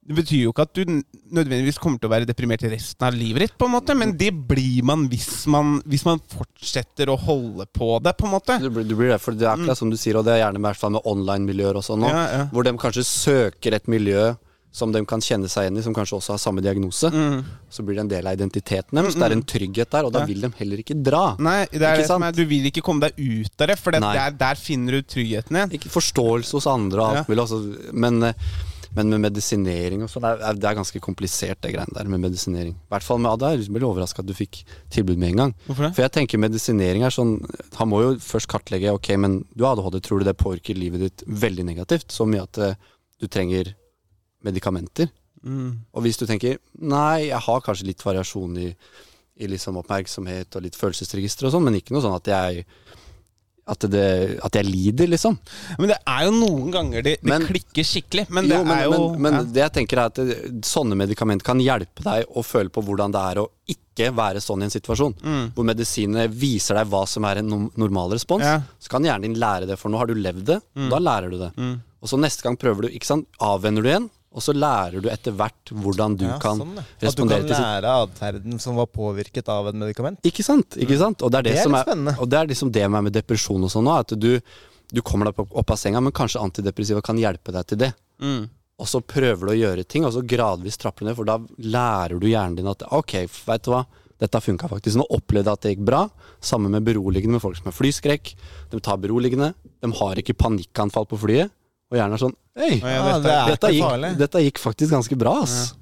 C: det betyr jo ikke at du n- nødvendigvis kommer til å være deprimert resten av livet ditt, på en måte. Men det blir man hvis man, hvis man fortsetter å holde på det, på en måte.
B: Du blir, du blir det, for det er akkurat som du sier, og det er gjerne med, i hvert fall med online-miljøer også nå,
C: Ja, Mm. ja.
B: hvor de kanskje søker et miljø som de kan kjenne seg igjen i, som kanskje også har samme diagnose.
C: Mm.
B: Så blir det en del av identiteten deres. Det er en trygghet der, og da vil de heller ikke dra.
C: Nei, det er
B: Ikke
C: det som
B: sant?
C: er, du vil ikke komme deg ut av det, for det,
B: Nei.
C: der, der finner du tryggheten din.
B: Ikke forståelse hos andre og alt
C: Ja.
B: mulig, altså, men, eh, men med medisinering og sånn, det, er- det er ganske komplisert det greiene der med medisinering. I hvert fall med Ada. Jeg ble overraska at du fikk tilbud med en gang.
C: Hvorfor det?
B: For jeg tenker medisinering er sånn Han må jo først kartlegge Ok, men du har ADHD, tror du det påvirker livet ditt veldig negativt? Så mye at eh, du trenger medikamenter.
C: Mm.
B: Og hvis du tenker Nei, jeg har kanskje litt variasjon i, i liksom oppmerksomhet og litt følelsesregister og sånn, men ikke noe sånn at jeg at, det, at jeg lider, liksom.
C: Men det er jo noen ganger det, det
B: Men-
C: klikker skikkelig. Men det
B: Jo, men,
C: er jo
B: men, men
C: ja.
B: det jeg tenker er at det- sånne medikamenter kan hjelpe deg å føle på hvordan det er å ikke være sånn i en situasjon.
D: Mm.
B: Hvor medisinene viser deg hva som er en nom- normal respons.
C: Ja.
B: Så kan hjernen din lære det, for nå har du levd det.
D: Mm.
B: Da lærer du det. Og så neste gang prøver du, ikke sant? avvenner du igjen, og så lærer du etter hvert hvordan du
D: Ja,
B: kan
D: sånn, ja. At du
B: respondere
D: kan
B: til sitt
D: lære atferden som var påvirket av et medikament.
B: Ikke sant? Ikke sant? Og det er det,
D: Mm. Det er
B: som
D: litt
B: er,
D: spennende.
B: Og det er liksom det med, med depresjon og sånn nå, at du, du kommer deg opp, opp av senga, men kanskje antidepressiva kan hjelpe deg til det.
D: Mm.
B: Og så prøver du å gjøre ting, og så gradvis trapper du ned, for da lærer du hjernen din at ok, vet du hva, dette funka faktisk. Nå opplevde jeg at det gikk bra. Sammen med beroligende med folk som har flyskrekk. De tar beroligende. De har ikke panikkanfall på flyet. Og hjernen er sånn Hei,
D: Ja, det er
B: dette,
D: ikke
B: gikk,
D: farlig.
B: dette gikk faktisk ganske bra, ass.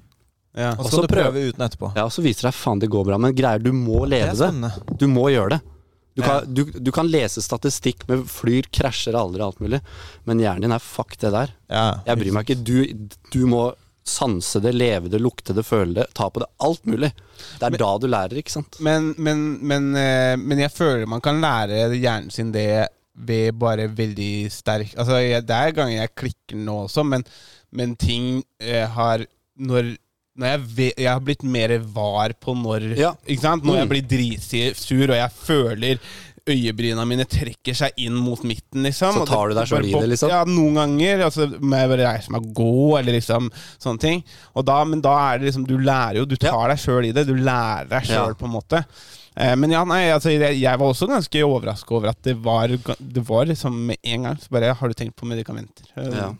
C: ja.
D: Og
B: Og
D: så
B: så
D: skal du
B: prøve-
D: prøve uten etterpå.
B: Ja, og så viser det seg faen det går bra, men greier du må leve det.
D: spennende.
B: Du må gjøre det. Du kan, du, du kan lese statistikk med flyr, krasjer, aldri alt mulig, men hjernen din er fuck det der.
D: Ja.
B: Jeg bryr meg ikke. Du, du må sanse det, leve det, lukte det, føle det, ta på det. Alt mulig. Det er da du lærer, ikke sant.
C: Men, men, men, eh, men jeg føler man kan lære hjernen sin det ved bare veldig sterk Altså, jeg, Det er ganger jeg klikker nå også, men, men ting eh, har Når, når jeg, ve- jeg har blitt mer var på når
B: Ja.
C: Ikke sant? Når jeg
B: Mm.
C: blir dritsur og jeg føler øyebryna mine trekker seg inn mot midten, liksom.
B: Så
C: og
B: tar du deg selv
C: bare
B: i
C: pop-
B: det, liksom?
C: Ja, noen ganger. Altså, må jeg bare reise meg og gå, eller liksom sånne ting. Og da, men da er det liksom Du lærer jo, du tar deg sjøl i det. Du lærer deg sjøl,
B: Ja.
C: på en måte. Eh, Men ja, nei, altså, jeg, jeg var også ganske overraska over at det var, ga- det var liksom med en gang så bare Har du tenkt på medikamenter? Eh,
B: Ja.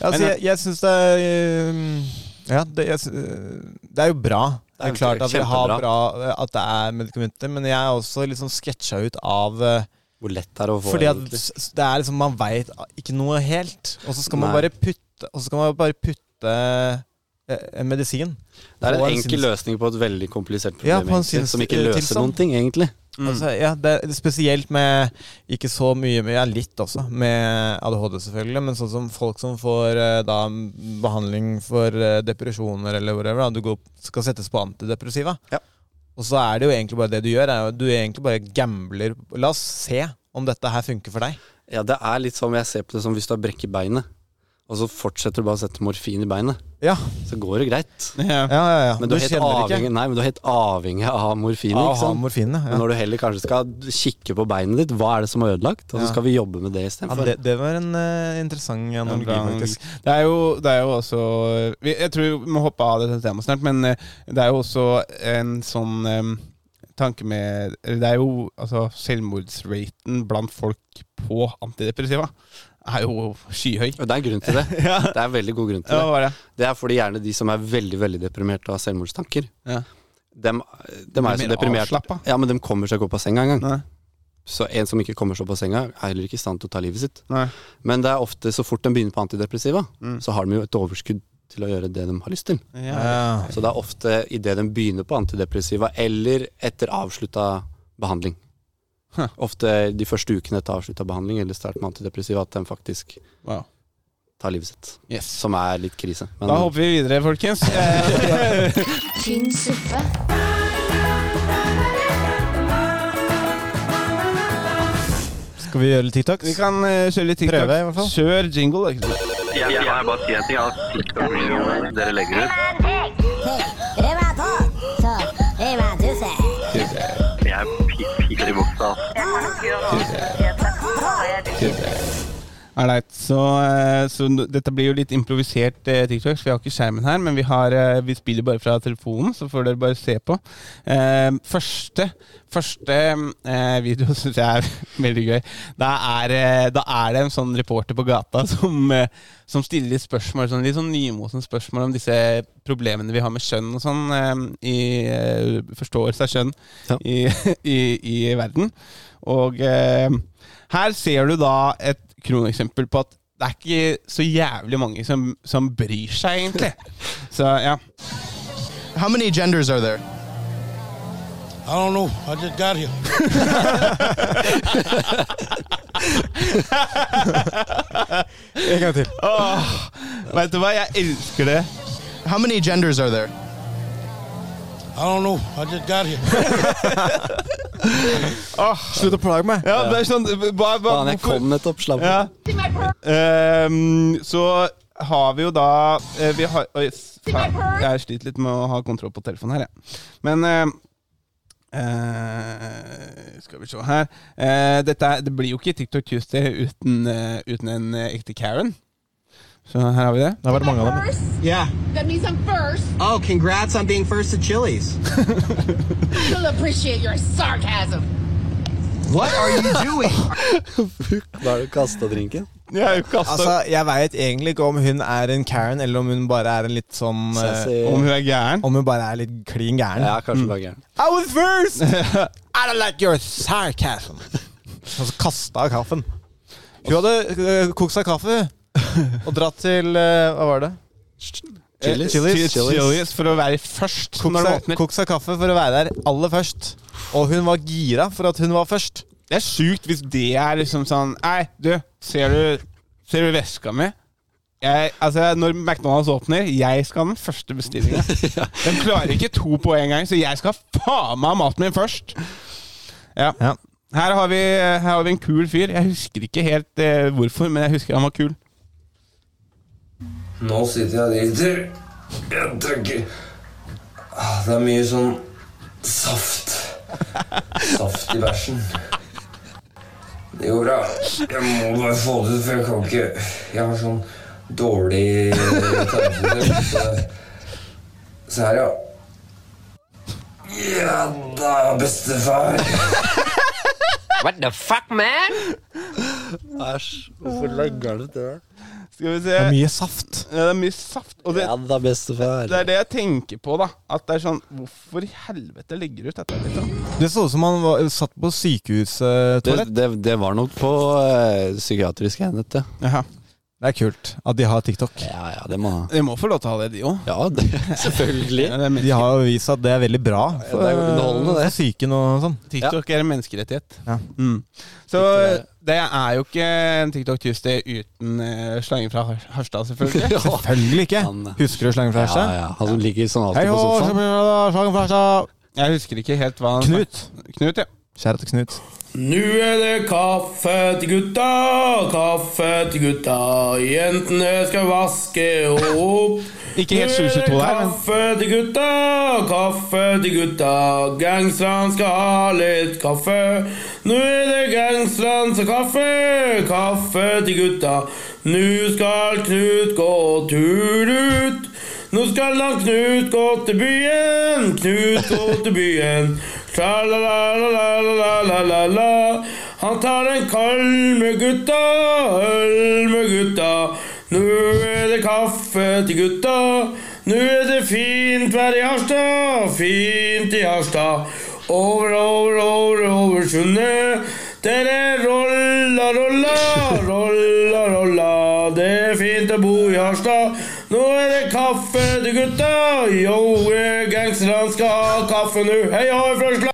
D: Altså,
C: Men-
D: jeg jeg syns det er eh, Ja, det, jeg, sy- eh, det er jo bra. Det
B: Det er
D: er klart at vi har
B: kjempebra.
D: bra eh, At det er medikamenter, men jeg er også liksom sketsja ut av eh,
B: Hvor lett det er å få
D: Fordi at
B: egentlig.
D: s- s- det er liksom Man veit ikke noe helt, og så skal man
B: Nei.
D: bare putte Og så skal man bare putte eh, en medisin.
B: Det er
D: på
B: en
D: en
B: enkel
D: sinns-
B: løsning på et veldig komplisert problem,
D: Ja, eh, på en
B: egentlig, som ikke
D: sinns-
B: løser
D: tilstand.
B: noen ting, egentlig.
D: Altså, ja, det er spesielt med Ikke så mye, men ja, litt også, med ADHD selvfølgelig. Men sånn som folk som får eh, da m- behandling for eh, depresjoner eller whatever, da, du går, skal settes på antidepressiva.
B: Ja.
D: Og så er det jo egentlig bare det du gjør. Er jo, du egentlig bare gambler. La oss se om dette her funker for deg.
B: Ja, det er litt som jeg ser på det som hvis du har brekk i beinet, og så fortsetter du bare å sette morfin i beinet,
D: Ja,
B: så går det greit.
C: Ja.
D: ja, ja. ja.
B: Men du, er helt
D: kjenner
B: avhengig, nei, men du er helt avhengig av morfin,
D: av
B: ikke
D: å ha
B: sant?
D: morfin. Ja.
B: Men når du heller kanskje skal kikke på beinet ditt, hva er det som er ødelagt? Og så
D: Ja.
B: skal vi jobbe med det
D: Ja,
B: istedenfor.
D: det, det var en eh, interessant analogi,
C: Ja, bra
D: faktisk.
C: Det er jo, det er jo også vi- Jeg tror vi må hoppe av dette temaet snart, men eh, det er jo også en sånn em, tanke med eller Det er jo altså selvmordsraten blant folk på antidepressiva er jo skyhøy.
B: Og det er en grunn til det.
C: Ja,
B: Det er en veldig god grunn til
C: hva
B: det.
C: var det?
B: Det er fordi gjerne de som er veldig veldig deprimerte og har selvmordstanker,
C: Ja.
B: dem, dem er
C: mer
B: så deprimerte
C: avslappa.
B: Ja, men de kommer seg ikke opp av senga engang.
C: Nei.
B: Så en som ikke kommer seg opp av senga, er heller ikke i stand til å ta livet sitt.
C: Nei.
B: Men det er ofte så fort de begynner på antidepressiva, så har de jo et overskudd til å gjøre det de har lyst til.
C: Ja.
D: Ja.
B: Så det er ofte idet de begynner på antidepressiva, eller etter avslutta behandling.
C: Huh.
B: Ofte de første ukene etter avslutta behandling eller start med antidepressiva at de faktisk
C: Wow.
B: tar livet sitt.
C: Yes.
B: Som er litt krise. Men
C: Da hopper vi videre, folkens. Eh,
A: Tynn suppe.
D: Skal vi gjøre litt TikToks?
C: Vi kan eh, kjøre litt TikTok.
D: Prøve, i hvert fall.
C: Kjør jingle. Ikke sant? Alright, så, eh, så n- dette blir jo litt improvisert eh, TikToks. Vi har ikke skjermen her, men vi, har, eh, vi spiller bare fra telefonen, så får dere bare se på. Eh, første første eh, video syns jeg er veldig gøy. Da er, eh, da er det en sånn reporter på gata som, eh, som stiller litt spørsmål, sånn, litt sånn nymotens spørsmål om disse problemene vi har med kjønn og sånn, eh, i eh, forståelse av kjønn
B: Ja.
C: i, i, i verden. Og eh, her ser du da et kroneksempel på at det er ikke så jævlig mange som, som bryr seg, egentlig. Så ja.
G: How many genders are there?
J: I don't know. I just got here.
D: En gang til.
C: Åh, vet du hva, jeg elsker det.
G: How many genders are there?
J: I don't know. I just got here.
D: Slutt å plage meg.
C: Ja, det er sånn hva, hva,
B: Faen, jeg
C: hvorfor-
B: kom nettopp, slapp av.
C: Ja. Ehm, så har vi jo da eh, Vi har Oi, faen, jeg sliter litt med å ha kontroll på telefonen her, jeg. Men ehm, eh, Skal vi se her Eh, dette er, Det blir jo ikke TikTok Tuesday uten, eh, uten en eh, ekte Karen. Så her har vi det.
D: Da var det mange av dem.
G: Yeah.
K: That means I'm first.
G: Oh, congrats on being first at Chili's.
K: You'll appreciate your sarcasm.
G: What are you doing?
B: Da er du kasta drinken.
C: Jeg har jo kastet-
D: Altså, jeg veit egentlig ikke om hun er en Karen, eller om hun bare er en litt sånn eh,
B: Sassy.
C: om hun Eh, er gæren.
D: Om hun bare er litt klin gæren.
B: Ja, kanskje bare gæren.
D: I was first! I don't like your sarcasm. Og så kasta av kaffen. Hun hadde eh, kokt seg kaffe og dratt til eh, Hva var det?
B: Chili's.
C: Chili's. Chili's for å være først
D: Kokt
C: når det
D: seg,
C: åpner.
D: kokt seg kaffe for å være der aller først. Og hun var gira for at hun var først.
C: Det er sjukt hvis det er liksom sånn Nei, du, ser du, ser du veska mi? Jeg, altså, når McDonald's åpner, jeg skal ha den første bestillinga. De klarer ikke to på en gang, så jeg skal faen meg ha maten min først! Ja.
D: Ja.
C: Her, har vi, her har vi en kul fyr. Jeg husker ikke helt eh, hvorfor, men jeg husker han var kul.
J: Nå sitter jeg og driter. Jeg tørker. Ah, Det er mye sånn saft. Saft i bæsjen. Jo da, jeg må bare få det ut, for jeg kan ikke Jeg har sånn dårlig tarmsystem. Så, så her, ja. Ja da, bestefar.
K: What the fuck, man?
B: Æsj. Hvorfor lager du det?
C: Skal vi se.
D: Det er
B: Eh,
D: mye saft.
C: Ja, det er mye saft. Og det,
B: Ja da, bestefar.
C: det er det jeg tenker på, da. At det er sånn Hvorfor i helvete legger du ut dette? Liksom?
D: Det så ut som han var, satt på
B: Det,
D: sykehustoalett.
B: det, det var nok på eh, psykiatrisk enhet, det.
C: Jaha.
D: Det er kult at de har TikTok.
B: Ja ja, det må ha.
C: De må få lov til å ha det, de òg.
B: Ja, det, selvfølgelig.
C: Ja, det er men-
D: De har jo vist at det er veldig bra for,
B: det er jo underholdende, det.
D: for psyken og sånn.
C: TikTok er en menneskerettighet.
D: Ja.
C: Mm. Så
B: TikTok er-
C: det er jo ikke en TikTok Tuesday uten uh, slangen fra Har- Harstad, selvfølgelig.
B: Ja.
D: Selvfølgelig ikke!
B: Han-
D: Husker du slangen fra
B: Ja,
D: Herstad?
B: ja. Han som ligger sånn
D: Hei
B: alltid
D: hå,
B: på sofaen.
D: slangen fra Herstad!
C: Jeg husker ikke helt hva han
D: Knut.
C: Knut, ja.
D: Kjære til Knut.
L: Nå er det kaffe til gutta, kaffe til gutta. Jentene skal vaske opp.
C: Ikke helt 2022 der,
L: Nå er det
C: men-
L: kaffe til gutta, kaffe til gutta. Gangsterne skal ha litt kaffe. Nå er det gangsternes kaffe, kaffe til gutta. Nå skal Knut gå tur ut. Nå skal han Knut gå til byen, Knut gå til byen. Tra-la-la-la-la-la-la-la. Han tar en kald med gutta, øl med gutta. Nå er det kaffe til gutta. Nå er det fint vær i Harstad, fint i Harstad. Over, over, over, over sundet. Der er rolla, rolla, rolla, rolla. Det er fint å bo i Harstad. Nå er det kaffe til gutta. Yo, eh, gangsterne skal ha kaffe nå. Hei, hoi, fra Sla-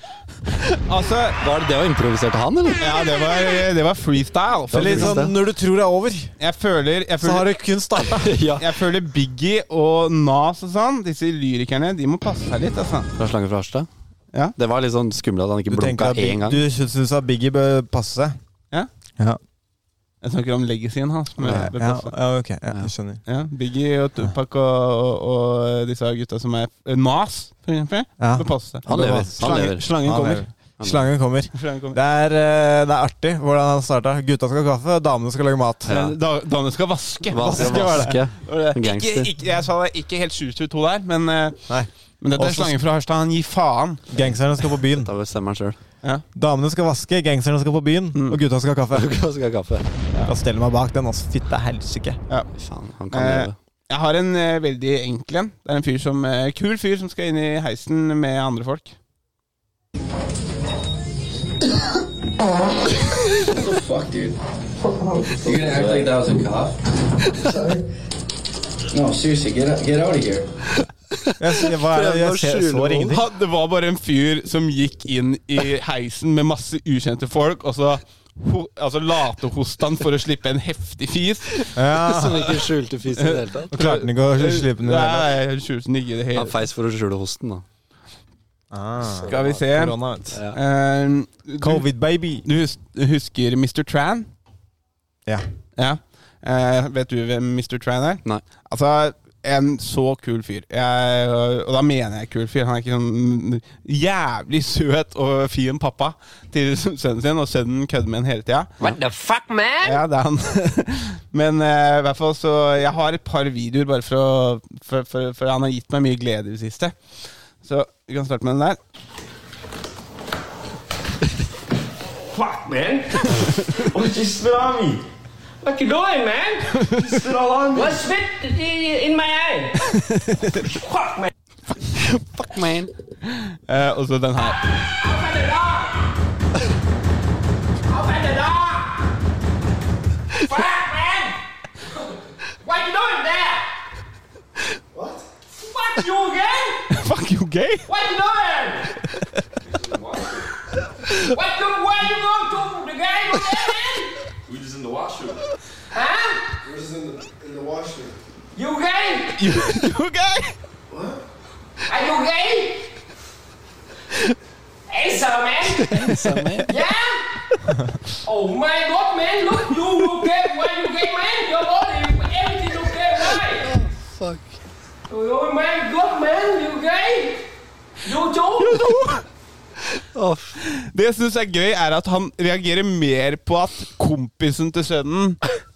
C: Altså,
B: Var det det å improvisere til han, eller?
C: ja, det var, det var freestyle.
B: var
C: For litt
B: freestyle.
C: sånn,
D: Når du tror det er over,
C: jeg føler, jeg
D: så
C: føler
D: har du kun starta.
B: Ja.
C: jeg føler Biggie og Nas og sånn, disse lyrikerne, de må passe seg litt. altså.
B: Fra Slangen fra Harstad?
C: Ja.
B: Det var litt sånn skummelt at han ikke
D: Du, tenker
B: blunka
D: at Big-
B: én gang.
D: du syns at Biggie bør passe seg?
C: Ja.
D: Ja,
C: Jeg snakker om legacyen hans. men
D: ja,
C: det
D: ja,
C: passer.
D: ok. Ja, jeg skjønner.
C: Ja, Biggie og Tupac og, og, og disse gutta som er eh, Nas, for eksempel.
D: Ja.
C: Bør passe seg.
B: Han lever, han
C: Slangen,
B: lever.
C: slangen
D: Han
C: kommer.
D: lever. Slangen kommer.
C: Slangen kommer.
D: Det er, eh, det er artig hvordan han starta. Gutta skal ha kaffe, damene skal lage mat.
B: Ja.
C: Da, damene skal vaske.
B: Vaske, vaske.
C: var det.
B: Gangster.
C: Ikke, ikke, jeg sa det ikke helt 722 der, men, eh,
D: Nei.
C: men dette er
D: Også-
C: slangen fra Harstad. Han gir faen.
D: Gangsterne skal på byen.
B: Da bestemmer han sjøl.
D: Damene skal vaske, gangsterne skal på byen, og gutta skal ha kaffe.
B: Skal ha kaffe.
D: Da steller jeg meg bak den, altså. Fitte helsike.
B: Fy faen, han kan
C: Eh,
B: leve.
C: Jeg har en eh, veldig enkel en. Det er en fyr som, eh, kul fyr som skal inn i heisen med andre folk.
J: Fuck, dude. You're gonna act like that was a cop? No, seriously, get out, get out of here.
D: Jeg, ser- hva er det? jeg ser, sår ingenting.
C: Han, det var bare en fyr som gikk inn i heisen med masse ukjente folk, og så ho, altså latehosta han for å slippe en heftig fis.
D: Ja,
B: Som ikke skjulte fis i det hele tatt.
D: og klarte den ikke å slippe den ned.
C: Eh, Nei, jeg skjulte den ikke i det hele
B: Han feis for å skjule hosten, da.
D: Ah,
C: Skal vi se.
D: korona, vet du.
C: Eh, du,
D: Covid baby.
C: du hus- husker Mr. Tran?
D: Ja.
C: Ja. Eh, vet du hvem Mr. Tran er?
B: Nei.
C: Altså, en så kul fyr. Jeg, og da mener jeg kul fyr. Han er ikke sånn jævlig søt og fin pappa til sønnen sin, og sønnen kødder med han hele tida.
K: What the fuck, man?
C: Ja, det er han. Men eh, i hvert fall så Jeg har et par videoer bare for å For, for, for han har gitt meg mye glede i det siste. Så vi kan starte med den der.
J: Fuck, man. I'm just salami.
K: What you doing, man?
J: Sit all on me.
K: What spit i- in my eye? fuck, man.
B: Fuck, man.
C: Eh, og så den her.
K: Open the door. Open the door. Fuck, man. What you doing there? What? Fuck you again?
C: Fuck you gay!
K: What you doing? what the, why you going to the guy you man?
J: We're just in the washroom.
K: Huh?
J: We're just in the, in the washroom.
K: You gay?
C: You, you gay!
K: Are you gay? Asa, man. Yeah? Oh my god, man. Look, you look gay. Why you gay, man? Your body, everything look gay. Why?
B: Fuck.
K: Oh my god, man. You gay? You too?
C: Det jeg syns er gøy, er at han reagerer mer på at kompisen til sønnen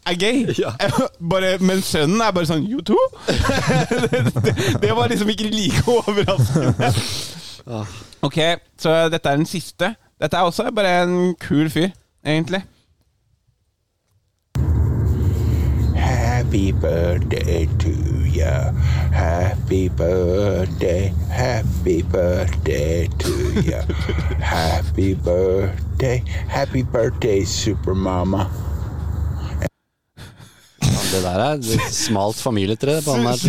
C: er gay. Bare, men sønnen er bare sånn You too? det, det, det var liksom ikke like overraskende. Ok, så dette er den siste. Dette er også bare en kul fyr, egentlig.
M: Happy birthday to ya. Happy birthday. Happy birthday to ya. happy birthday. Happy birthday, Supermama.
B: Det der er et smalt familietre. på han her,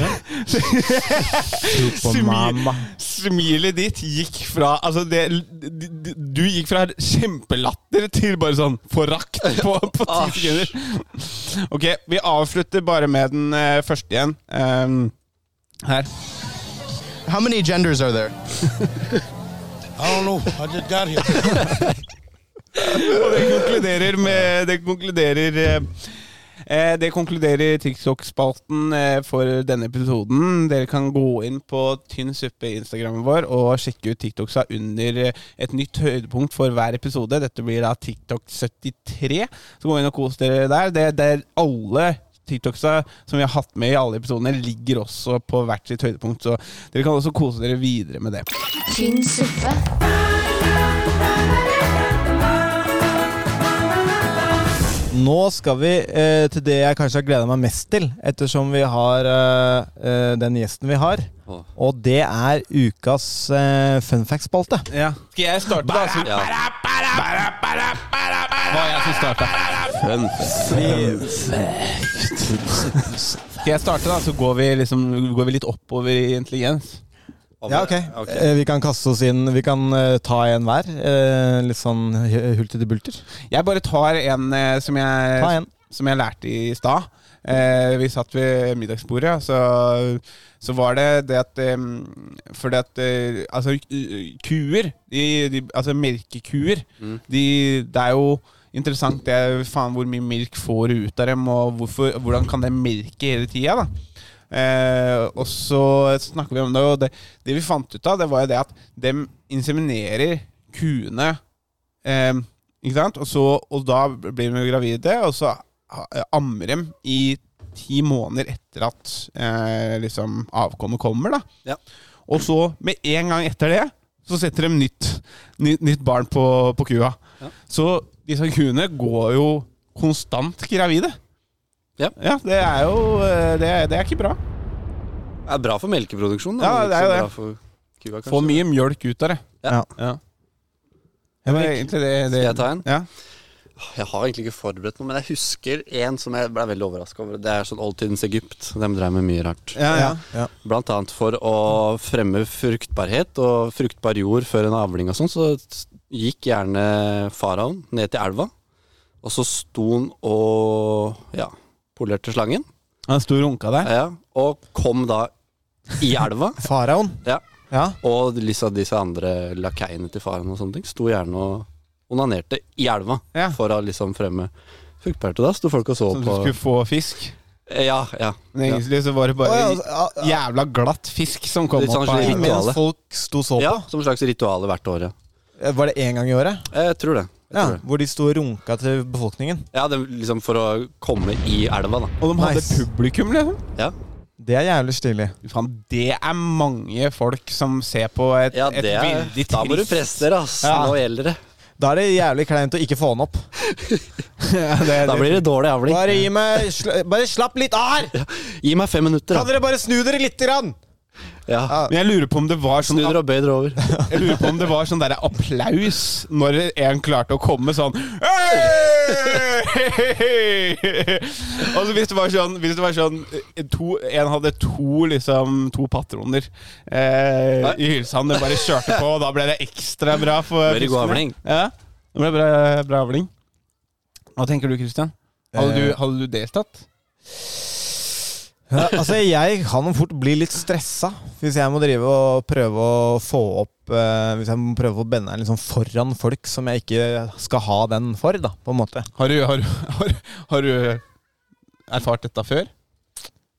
B: tror jeg.
C: Smi, smilet ditt gikk fra Altså, det d- d- Du gikk fra kjempelatter til bare sånn forakt på, på ti sekunder. Ok, vi avslutter bare med den eh, første igjen. Ehm, her.
G: How many genders are there?
N: I don't know. I just got here.
C: Og det konkluderer med Det konkluderer eh, eh, det konkluderer TikTok-spalten eh, for denne episoden. Dere kan gå inn på Tynn suppe-instagrammen vår og sjekke ut TikToksa under eh, et nytt høydepunkt for hver episode. Dette blir da TikTok 73. Så gå inn og kos dere der. Det det er alle TikToksa som vi har hatt med i alle episodene, ligger også på hvert sitt høydepunkt. Så dere kan også kose dere videre med det.
A: Tynn suppe.
D: Nå skal vi eh, til det jeg kanskje har gleda meg mest til, ettersom vi har eh, eh, den gjesten vi har.
B: Åh.
D: Og det er ukas eh, fun fact-spalte.
C: Skal jeg starte, da? Så... Hva er jeg som starta? Fun fact. Skal jeg starte, da? Så går vi, liksom, går vi litt oppover i intelligens.
D: Ja, ok. Eh, Vi kan kaste oss inn. Vi kan eh, ta en hver. Eh, litt sånn hu- hulter-til-bulter.
C: Jeg bare tar en eh, som jeg,
D: Ta en.
C: Som jeg lærte i stad. Eh, vi satt ved middagsbordet, og så, så var det det at eh, For det at eh, Altså, k- kuer de, de, Altså melkekuer.
B: Mm.
C: De, det er jo interessant det er, faen, hvor mye melk får du ut av dem, og hvorfor, hvordan kan det melke hele tida, da? Eh, og så snakker vi om det, og det, det vi fant ut av, det var jo det at dem inseminerer kuene eh, Ikke sant? Og, så, og da blir de jo gravide, og så eh, ammer dem i ti måneder etter at eh, liksom avkommet kommer, da. Og så, med en gang etter det, så setter de nytt, ny- nytt barn på, på kua. Så disse kuene går jo konstant gravide.
B: Ja.
C: det er jo eh, Det, er- det er ikke bra.
B: Det er bra for melkeproduksjonen. da,
C: Ja,
B: men
C: det er jo
B: ikke så
C: det.
B: bra for kua, kanskje.
C: Få mye mjølk ut av det.
B: Ja.
C: Det var egentlig det, det.
B: Skal jeg ta en?
C: Ja.
B: Jeg har egentlig ikke forberedt noe, men jeg husker en som jeg ble veldig overraska over. Det er sånn oldtidens Egypt. De drev med mye rart.
C: Ja, ja.
B: Blant annet for å fremme fruktbarhet og fruktbar jord før en avling og sånn, så gikk gjerne faraoen ned til elva, og så sto han og ja, polerte slangen.
C: Han sto og runka der?
B: Ja, og kom da i elva.
D: Faraoen?
B: Ja.
D: Ja.
B: Og disse, disse andre lakeiene til faren og sånne ting sto gjerne og onanerte i elva for å liksom fremme fruktbærte. Da sto folk og så
C: Som du
B: på
C: skulle få fisk?
B: Ja, ja.
C: Men egentlig så var det bare
B: Å, altså,
C: jævla glatt fisk som kom
B: Litt sånn
C: opp av
B: rituale. Mens folk
D: sto så
B: ja, som slags ritualer hvert år, ja.
D: Eh, Var det én gang i året?
B: Jeg tror det. Jeg
D: Ja,
B: tror det.
D: Hvor de sto og runka til befolkningen.
B: Ja, det, liksom for å komme i elva, da.
C: Og de hadde publikum, liksom?
B: Ja.
D: Det er jævlig stilig.
C: Faen, det er mange folk som ser på et,
B: Ja,
C: et
B: det er-
C: veldig trist
B: da må du presse dere, ass. Nå gjelder det.
D: Da er det jævlig kleint å ikke få den opp.
B: Da blir det dårlig avling.
D: Bare gi meg sl Bare slapp litt av her!
B: Gi meg fem minutter,
D: Kan dere bare snu dere lite grann?
B: Ja.
C: Men jeg lurer på om det var sånn
B: Snudder og bøyder over.
C: Jeg lurer på om det var sånn der applaus når en klarte å komme sånn Og så hvis det var sånn, hvis det var sånn eh, to, En hadde to liksom To patroner eh, i hylsa, det bare kjørte på, og da ble det ekstra bra for
B: Veldig god
C: fiskene.
B: avling.
C: Ja, det ble bra, bra avling. Hva tenker du, Christian? Hadde
B: Eh.
C: du, hadde du deltatt?
D: Ja, altså, jeg kan fort bli litt stressa hvis jeg må drive og prøve å få opp eh, Hvis jeg må prøve å bende liksom foran folk som jeg ikke skal ha den for, da, på en måte.
C: Har du, har, du- har, har du erfart dette før?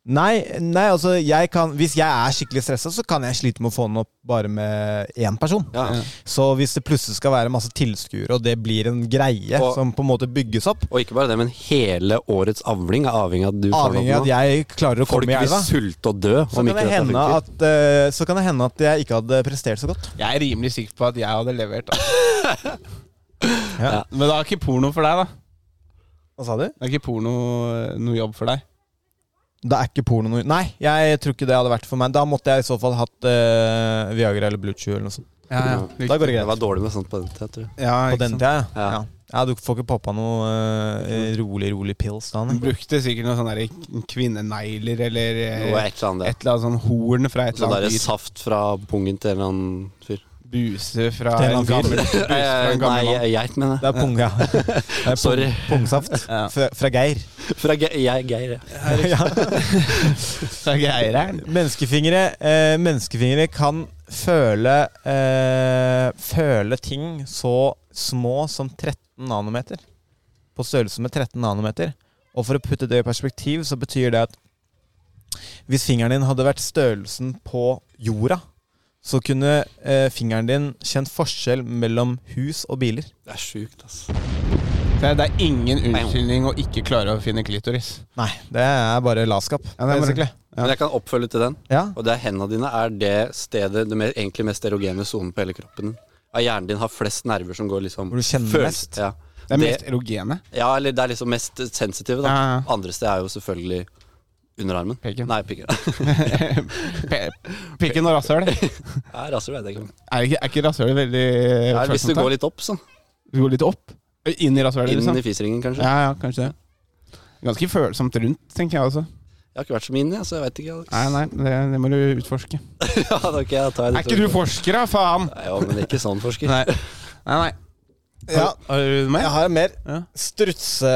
D: Nei, nei, altså jeg kan, hvis jeg er skikkelig stressa, så kan jeg slite med å få den opp bare med én person. Så hvis det plutselig skal være masse tilskuere, og det blir en greie
B: Og-
D: som på en måte bygges opp
B: Og ikke bare det, men hele årets avling er avhengig av at du får
D: Avhengig av
B: lov
D: at
B: nå.
D: jeg klarer å
B: Folk
D: komme i elva.
B: vil sulte og dø
D: Så
B: om
D: kan,
B: ikke
D: det
B: dette
D: hende
B: funker.
D: at, eh, så kan det hende at jeg ikke hadde prestert så godt.
C: Jeg er rimelig sikker på at jeg hadde levert. Altså. ja. Men det er ikke porno for deg, da.
D: Hva sa du?
C: Det er ikke porno eh, noe jobb for deg.
D: Da er ikke porno noe Nei, jeg tror ikke det hadde vært for meg. Da måtte jeg i så fall hatt eh, Viagra eller Blue Chew eller noe sånt.
C: Ja, ja.
D: Da går det greit.
B: Jeg var dårlig med sånt på den tida, tror jeg.
C: Mm. Ja,
D: på
C: ikke
D: den
C: sant?
D: tida, ja. ja. Ja, Du får ikke poppa noe eh, rolig, rolig pills da,
C: Hun
D: nei.
C: brukte sikkert noen sånne der kvinnenegler eller eh,
B: Noe et eller annet, ja.
C: et eller annet sånn horn fra et
B: Sånn
C: eller
B: derre
C: annet dyr.
B: saft fra pungen til en eller annen fyr.
C: Buse fra
B: Til
C: en
B: en gammel-
C: gammel buse fra en gammel
B: Nei,
C: mann.
B: geit, mener jeg.
D: Det er pung, ja. Det er pung-
B: Sorry.
D: Pungsaft. Fra, fra Geir.
B: Fra Ge jeg, Geir, ja.
C: Fra Geireren.
D: Menneskefingre, eh, menneskefingre kan føle eh, Føle ting så små som 13 nanometer. På størrelse med 13 nanometer. Og for å putte det i perspektiv, så betyr det at Hvis fingeren din hadde vært størrelsen på jorda, så kunne eh, fingeren din kjent forskjell mellom hus og biler.
B: Det er sjukt, ass.
C: Det, det er ingen unnskyldning å ikke klare å finne klitoris.
D: Nei, det er bare latskap. basically.
B: Men jeg kan oppfølge til den.
D: Ja.
B: Og det er hendene dine er det stedet Det mer, egentlig mest erogene sonen på hele kroppen. Av hjernen din har flest nerver som går liksom
C: Hvor du kjenner
B: føles-
C: mest.
B: Ja.
C: Det er mest erogene.
B: Ja, eller det er liksom mest sensitive, da. Andre sted er jo selvfølgelig underarmen. Pikken. Nei, pikken.
C: Pikken og rasshøl.
B: ja, rasshøl altså, vet jeg ikke.
C: Er ikke, er ikke rasshølet veldig
B: Ja, hvis du
C: følsomt, da?
B: går litt opp, sånn.
C: Du går litt opp? Inn i rasshølet,
B: Inn
C: liksom?
B: i fiseringen, kanskje.
C: Ja, ja, kanskje det. Ganske følsomt rundt, tenker jeg også.
B: Jeg har ikke vært så min, jeg, så jeg veit ikke. Alex.
C: Nei, nei, det, det må du utforske.
B: ja, da kan jeg ta
C: Er ikke du forsker, da, faen?
B: Ja, men ikke sånn forsker.
C: Nei, nei. nei.
D: Ja.
C: Har du mer?
D: Jeg har mer. Strutse,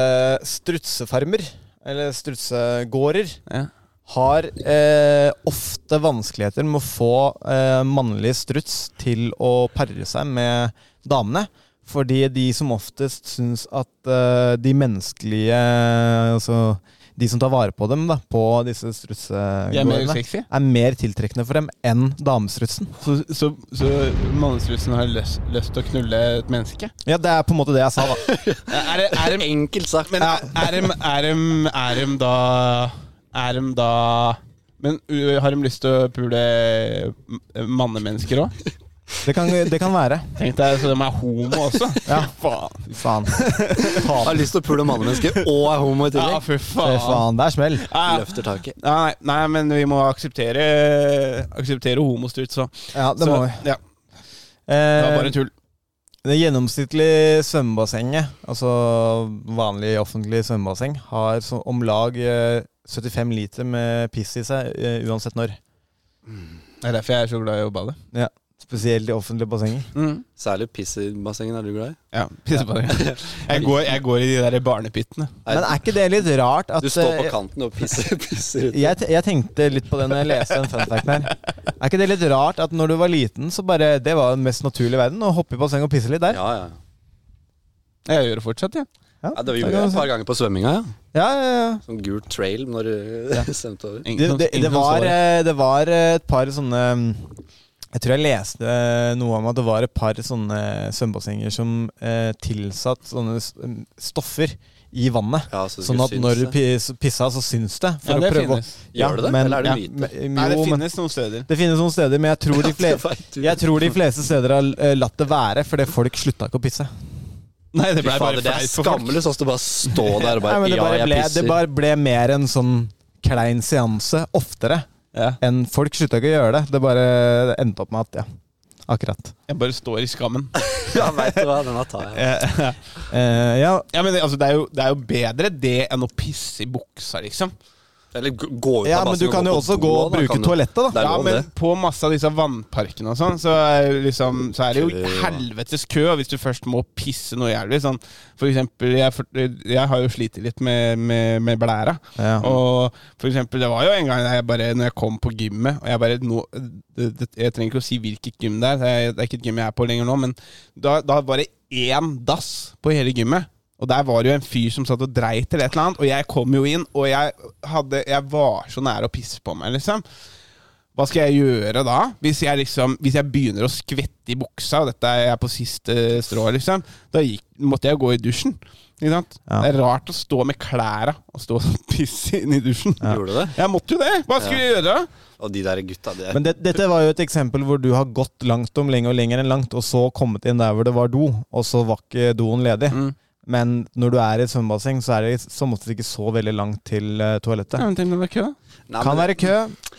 D: strutsefarmer, eller strutsegårder, har eh, ofte vanskeligheter med å få eh, mannlig struts til å pare seg med damene. Fordi de som oftest syns at eh, de menneskelige Altså de som tar vare på dem, da, på disse
C: De er mer
D: strutsegårdene,
C: usexy?
D: er mer tiltrekkende for dem enn damestrutsen.
C: Så, så, så mannestrussen har lyst, lyst til å knulle et menneske?
D: Ja, det er på en måte det jeg sa, da.
C: Er det, er det,
B: Enkelt sagt.
C: men er, er, de, er, de, er de da Er de da Men ø, har de lyst til å pule m- mannemennesker òg?
D: Det kan, det kan være.
C: Tenk deg så de er homo også?
D: Ja.
C: faen.
D: Fy faen.
B: Jeg har lyst til å pule mannemennesker og er homo i tillegg.
C: Ja, fy
D: Fy
C: faen.
D: faen, det er smell.
C: Ja, ja.
B: Løfter taket.
C: Nei, nei, men vi må akseptere, akseptere homostruts. så.
D: Ja, det
C: så,
D: må vi.
C: Ja, det var
D: Eh,
C: bare tull.
D: det gjennomsnittlige svømmebassenget, altså vanlig offentlig svømmebasseng, har så, om lag eh, 75 liter med piss i seg eh, uansett når.
C: Det er derfor jeg er så glad i å bade.
D: Ja, Spesielt i offentlige bassenger.
B: Særlig piss i bassenget er du glad i.
C: Ja, pisse på det. Jeg går, jeg går i de der barnepyttene.
B: Nei,
D: Men er ikke det litt rart at
B: du står på
D: eh,
B: kanten og pisser, pisser ut.
D: jeg, te- jeg tenkte litt på det når jeg leste den funfacten her. Er ikke det litt rart at når du var liten, så bare Det var den mest naturlige verden, å hoppe i bassenget og pisse litt der?
B: Ja, ja.
C: Jeg gjør det fortsatt, jeg.
B: ja det
D: der
B: gjorde
D: kan
B: jeg
D: du
B: et
D: se.
B: par ganger på svømminga. Ja.
D: ja, ja, ja.
B: Sånn gul trail når du svømte over.
C: Ingen
D: det,
C: som-
D: det,
C: ingen
D: det,
C: som
D: var,
C: så
D: eh, det var eh, et par sånne mm, Jeg tror jeg leste eh, noe om at det var et par sånne svømmebassenger som eh, tilsatt sånne s- mm, stoffer i vannet.
B: Ja, så det
D: sånn
B: skulle
D: at
B: synes
D: når du
B: det.
D: pis- pissa, så syns det.
C: Ja, det
D: å-
C: finnes.
B: Gjør det det,
D: men-
B: eller er det
D: ja,
B: myte?
D: men-
C: Nei, det
D: jo, men-
C: finnes noen steder.
D: det finnes noen steder, men jeg tror, de
B: det
D: fle-
B: vet du.
D: jeg tror de fleste steder har eh, latt det være fordi folk slutta ikke å pisse.
C: Nei, det
B: Fy
C: ble
B: fader,
C: bare
B: det er
C: flaut for folk.
B: skammelig sånn at du bare står der og
D: Nei,
B: bare
D: men det,
B: Ja,
D: bare
B: jeg
D: ble, det
B: pisser.
D: bare ble mer en sånn klein seanse oftere
C: Ja.
D: enn folk slutta ikke å gjøre det. Det bare det endte opp med at Ja, akkurat.
C: Jeg bare står i skammen.
B: Ja, veit du hva, denne tar jeg.
D: Eh, ja,
C: Ja, men det, altså, det, er jo, det er jo bedre det enn å pisse i buksa, liksom.
B: Eller g- gå ut
D: ja,
B: av
D: men du
B: bassenget
D: kan
B: gå
D: jo
B: på
D: også
B: do
D: gå
B: da,
D: og bruke
B: kan du.
D: toalettet, da.
B: Det er
C: Ja,
B: lov,
C: men
B: det.
C: på masse av disse vannparkene og sånn, så er, det liksom, så er det
B: Kø,
C: jo
B: ja.
C: helvetes kø hvis du først må pisse noe jævlig. Sånn. For eksempel, jeg, for- jeg har jo slitt litt med, med, med blæra.
D: Ja.
C: Og for eksempel, det var jo en gang da jeg bare, når jeg kom på gymmet og Jeg bare, nå- det, det, jeg trenger ikke å si hvilket gym det er, det er, det er ikke et gym jeg er på lenger nå, men da, da var det én dass på hele gymmet. Og Og der var det jo en fyr som satt og dreit eller et eller annet, og jeg kom jo inn, og jeg, hadde, jeg var så nære å pisse på meg, liksom. Hva skal jeg gjøre da? Hvis jeg, liksom, hvis jeg begynner å skvette i buksa, og dette er jeg på siste strå, liksom, da gikk, måtte jeg gå i dusjen. Ikke sant? Det er rart å stå med klæra og stå og pisse inn i dusjen.
B: Gjorde du det?
C: Jeg måtte jo det! Hva skulle jeg gjøre?
B: Og de der gutta, de er
D: Men det, dette var jo et eksempel hvor du har gått langt om lenge og lenger enn langt, og så kommet inn der hvor det var do, og så var ikke doen ledig.
B: Mm.
D: Men når du er i et svømmebasseng, så er det som oftest ikke så veldig langt til eh, toalettet.
C: Ja, men tenk om det var kø, da.
B: Nei,
D: kan
B: men-
D: være kø,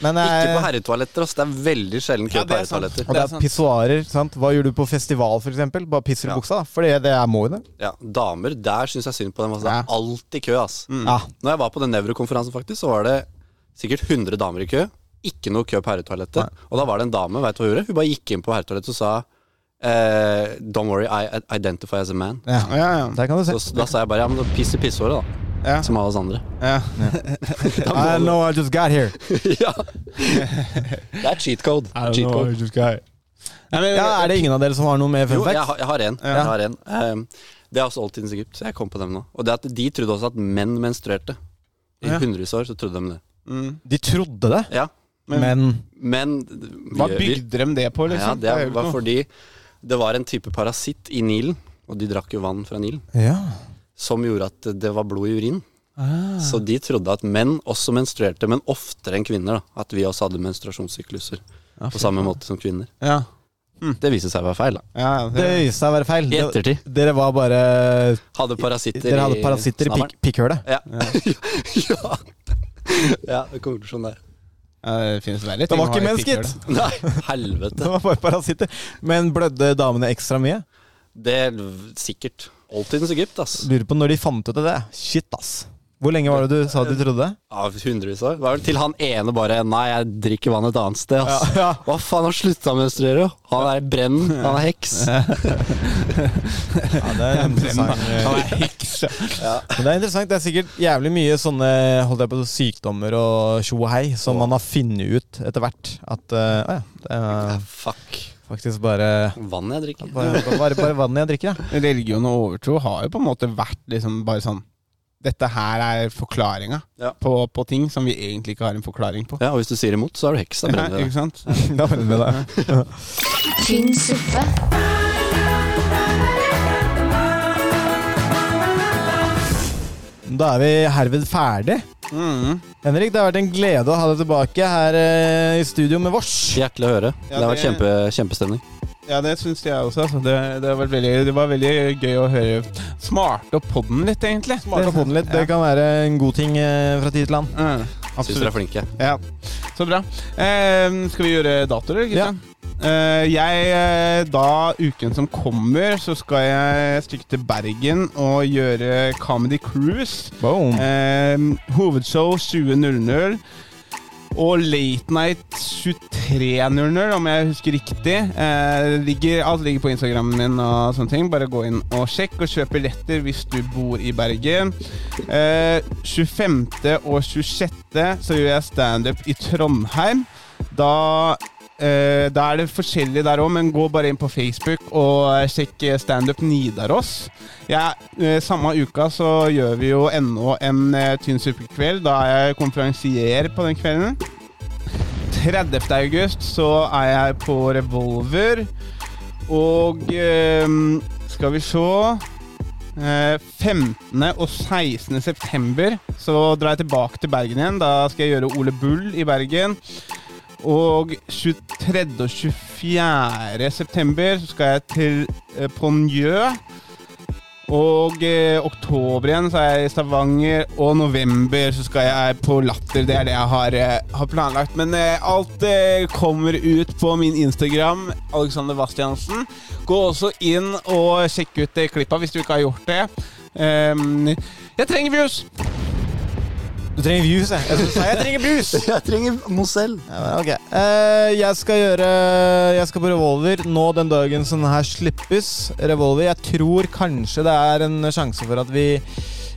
D: men det
B: Ikke
D: er,
B: på herretoaletter, ass. Det er veldig sjelden kø på herretoaletter.
D: og det er pissoarer. sant? Hva gjør du på festival, for eksempel? Bare pisser i buksa, da. For det, det er må jo det.
B: Ja, Damer, der syns jeg synd på dem. Altså. Det er alltid kø. ass
D: Ja.
B: Når jeg var på den nevrokonferansen, faktisk, så var det sikkert 100 damer i kø. Ikke noe kø på herretoalettet. Og da var det en dame, vet du hva hun gjorde? Hun bare gikk inn på herretoalettet og sa eh, Don't worry, I identify as a man.
D: Ja,
C: ja, ja.
D: Der kan du se.
B: Så da sa jeg bare ja, men da piss i pisshåret, da. Som alle oss andre.
C: Ja.
D: I know I just got here.
B: Det er cheat code.
D: I don't
B: Cheat
D: know,
B: code.
D: I just got here. ja, er det ingen av dere som har noe med fun
B: Jo, jeg,
D: facts?
B: har- jeg har en. Jeg har en. Ehm, det er også oldtidens Egypt, så jeg kom på dem nå. Og det at De trodde også at menn menstruerte. I
C: Ja.
B: hundrevis av år så trodde de det.
D: De trodde det,
B: Ja,
D: men,
B: men
C: Hva bygde dem det på,
B: Ja,
C: liksom? Det er
B: det
C: jo
B: var
C: ikke noe.
B: fordi det var en type parasitt i Nilen, og de drakk jo vann fra Nilen,
D: Ja.
B: som gjorde at det var blod i urin.
C: Ah.
B: Så de trodde at menn også menstruerte, men oftere enn kvinner. da At vi også hadde menstruasjonssykluser
C: Ja,
B: på
C: fy
B: samme
C: faen.
B: måte som kvinner.
C: Ja.
B: Det viste seg å være feil. da
C: Ja,
D: Det viste seg å være feil.
B: I ettertid.
D: Det- Dere var bare
B: Hadde parasitter
D: Dere hadde
B: i
D: parasitter i
B: snabelen.
D: pikk- pikkhølet.
B: Ja. ja. ja, det kommer til sånn der.
C: Ja, det finnes verre
D: Det
C: ting
D: var
C: å
D: ikke
C: ha i
D: mennesket.
C: pikkhølet.
B: Nei,
D: Det
B: helvete.
D: var bare parasitter. Men blødde damene ekstra mye?
B: Det er sikkert oldtidens Egypt, ass.
D: Lurer på når de fant ut av det. Shit, ass. Hvor lenge var det du sa de trodde det?
B: Ja, hundrevis av år. Det var vel til han ene bare Nei, jeg drikker vann et annet sted, ass.
D: Ja, ja.
B: Hva faen, han slutta å menstruere, jo. Han er brenn, han er heks.
D: Ja, det er interessant.
C: Han er heks.
D: Men det er interessant. Det er sikkert jævlig mye sånne holdt jeg på, å si, sykdommer og tjo og hei som man har funnet ut etter hvert. At eh, å ja, det er
B: Fuck.
D: faktisk bare
B: Vann jeg drikker.
D: bare, bare, bare vannet jeg drikker, ja.
C: Religion og overtro har jo på en måte vært liksom bare sånn Dette her er forklaringa
B: Ja.
C: på, på ting som vi egentlig ikke har en forklaring på.
B: Ja, og hvis du sier imot, så er du heks. Da
C: Ja,
B: brenner du
C: ikke
B: deg.
C: sant?
D: Da var det med deg.
A: Tynn suppe.
D: Da er vi herved ferdig.
C: Mm.
D: Henrik, det har vært en glede å ha deg tilbake her eh, i studio med vårs.
B: Hjertelig å høre.
C: Ja,
B: det har vært
C: det-
B: kjempe, kjempestemning.
C: Ja, det syns jeg også. Altså. Det, det, har vært veldig, det var veldig gøy å høre. Smarte opp podden litt, egentlig.
D: Smart opp hodet litt. Det kan være en god ting eh, fra tid til annen.
C: Mm,
B: Syns dere
C: absolutt.
B: er flinke.
C: Ja. Så bra. Eh, skal vi gjøre datoer, gutta? Eh, jeg, eh, da uken som kommer, så skal jeg stikke til Bergen og gjøre Comedy Cruise.
D: Boom.
C: Eh, hovedshow 20.00. Og Late Night 23.00, om jeg husker riktig. Eh, ligger, alt ligger på Instagrammen min. og sånne ting Bare gå inn og sjekk, og kjøp billetter hvis du bor i Bergen. Eh, 25. og 26. så gjør jeg standup i Trondheim. Da eh, Da er det forskjellig der òg, men gå bare inn på Facebook og sjekk standup Nidaros. Ja, eh, samme uka så gjør vi jo ennå en eh, tynn superkveld. Da er jeg konferansier på den kvelden. 30. august så er jeg på Revolver. Og eh, skal vi se eh, 15. og 16. september så drar jeg tilbake til Bergen igjen. Da skal jeg gjøre Ole Bull i Bergen. Og 23. og 24. september så skal jeg til eh, på Njø. Og eh, oktober igjen så er jeg i Stavanger, og november så skal jeg på Latter. Det er det jeg har, eh, har planlagt. Men eh, alt eh, kommer ut på min Instagram, Alexander Bastiansen. Gå også inn og sjekk ut eh, klippa hvis du ikke har gjort det. Ehm, jeg trenger views!
D: Du trenger views, jeg. Jeg, sa jeg trenger brus!
B: Jeg trenger Mozell.
D: Ja, men ok. Eh, jeg skal gjøre Jeg skal på Revolver nå den dagen sånn her slippes. Revolver, jeg tror kanskje det er en sjanse for at vi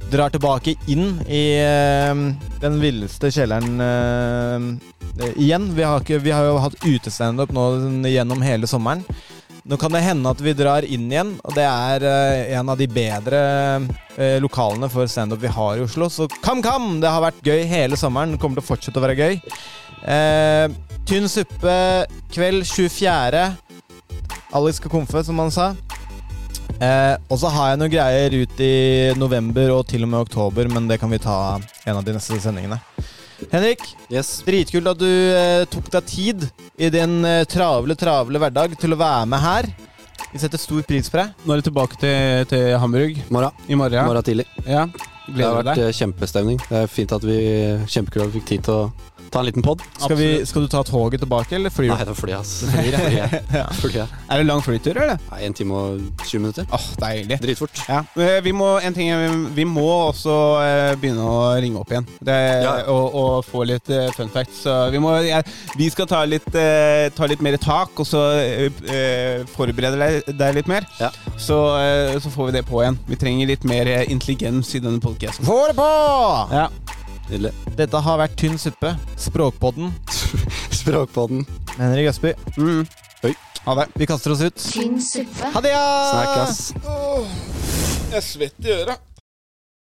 D: drar tilbake inn i eh, den villeste kjelleren eh, igjen. Vi har, ikke, vi har jo hatt utestandup nå gjennom hele sommeren. Nå kan det hende at vi drar inn igjen, og det er eh, en av de bedre eh, lokalene for standup vi har i Oslo. Så kam kam! Det har vært gøy hele sommeren. Det kommer til å fortsette å være gøy. Eh, tynn suppe kveld 24. Alex skal komfe, som han sa. Eh, og så har jeg noen greier ut i november og til og med oktober, men det kan vi ta en av de neste sendingene. Henrik, dritkult at du eh, tok deg tid i din eh, travle, travle hverdag til å være med her. Vi setter stor pris på deg.
C: Nå er du tilbake til, til Hamburg. I morgen. ja.
B: Morgen tidlig.
C: Ja.
B: Det har
C: Gleder du
B: vært
C: deg?
B: eh, kjempestemning. Det er fint at vi Kjempekult at vi fikk tid til å ta en liten pod.
D: Skal, vi, skal du ta toget tilbake, eller flyr du?
B: Nei, det er fly, ass.
D: Flyr, ja.
B: Fly, ja.
D: Ja.
B: Fly, ja.
C: Er det lang flytur, eller?
B: Nei, En time og 20 minutter.
C: Åh, deilig.
B: Dritfort.
C: Ja. eh, Vi må, en ting, er- vi må også eh, begynne å ringe opp igjen det,
B: Ja.
C: og, og få litt eh, fun facts. Så vi, må, jeg- vi skal ta litt, eh, ta litt mer tak, og så eh, eh, forberede deg, deg litt mer. Så, eh, så får vi det på igjen. Vi trenger litt mer eh, intelligens i denne podcasten.
D: Få det på!
C: Ja.
D: Dette har vært Tynn suppe. Språkpodden.
B: Språkpodden.
D: Med Henrik Østby.
B: Oi.
C: Ha det.
D: Vi kaster oss ut.
A: Tynn suppe.
B: 啊
D: Ha det, ja!
B: Snakkes.
C: Jeg er svett i øra.